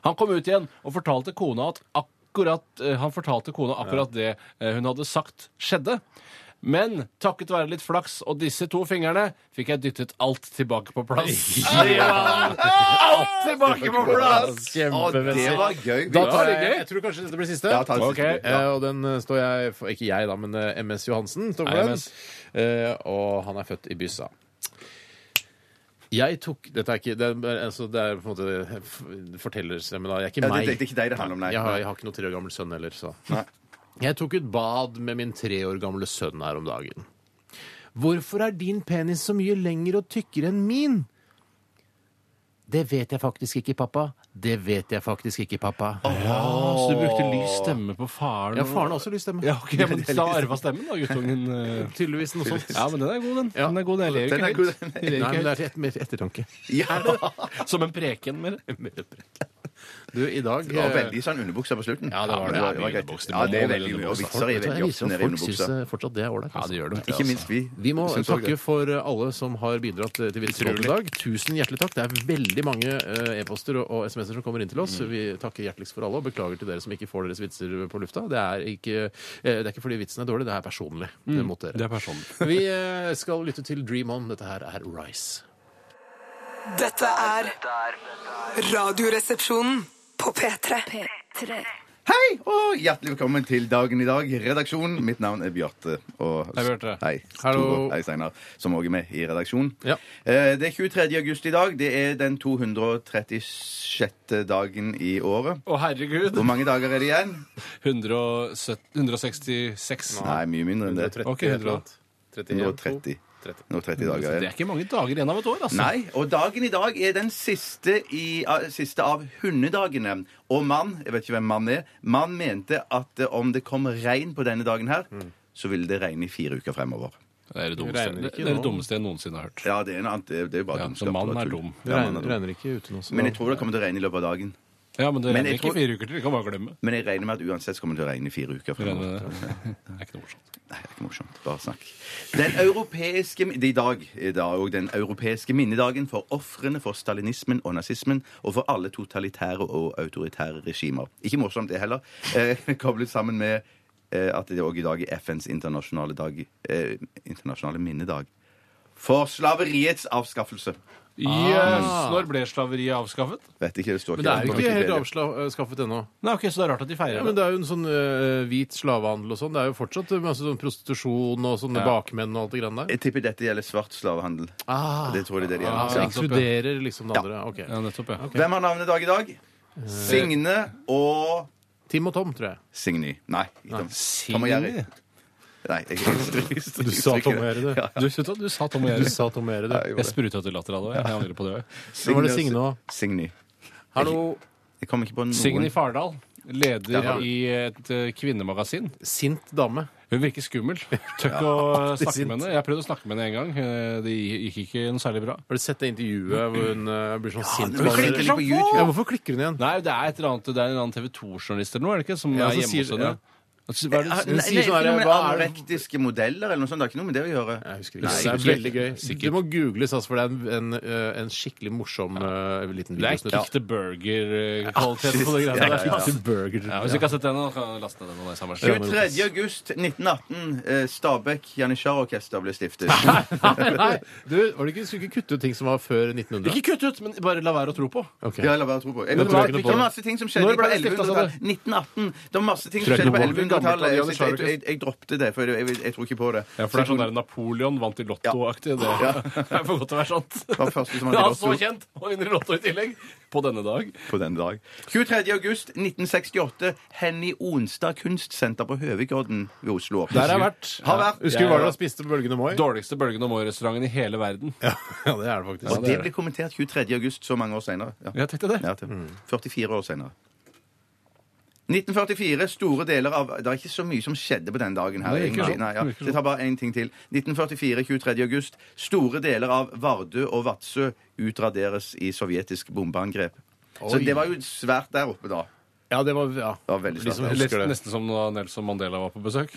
Speaker 2: Han kom ut igjen og fortalte kona at akkurat, eh, han fortalte kona akkurat det eh, hun hadde sagt skjedde. Men takket være litt flaks og disse to fingrene fikk jeg dyttet alt tilbake på plass. Alt tilbake på plass!
Speaker 3: Å, det var gøy.
Speaker 1: Da
Speaker 2: var
Speaker 1: tar
Speaker 2: det
Speaker 1: jeg,
Speaker 2: gøy.
Speaker 1: jeg tror kanskje dette blir siste.
Speaker 3: Ja, ta den siste.
Speaker 2: Ok.
Speaker 3: Ja.
Speaker 1: Eh, og den eh, står jeg for, Ikke jeg, da, men eh, MS Johansen står
Speaker 2: Hei,
Speaker 1: for den.
Speaker 2: MS.
Speaker 1: Eh, og han er født i Byssa. Jeg tok Dette er ikke Det er, altså, det er på en måte f- fortellerstemme, da. Jeg er ikke
Speaker 3: Ja, det,
Speaker 1: meg.
Speaker 3: det, det er ikke deg det handler om, nei.
Speaker 1: Jeg har, jeg har ikke noen tre år gammel sønn heller, så.
Speaker 3: Nei.
Speaker 1: Jeg tok et bad med min tre år gamle sønn her om dagen. Hvorfor er din penis så mye lengre og tykkere enn min? Det vet jeg faktisk ikke, pappa. Det vet jeg faktisk ikke, pappa.
Speaker 2: Så du brukte lys stemme på faren?
Speaker 1: Ja, faren har også lyst stemme.
Speaker 2: Ja, ok, men Da arva stemmen, da, guttungen. eh.
Speaker 1: Tydeligvis noe sånt.
Speaker 2: Ja, men den er god, den.
Speaker 1: Ja.
Speaker 2: Den er god, den. Jeg ler
Speaker 3: Den er
Speaker 2: ikke
Speaker 3: god,
Speaker 2: høyt.
Speaker 3: den er-
Speaker 2: Jeg
Speaker 1: Nei,
Speaker 2: ler ikke
Speaker 1: men det er et, mer ettertanke.
Speaker 3: Ja,
Speaker 2: høyt. Som en preken. Mer.
Speaker 1: Du, i dag
Speaker 3: det var
Speaker 1: eh,
Speaker 3: veldig sånn underbukse på slutten.
Speaker 1: Ja, det var det.
Speaker 3: Ja, det, var greit.
Speaker 2: Underbukse, det
Speaker 3: ja, det er
Speaker 2: må
Speaker 3: veldig mye.
Speaker 2: være
Speaker 3: Og vitser er
Speaker 1: Vet du hva,
Speaker 3: veldig
Speaker 1: jeg
Speaker 3: ofte
Speaker 1: viser at
Speaker 3: nede i
Speaker 1: Folk syns
Speaker 3: underbuksa.
Speaker 1: eh, fortsatt det er ålreit.
Speaker 2: Ja,
Speaker 1: altså.
Speaker 2: det gjør det.
Speaker 3: Ikke minst vi.
Speaker 1: Vi må
Speaker 3: syns også
Speaker 1: takke
Speaker 3: det.
Speaker 1: for eh, alle som har bidratt eh, til Vitser i dag. Tusen hjertelig takk. Det er veldig mange eh, e-poster og- og SMS-er som kommer inn til oss. Vi takker hjerteligst for alle, og beklager til dere som ikke får deres vitser på lufta. Det er ikke, eh, det er ikke fordi vitsen er dårlig, det er personlig eh, mot dere.
Speaker 2: Det er personlig.
Speaker 1: Vi eh, skal lytte til Dream On. Dette her er Rise.
Speaker 4: Dette er Radioresepsjonen på P3.
Speaker 3: Hei, og hjertelig velkommen til dagen i dag. Redaksjonen. Mitt navn er Bjarte. Og...
Speaker 2: Hei, Bjarte.
Speaker 3: Hei,
Speaker 1: Hallo.
Speaker 3: Tore. Hei, Steinar, som òg er med i redaksjonen.
Speaker 1: Ja.
Speaker 3: Eh, Det er 23. august i dag. Det er den 236. dagen i året.
Speaker 2: Å, herregud!
Speaker 3: Hvor mange dager er det igjen?
Speaker 2: 170, 166.
Speaker 3: Nei, mye mindre enn det.
Speaker 1: 130
Speaker 2: Ok,
Speaker 1: et eller annet. 31,
Speaker 3: 130.
Speaker 1: 230.
Speaker 3: Nå 30 dager
Speaker 2: Det
Speaker 3: igjen.
Speaker 2: er ikke mange dager igjen av et år, altså.
Speaker 3: Nei, og dagen i dag er den siste, i, av- siste av hundedagene. Og mann, jeg vet ikke hvem mann er, mann mente at eh, om det kom regn på denne dagen her, så vil det regne i fire uker fremover.
Speaker 6: Det er
Speaker 1: Regner
Speaker 6: det dummeste,
Speaker 1: ikke
Speaker 6: det, det er
Speaker 1: nå.
Speaker 6: det dummeste jeg noensinne har hørt.
Speaker 3: Ja, det er, noe annet, det, det er jo bare
Speaker 6: Ja,
Speaker 3: dumskap.
Speaker 6: så mannen
Speaker 3: det var
Speaker 6: er
Speaker 3: tull.
Speaker 6: dum.
Speaker 3: Ja, mannen er
Speaker 1: Regner, regner ikke ute nå. så
Speaker 3: Men
Speaker 1: da-
Speaker 3: jeg tror det kommer til å regne i løpet av dagen.
Speaker 6: Ja, men det
Speaker 3: Men
Speaker 6: regner
Speaker 3: jeg
Speaker 6: ikke
Speaker 3: tror-
Speaker 6: fire uker til. Det kan man bare glemme.
Speaker 3: Men jeg regner med at uansett så kommer det til å regne i fire uker
Speaker 6: Det regner
Speaker 2: eh,
Speaker 3: fremover.
Speaker 6: med det. Det er ikke noe morsomt.
Speaker 3: Nei, det er ikke morsomt. Bare snakk. Den europeiske det er I dag er da òg den europeiske minnedagen for ofrene for stalinismen og nazismen og for alle totalitære og autoritære regimer. Ikke morsomt, det heller. Eh, koblet sammen med eh, at det òg i dag er FNs internasjonale, dag, eh, internasjonale minnedag. For slaveriets avskaffelse.
Speaker 6: Yes! Når ble slaveriet avskaffet?
Speaker 3: Vet ikke, det står
Speaker 1: Men det er jo
Speaker 3: på
Speaker 1: ikke helt
Speaker 3: Wikipedia.
Speaker 1: avskaffet ennå.
Speaker 6: Nei, ok, Så det er rart at de
Speaker 1: Ja,
Speaker 6: feirer
Speaker 1: men
Speaker 6: det.
Speaker 1: Det er jo en sånn øh, hvit slavehandel og sånn. Det er jo fortsatt masse sånn prostitusjon og sånne bakmenn og alt det grann der.
Speaker 3: Jeg tipper dette gjelder svart slavehandel.
Speaker 1: Ah.
Speaker 3: Det tror jeg det er det
Speaker 1: Ja,
Speaker 3: gjelder.
Speaker 1: det
Speaker 3: Ja.
Speaker 1: inkluderer liksom det andre. Ok. Eh.
Speaker 6: Ja, nettopp, ja.
Speaker 3: Hvem har navnedag i dag? Signe og
Speaker 1: Tim og Tom, tror jeg.
Speaker 3: Signy. Nei. ikke Tom. Tom og Jerry. Nei, jeg,
Speaker 1: Du sa Tom og Jerry, du.
Speaker 6: Du, vet du, hva, du sa Tom og
Speaker 1: Du
Speaker 6: Jerry.
Speaker 1: sa Tom og Jerry, du.
Speaker 3: gjorde
Speaker 6: Jeg spruta til latter av det. Jeg angrer på det òg.
Speaker 1: Så var det Signe og
Speaker 3: Signy.
Speaker 1: Hallo.
Speaker 3: Jeg kom ikke på noen.
Speaker 6: Signy Fardal, leder
Speaker 1: Ja.
Speaker 6: i et eh, kvinnemagasin.
Speaker 1: Sint dame.
Speaker 6: Hun virker skummel. Tør ikke å snakke med henne. Jeg prøvde å snakke med henne en gang. Eh, Det gikk ikke noe særlig bra.
Speaker 1: Har du sett det intervjuet hvor hun øh, blir sånn sint?
Speaker 3: hun
Speaker 1: på alle-
Speaker 3: klikker som på YouTube.
Speaker 1: ja, hvorfor klikker hun igjen?
Speaker 6: Nei, det er et eller annet, det er en annen TV 2-journalist eller noe, er det ikke? Som
Speaker 1: Ja,
Speaker 6: er
Speaker 1: som
Speaker 6: hjemme
Speaker 1: sier-
Speaker 6: hos henne.
Speaker 1: ja.
Speaker 6: Altså, Hva
Speaker 3: Nei,
Speaker 6: er det?
Speaker 1: Hun
Speaker 3: Ah, nei,
Speaker 1: sier
Speaker 3: ikke
Speaker 1: sånn her,
Speaker 3: noe med
Speaker 1: hva er-
Speaker 3: anorektiske modeller eller noe sånt. Det har ikke noe med det å gjøre.
Speaker 1: Jeg husker ikke.
Speaker 3: Nei,
Speaker 1: det er
Speaker 6: sikkert.
Speaker 1: veldig gøy.
Speaker 6: Sikkert.
Speaker 1: Du må googles, altså, for det er en, en, øh, en skikkelig morsom øh, liten
Speaker 6: Det er
Speaker 1: videosnutt.
Speaker 6: kick the burger-kvalitet på det greia
Speaker 3: Ja,
Speaker 6: der.
Speaker 3: ja, ja.
Speaker 6: Kick the burger. Ja, hvis du ikke har sett den, nå, kan jeg laste ned den. og lese den selv.
Speaker 3: 23. august 1918. eh, Stabæk Janitsjar-orkester ble stiftet.
Speaker 1: Nei, nei. Du, var det ikke, skulle ikke kutte ut ting som var før 1900?
Speaker 6: Ikke kutt ut, men bare la være å tro på.
Speaker 1: Ok.
Speaker 3: Ja, la være å tro på. Jeg,
Speaker 1: Da
Speaker 3: det,
Speaker 1: tror
Speaker 3: var, det
Speaker 1: jeg ikke noe på
Speaker 3: var
Speaker 1: det. sånn
Speaker 3: masse ting som skjedde
Speaker 6: Når ble
Speaker 3: på
Speaker 6: det stiftet, sa du?
Speaker 3: 1100-tallet. 1918. Det var masse ting
Speaker 1: Tror
Speaker 3: som
Speaker 1: jeg ikke
Speaker 3: skjedde på
Speaker 1: noe på det.
Speaker 3: 1100-tallet. Jeg,
Speaker 6: Gammelt
Speaker 3: jeg,
Speaker 6: av
Speaker 3: jeg, jeg, droppet det, for jeg, jeg, jeg tror ikke på det.
Speaker 6: Ja, for det er sånn der Napoleon vant i Lotto-aktig. Det er for godt til å være sant.
Speaker 3: Det var første som vant i
Speaker 6: Ja,
Speaker 3: Lotto.
Speaker 6: så kjent! Og vinner i Lotto i tillegg. På denne dag.
Speaker 3: på den dag. 23. august 1968. Henny Onstad kunstsenter på Høvikodden ved Oslo.
Speaker 1: Der har jeg vært.
Speaker 3: Har vært.
Speaker 1: Husker du hva dere spiste på Bølgene Moi?
Speaker 6: Dårligste Bølgen om restauranten i hele verden.
Speaker 1: Ja, ja, det er det faktisk.
Speaker 3: Og det ble kommentert 23. august så mange år senere. Ja.
Speaker 6: Jeg tenkte det.
Speaker 3: Ja, til 44 år senere. 1944, store deler av Det er ikke så mye som skjedde på den dagen her.
Speaker 6: Nei, ikke
Speaker 3: egentlig.
Speaker 6: sant.
Speaker 3: Nei, ja.
Speaker 6: Ikke sant.
Speaker 3: Det tar bare én ting til. 1944, 23. august. Store deler av Vardø og Vadsø utraderes i sovjetisk bombeangrep. Så
Speaker 1: Oi.
Speaker 3: det var jo svært der oppe da.
Speaker 1: Ja, det var, ja.
Speaker 3: Det var veldig
Speaker 6: Liksom
Speaker 1: De som
Speaker 3: svært.
Speaker 1: husker det.
Speaker 6: Nesten som da Nelson Mandela var på besøk.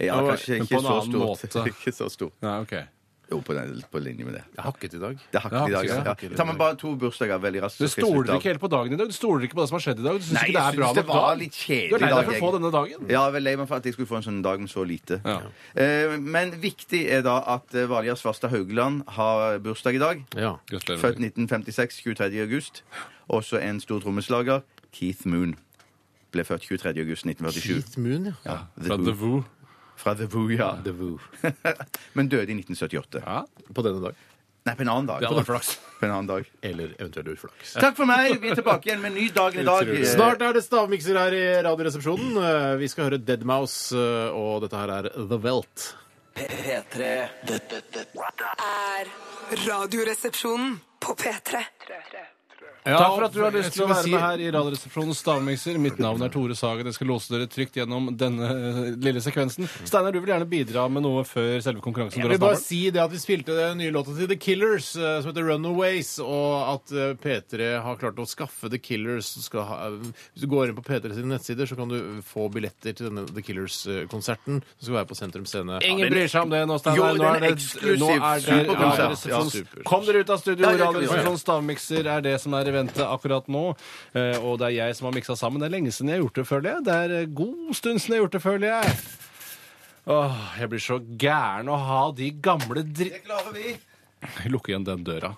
Speaker 3: Ja,
Speaker 1: det var-
Speaker 3: kanskje
Speaker 6: men på
Speaker 3: ikke
Speaker 6: en
Speaker 3: så
Speaker 6: annen
Speaker 3: stort.
Speaker 6: måte.
Speaker 3: Ikke så stort.
Speaker 6: Nei, ok.
Speaker 3: Jo, på, den, på linje med det.
Speaker 1: Jeg hakket i dag.
Speaker 3: Det er hakket
Speaker 6: Ja,
Speaker 3: i dag.
Speaker 6: hakket, ja.
Speaker 3: Ja. Ja. Ta meg bare to bursdager veldig raskt.
Speaker 6: Du
Speaker 3: så skal jeg
Speaker 6: stoler
Speaker 3: slutte av.
Speaker 6: ikke helt på dagen i dag. Du stoler ikke på det som har skjedd i dag. Du syns
Speaker 3: Nei,
Speaker 6: ikke det
Speaker 3: jeg
Speaker 6: er bra
Speaker 3: syns det
Speaker 6: nok
Speaker 3: var
Speaker 6: dag.
Speaker 3: litt
Speaker 6: Du er
Speaker 3: kjedelig
Speaker 6: lei
Speaker 3: dag.
Speaker 6: deg for å få denne dagen.
Speaker 3: Ja, jeg er lei meg for at jeg skulle få en sånn dag med så lite.
Speaker 6: Mm. Ja.
Speaker 3: Eh, men viktig er da at eh, Valgerd Svarstad Haugland har bursdag i dag.
Speaker 1: Ja.
Speaker 6: Gratulerer.
Speaker 3: Født
Speaker 6: med dagen.
Speaker 3: 1956, 23. august. Også en stor trommeslager, Keith Moon. Ble født 23. august 1947.
Speaker 1: Keith Moon, ja.
Speaker 3: Ja,
Speaker 6: Fra The Woo.
Speaker 3: Fra The Woo, ja. men døde i 1978.
Speaker 6: Ja,
Speaker 1: På denne dag.
Speaker 3: Nei, på en annen dag.
Speaker 6: det hadde vært flaks.
Speaker 3: På en annen dag.
Speaker 1: Eller eventuelt uflaks.
Speaker 3: Takk for meg! Vi er tilbake igjen med en ny dag i dag.
Speaker 6: Utrolig.
Speaker 1: Snart er det stavmikser her i Radioresepsjonen. Eh, Vi skal høre Dead Mouse, eh, og dette her er The Welt.
Speaker 8: P3 Dette dette
Speaker 4: er Radioresepsjonen på P3.
Speaker 6: Takk for at du har lyst til å
Speaker 1: Jeg
Speaker 6: være
Speaker 1: skulle
Speaker 6: med
Speaker 1: si-
Speaker 6: her i Radioresepsjonens stavmikser. Mitt navn er Tore Sagen. Jeg skal låse dere trygt gjennom denne eh, lille sekvensen. Steinar, du vil gjerne bidra med noe før selve konkurransen
Speaker 1: Jeg
Speaker 6: går
Speaker 1: vil
Speaker 6: av
Speaker 1: bare
Speaker 6: stabelen?
Speaker 1: si det at vi spilte den nye låta til The Killers, eh, som heter Runaways, og at eh, P3 har klart å skaffe The Killers. som Skal ha, eh, hvis du går inn på P3 sine nettsider, så kan du få billetter til denne The Killers-konserten, som skal være på Sentrum Scene.
Speaker 6: Ingen bryr seg om det nå,
Speaker 3: Jo,
Speaker 6: Steinar.
Speaker 3: det
Speaker 6: Nå
Speaker 3: er
Speaker 6: er
Speaker 3: en
Speaker 6: det,
Speaker 3: eksklusiv
Speaker 6: nå er det
Speaker 3: superkonsert.
Speaker 6: Radioresepsjonens-
Speaker 1: Ja, super.
Speaker 6: Kom dere ut av studio!
Speaker 3: Ja, ja, ja, ja.
Speaker 6: Radioresepsjonens stavmikser er det som er i vente akkurat nå. Eh, Og det er jeg som har miksa sammen. Det er lenge siden jeg har gjort det, føler jeg. Det er eh, god stund siden jeg har gjort det, føler jeg. Åh, jeg blir så gæren å ha de gamle dritt...
Speaker 3: Det klarer vi.
Speaker 6: Lukke igjen den døra.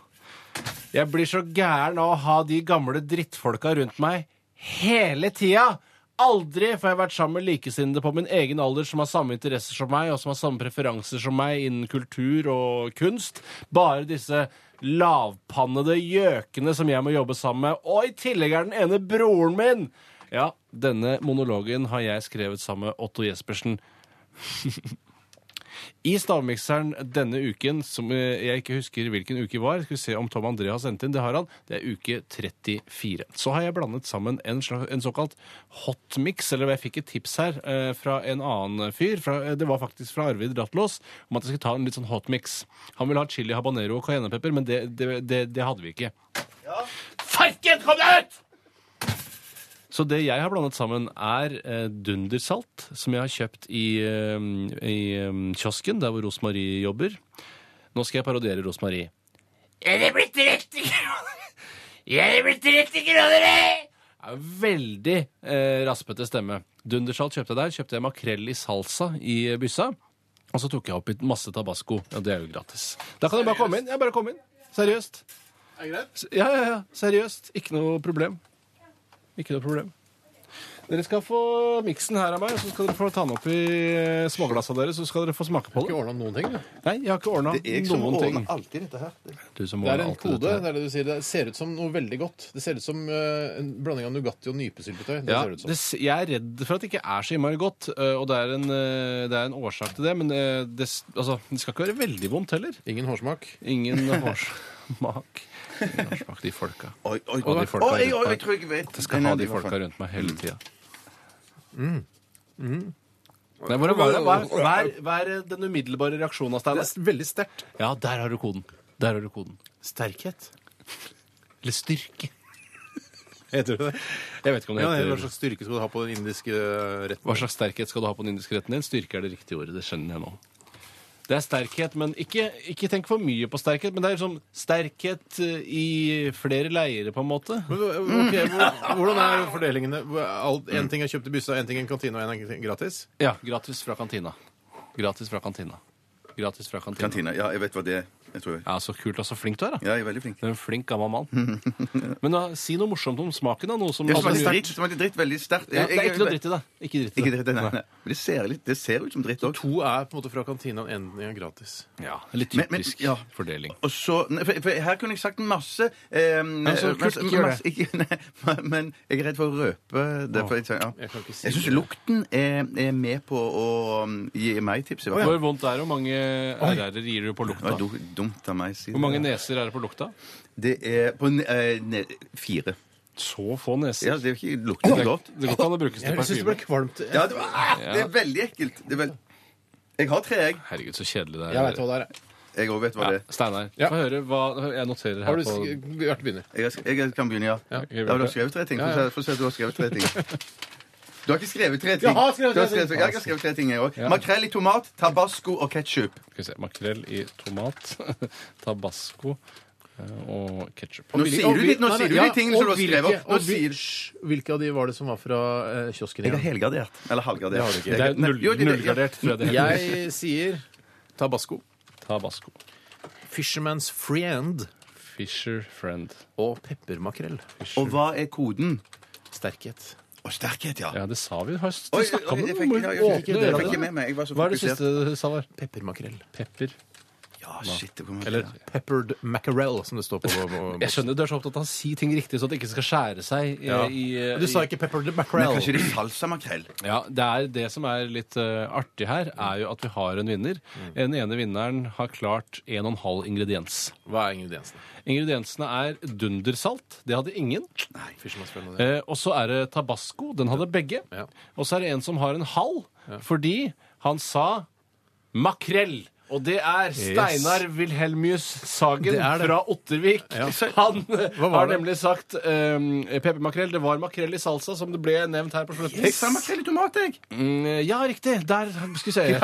Speaker 6: Jeg blir så gæren av å ha de gamle drittfolka rundt meg hele tida! Aldri får jeg vært sammen med likesinnede på min egen alder som har samme interesser som meg, og som har samme preferanser som meg innen kultur og kunst. Bare disse lavpannede gjøkene som jeg må jobbe sammen med. Og i tillegg er den ene broren min! Ja, denne monologen har jeg skrevet sammen med Otto Jespersen. I stavmikseren denne uken, som eh, jeg ikke husker hvilken uke var Skal vi se om Tom André har sendt inn. Det har han. Det er uke 34. Så har jeg blandet sammen en, slags, en såkalt hotmix, eller jeg fikk et tips her eh, fra en annen fyr. Fra, eh, det var faktisk fra Arvid Rattlås om at jeg skulle ta en litt sånn hotmix. Han ville ha chili habanero og cayennepepper, men det, det, det, det hadde vi ikke. Farken, kom deg ut! Så det jeg har blandet sammen, er eh, dundersalt, som jeg har kjøpt i, eh, i eh, kiosken, der hvor Rosmarie jobber. Nå skal jeg parodiere Rosmarie. Er det blitt 30 kroner? Er det blitt 30 kroner, eh? Det er jo Veldig eh, raspete stemme. Dundersalt kjøpte jeg der. Kjøpte jeg makrell i salsa i eh, byssa. Og så tok jeg oppi masse tabasco. Og det er jo gratis. Da kan jeg bare komme inn. Jeg bare komme inn. Seriøst. S- Ja, ja, ja. Seriøst. Ikke noe problem. Ikke noe problem. Dere skal få miksen her av meg, så skal dere få ta den opp i eh, småglassa deres. Så skal dere få smake på
Speaker 1: Ikke
Speaker 6: den.
Speaker 1: ordna noen ting, du.
Speaker 6: Nei, jeg har ikke ordna
Speaker 3: Det er jeg som
Speaker 6: noen ting.
Speaker 3: ordner alltid dette her.
Speaker 6: Du som
Speaker 1: Det er
Speaker 6: ordner
Speaker 1: en
Speaker 6: alltid dette
Speaker 1: kode.
Speaker 6: her.
Speaker 1: det er det du sier. Det ser ut som noe veldig godt. Det ser ut som eh, en blanding av Nugatti og nypesyltetøy. Det
Speaker 6: Ja,
Speaker 1: ser det ut som.
Speaker 6: det, s- jeg er redd for at det ikke er så innmari godt, eh, og det er, en, eh, det er en årsak til det. Men eh, det, s- altså, det skal ikke være veldig vondt heller.
Speaker 1: Ingen hårsmak.
Speaker 6: Ingen hårsmak. Ingen hårsmak, de folka.
Speaker 3: Oi, oi,
Speaker 6: Og de folka
Speaker 3: Oi, jeg, oi,
Speaker 6: rundt
Speaker 3: jeg
Speaker 6: meg.
Speaker 3: tror jeg vet.
Speaker 6: Jeg skal
Speaker 3: Nei,
Speaker 6: ha
Speaker 3: nei,
Speaker 6: de
Speaker 3: det var
Speaker 6: folka
Speaker 3: feil.
Speaker 6: rundt meg
Speaker 1: Mm.
Speaker 6: hele tida. Nei, hvordan var det? Hva er- Hva er- hva er den umiddelbare reaksjonen av Steinar?
Speaker 1: veldig sterkt.
Speaker 6: Ja, der har du koden. Der har du koden. Sterkhet. Eller styrke.
Speaker 1: Heter det det?
Speaker 6: Jeg vet ikke om det
Speaker 1: Ja,
Speaker 6: heter
Speaker 1: Hva slags styrke skal du ha på den indiske eh, retten?
Speaker 6: Hva slags sterkhet skal du ha på den indiske retten din? Styrke er det riktige ordet. Det skjønner jeg nå. Det er sterkhet, men ikke, ikke tenk for mye på sterkhet. Men det er liksom sterkhet eh, i flere leirer, på en måte.
Speaker 1: Men, ok, hvor- hvordan er fordelingene?
Speaker 6: Mm.
Speaker 1: Én ting er kjøpt i byssa, én ting er i kantina, og én er gratis?
Speaker 6: Ja, gratis fra kantina. Gratis fra kantina. Gratis fra kantina.
Speaker 3: Kantina. Ja, jeg vet hva det er. Jeg tror jeg.
Speaker 6: Ja, Så kult og så flink du er, da.
Speaker 3: Ja, jeg er veldig flink.
Speaker 6: Du er en flink gammel mann. Men da, si noe morsomt om smaken, da. Noe som
Speaker 3: Det
Speaker 6: alle
Speaker 3: smakte
Speaker 6: gjør.
Speaker 3: dritt. Det smakte dritt veldig sterkt.
Speaker 6: ja, Det er ikke noe dritt i det. Ikke dritt i
Speaker 3: Ikke
Speaker 6: det.
Speaker 3: dritt, nei, nei. Men det ser, litt, det ser ut som dritt òg.
Speaker 1: To er på en måte fra kantina, og én er gratis.
Speaker 6: Ja, Litt
Speaker 3: Men- men-
Speaker 6: typisk
Speaker 3: ja.
Speaker 6: fordeling.
Speaker 3: Og så, nei, for, for her kunne jeg sagt masse eh,
Speaker 6: så kult, ikke gjør
Speaker 3: masse- ikke- nei, men- Men jeg er redd for å røpe. Derfor, jeg ja.
Speaker 1: Jeg kan ikke si
Speaker 3: jeg syns
Speaker 1: det.
Speaker 3: lukten er, er med på å um, gi meg tips. i hvert
Speaker 6: Hvor
Speaker 3: fall.
Speaker 6: vondt er det? Hvor mange RR-er gir du på
Speaker 3: Det
Speaker 6: lukta?
Speaker 3: var du- dumt av meg å si det.
Speaker 6: Hvor mange neser er det på lukta?
Speaker 3: Det er på ne- eh, ne- fire.
Speaker 6: Så få neser.
Speaker 3: Ja, det er ikke lukter ikke godt.
Speaker 6: Det går ikke an å brukes til
Speaker 1: Jeg syns det
Speaker 6: parfyme.
Speaker 1: ble kvalmt. Jeg,
Speaker 3: Ja, det, var, ah, det er veldig ekkelt. Det er vel... Jeg har tre, jeg.
Speaker 6: Herregud, så kjedelig det er.
Speaker 1: jeg veit hva det er.
Speaker 3: Jeg òg vet hva det er.
Speaker 6: Steinar,
Speaker 1: Ja.
Speaker 6: få høre hva Jeg noterer
Speaker 1: Har du
Speaker 6: her på
Speaker 1: sk- Bjarte begynner.
Speaker 3: Jeg, har- jeg kan begynne, ja. ja
Speaker 6: ok,
Speaker 3: du har skrevet tre ting. Få se- Få se at du har skrevet tre ting. Du har ikke skrevet tre ting.
Speaker 1: Jeg har skrevet
Speaker 3: Du
Speaker 1: tre ting.
Speaker 3: Jeg har skrevet tre ting, jeg òg. Makrell i tomat, tabasco og ketsjup.
Speaker 6: Skal vi se, Makrell i tomat, tabasco eh, og ketsjup.
Speaker 3: Nå
Speaker 1: Hvilke-
Speaker 3: sier
Speaker 1: og
Speaker 3: du
Speaker 1: hvil-
Speaker 3: litt- nå
Speaker 1: nei, nei,
Speaker 3: sier du
Speaker 1: ja,
Speaker 3: de tingene som du har
Speaker 1: og
Speaker 3: skrevet
Speaker 1: hvilke-
Speaker 3: opp. Nå
Speaker 1: og hvil-
Speaker 3: sier-
Speaker 1: Hysj, Hvilke av de var det som var fra eh, kiosken
Speaker 3: Jeg er
Speaker 1: igjen?
Speaker 3: helgardert. Eller halvgardert.
Speaker 6: Det er
Speaker 3: Nei, jo,
Speaker 6: null-
Speaker 3: det- det-
Speaker 6: nullgradert, tror jeg det heter.
Speaker 1: Jeg sier tabasco.
Speaker 6: Tabasco.
Speaker 1: Fisherman's Friend
Speaker 6: Fisher Friend.
Speaker 1: og peppermakrell.
Speaker 3: Og hva er koden?
Speaker 1: Sterkhet.
Speaker 3: Å, sterkhet, ja.
Speaker 6: Ja, det sa vi. Har
Speaker 3: Oi,
Speaker 6: vi snakka om
Speaker 3: jeg
Speaker 6: det?
Speaker 3: fikk-
Speaker 6: Må
Speaker 3: ja,
Speaker 6: vi
Speaker 3: jeg fikk- jeg
Speaker 6: åpne øra
Speaker 3: fikk ikke
Speaker 6: dine?
Speaker 3: med meg. Jeg var så
Speaker 6: Hva er det
Speaker 3: fokusert.
Speaker 6: siste du sa der?
Speaker 1: Peppermakrell.
Speaker 6: Pepper?
Speaker 3: Ja, shit, det kommer
Speaker 6: Eller
Speaker 1: Peppered mackerel, som det står på. på, på
Speaker 6: Jeg skjønner du er så opptatt av å si ting riktig, så det ikke skal skjære seg i,
Speaker 1: Ja.
Speaker 6: i,
Speaker 1: Men
Speaker 6: i
Speaker 1: Du sa ikke peppered
Speaker 3: eh, Men
Speaker 1: mackerel.
Speaker 3: kanskje det er salsamakrell?
Speaker 6: Ja, det, er det som er litt eh, artig her, er jo at vi har en vinner. Den ene vinneren har klart en og en halv ingrediens.
Speaker 1: Hva er ingrediensene?
Speaker 6: Ingrediensene er dundersalt. Det hadde ingen.
Speaker 1: Fisherman's Friend og det.
Speaker 6: Eh, og så er det tabasco. Den hadde begge.
Speaker 1: Ja.
Speaker 6: Og så er det en som har en halv, fordi han sa makrell. Og det er Steinar Wilhelmius Sagen
Speaker 1: Det er det.
Speaker 6: fra Ottervik. Han eh,
Speaker 1: var det?
Speaker 6: har nemlig sagt um, peppermakrell. Det var makrell i salsa, som det ble nevnt her på slutten.
Speaker 3: Jeg sa makrell i tomat, jeg.
Speaker 6: Mm, Ja, riktig. Der skal vi se.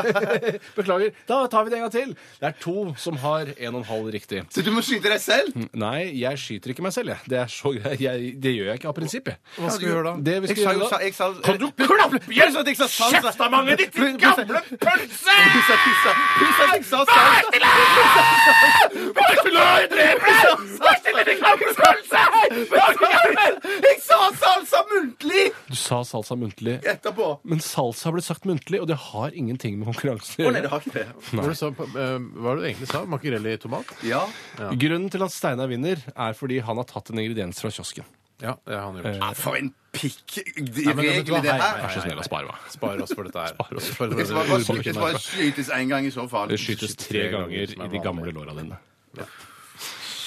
Speaker 6: Beklager. Da tar vi det en gang til. Det er to som har en og en halv riktig.
Speaker 3: Så du må skyte deg selv?
Speaker 6: Nei, jeg skyter ikke meg selv, jeg. Det, er så greit. jeg, det gjør jeg ikke av prinsipp, jeg.
Speaker 1: Hva skal vi gjøre da?
Speaker 6: Det vi
Speaker 3: Jeg
Speaker 6: skal
Speaker 3: sa jo
Speaker 6: gjøre
Speaker 3: sa,
Speaker 6: da
Speaker 3: jeg sa,
Speaker 6: Kan du klappe
Speaker 3: Jeg sa sånn at jeg sa salsa.
Speaker 6: kjeftamanget ditt, din
Speaker 3: Pissa,
Speaker 6: gamle pølse!
Speaker 3: pissa, pissa. Pissa, jeg sa salsa.
Speaker 6: Vær så glad jeg dreper deg! Vær så glad, din gamle pølse!
Speaker 3: Jeg sa salsa muntlig
Speaker 6: Du sa salsa muntlig,
Speaker 3: etterpå.
Speaker 6: men salsa har blitt sagt muntlig, og det har ingenting med konkurransen å
Speaker 3: Å nei, det
Speaker 6: gjøre.
Speaker 3: har ikke det.
Speaker 1: Hva var det du sa, eh, hva var det du egentlig sa? Makrell i tomat?
Speaker 3: Ja.
Speaker 6: Grunnen til at Steinar vinner, er fordi han har tatt en ingrediens fra kiosken.
Speaker 1: Ja, det har han gjort.
Speaker 3: Ja, for en pikk
Speaker 1: Nei, men vet du hva?
Speaker 3: regel det
Speaker 1: Hei, hei,
Speaker 3: her!
Speaker 2: Vær så
Speaker 1: hei,
Speaker 2: snill
Speaker 1: hei.
Speaker 2: å spare meg.
Speaker 1: Spar oss for dette her. Spar oss for
Speaker 3: Det skal bare-
Speaker 1: dette
Speaker 3: det skal bare skytes én gang i så fall.
Speaker 2: Det skytes tre ganger i de gamle låra dine.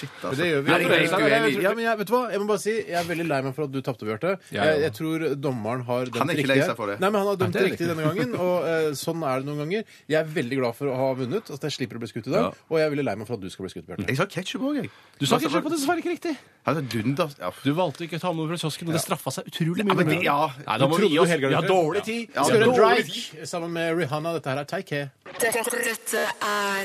Speaker 1: Men det gjør vi.
Speaker 3: altså. Nei, det er helt
Speaker 1: Ja, men
Speaker 3: uenig.
Speaker 1: jeg, men jeg, vet du hva? jeg må bare si, jeg er veldig lei meg for at du tapte, Bjarte.
Speaker 2: Ja, ja.
Speaker 1: Jeg, jeg tror dommeren har dømt
Speaker 3: Han er ikke
Speaker 1: riktig
Speaker 3: lei
Speaker 1: her.
Speaker 3: seg for det.
Speaker 1: Nei, men han har dømt
Speaker 2: det er
Speaker 1: riktig denne gangen, og eh, sånn er det noen ganger. Jeg er veldig glad for å ha vunnet, at jeg slipper å bli skutt i dag, og jeg er veldig lei meg for at du skal bli skutt, Bjarte.
Speaker 3: Jeg sa ketsjup òg, jeg.
Speaker 2: Du sa ikke på det, dessverre ikke riktig.
Speaker 3: Altså, dunder... Ja.
Speaker 2: Du valgte ikke å ta med noe fra kiosken, og det straffa seg Altså, utrolig mye.
Speaker 3: men det- ja.
Speaker 2: Nei, da
Speaker 1: Trodde
Speaker 2: må vi
Speaker 1: du
Speaker 2: gi oss.
Speaker 1: Helga
Speaker 2: Vi har
Speaker 1: Lundgren?
Speaker 2: dårlig tid.
Speaker 1: Skal gjøre
Speaker 2: Vi har dårlig tid.
Speaker 1: Drake sammen med Rihanna. Dette her er Take Care.
Speaker 4: Dette, dette er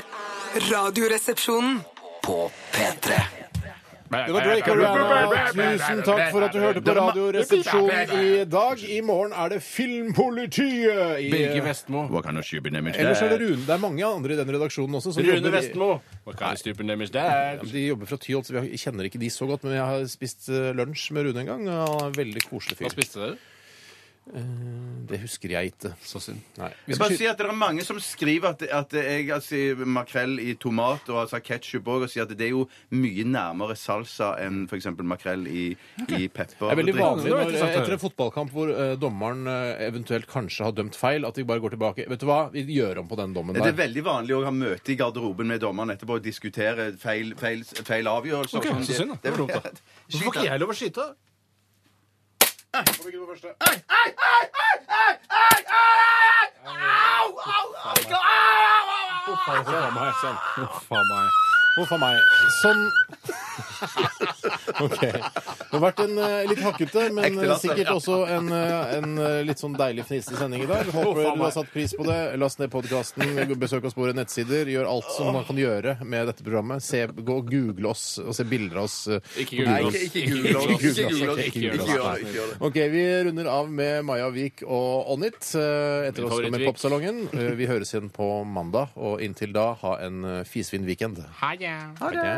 Speaker 4: Radioresepsjonen.
Speaker 5: På P3.
Speaker 1: Det var Drake og Rihanna. Tusen takk for at du hørte på Radioresepsjonen i dag. I morgen er det Filmpolitiet. I,
Speaker 2: Birger Vestmo.
Speaker 3: Hva kan du skype ned med
Speaker 1: ellers er det Rune. Det er mange andre i den redaksjonen også. som
Speaker 2: Rune
Speaker 1: jobber i-
Speaker 2: Vestmo. Hva kan stupen deres der?
Speaker 1: De jobber fra Tyholt, så vi kjenner ikke de så godt. Men jeg har spist eh, lunsj med Rune en gang. Og han er en veldig koselig
Speaker 2: Hva
Speaker 1: fyr.
Speaker 2: spiste dere?
Speaker 1: Det husker jeg ikke.
Speaker 2: Så synd.
Speaker 1: Nei. Vi
Speaker 3: Jeg
Speaker 1: skal
Speaker 3: bare
Speaker 1: sky-
Speaker 3: si at Det er mange som skriver at, at jeg har sagt makrell i tomat og altså ketsjup òg, og sier at det er jo mye nærmere salsa enn f.eks. makrell i, i pepper.
Speaker 1: Det er veldig vanlig
Speaker 2: Det var
Speaker 1: når,
Speaker 2: interessant å høre.
Speaker 1: etter en fotballkamp hvor eh, dommeren eh, eventuelt kanskje har dømt feil, at de bare går tilbake. Vet du hva, vi gjør om på den dommen
Speaker 3: Det er
Speaker 1: der.
Speaker 3: veldig vanlig å ha møte i garderoben med dommeren etterpå og diskutere feil, feil, feil avgjørelser. sånn.
Speaker 2: Ok, så synd da. Det var dumt, da. Hvorfor får ikke jeg lov å skyte? Faen meg. Sånn. Faen meg.
Speaker 1: Huff a meg. Sånn. OK. Det har vært en eh, litt hakkete, men
Speaker 3: Ekte latter,
Speaker 1: sikkert
Speaker 3: ja.
Speaker 1: også en, eh, en eh, litt sånn deilig fnisete sending i dag. Håper du
Speaker 2: faen
Speaker 1: har
Speaker 2: meg.
Speaker 1: satt pris på det. Last ned podkasten, besøk oss på våre nettsider. Gjør alt som man kan gjøre med dette programmet. Se, gå og google oss og se bilder av oss. eh,
Speaker 2: Ikke
Speaker 1: på
Speaker 2: google
Speaker 3: Nei,
Speaker 1: Google
Speaker 3: ikke, ikke
Speaker 2: Ikke
Speaker 3: gul lås. Ikke
Speaker 1: gul lås.
Speaker 3: gul lås.
Speaker 1: Ok, ikke
Speaker 3: Ikke
Speaker 1: gul
Speaker 3: gjør
Speaker 1: lås.
Speaker 3: det. ikke gjør det.
Speaker 1: Ok, Vi runder av med Maja Vik og On It. Eh, Etter
Speaker 2: Min
Speaker 1: oss kommer
Speaker 2: favorittvik.
Speaker 1: Popsalongen. Eh, Vi høres igjen på mandag, og inntil da ha en eh, fisfin weekend.
Speaker 2: Ha det.
Speaker 1: Ha det.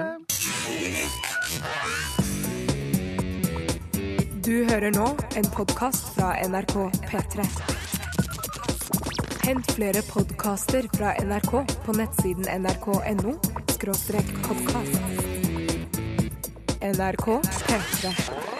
Speaker 9: Du hører nå en podkast fra NRK P3. Hent flere podkaster fra NRK på nettsiden nrk.no podkast. NRK P3.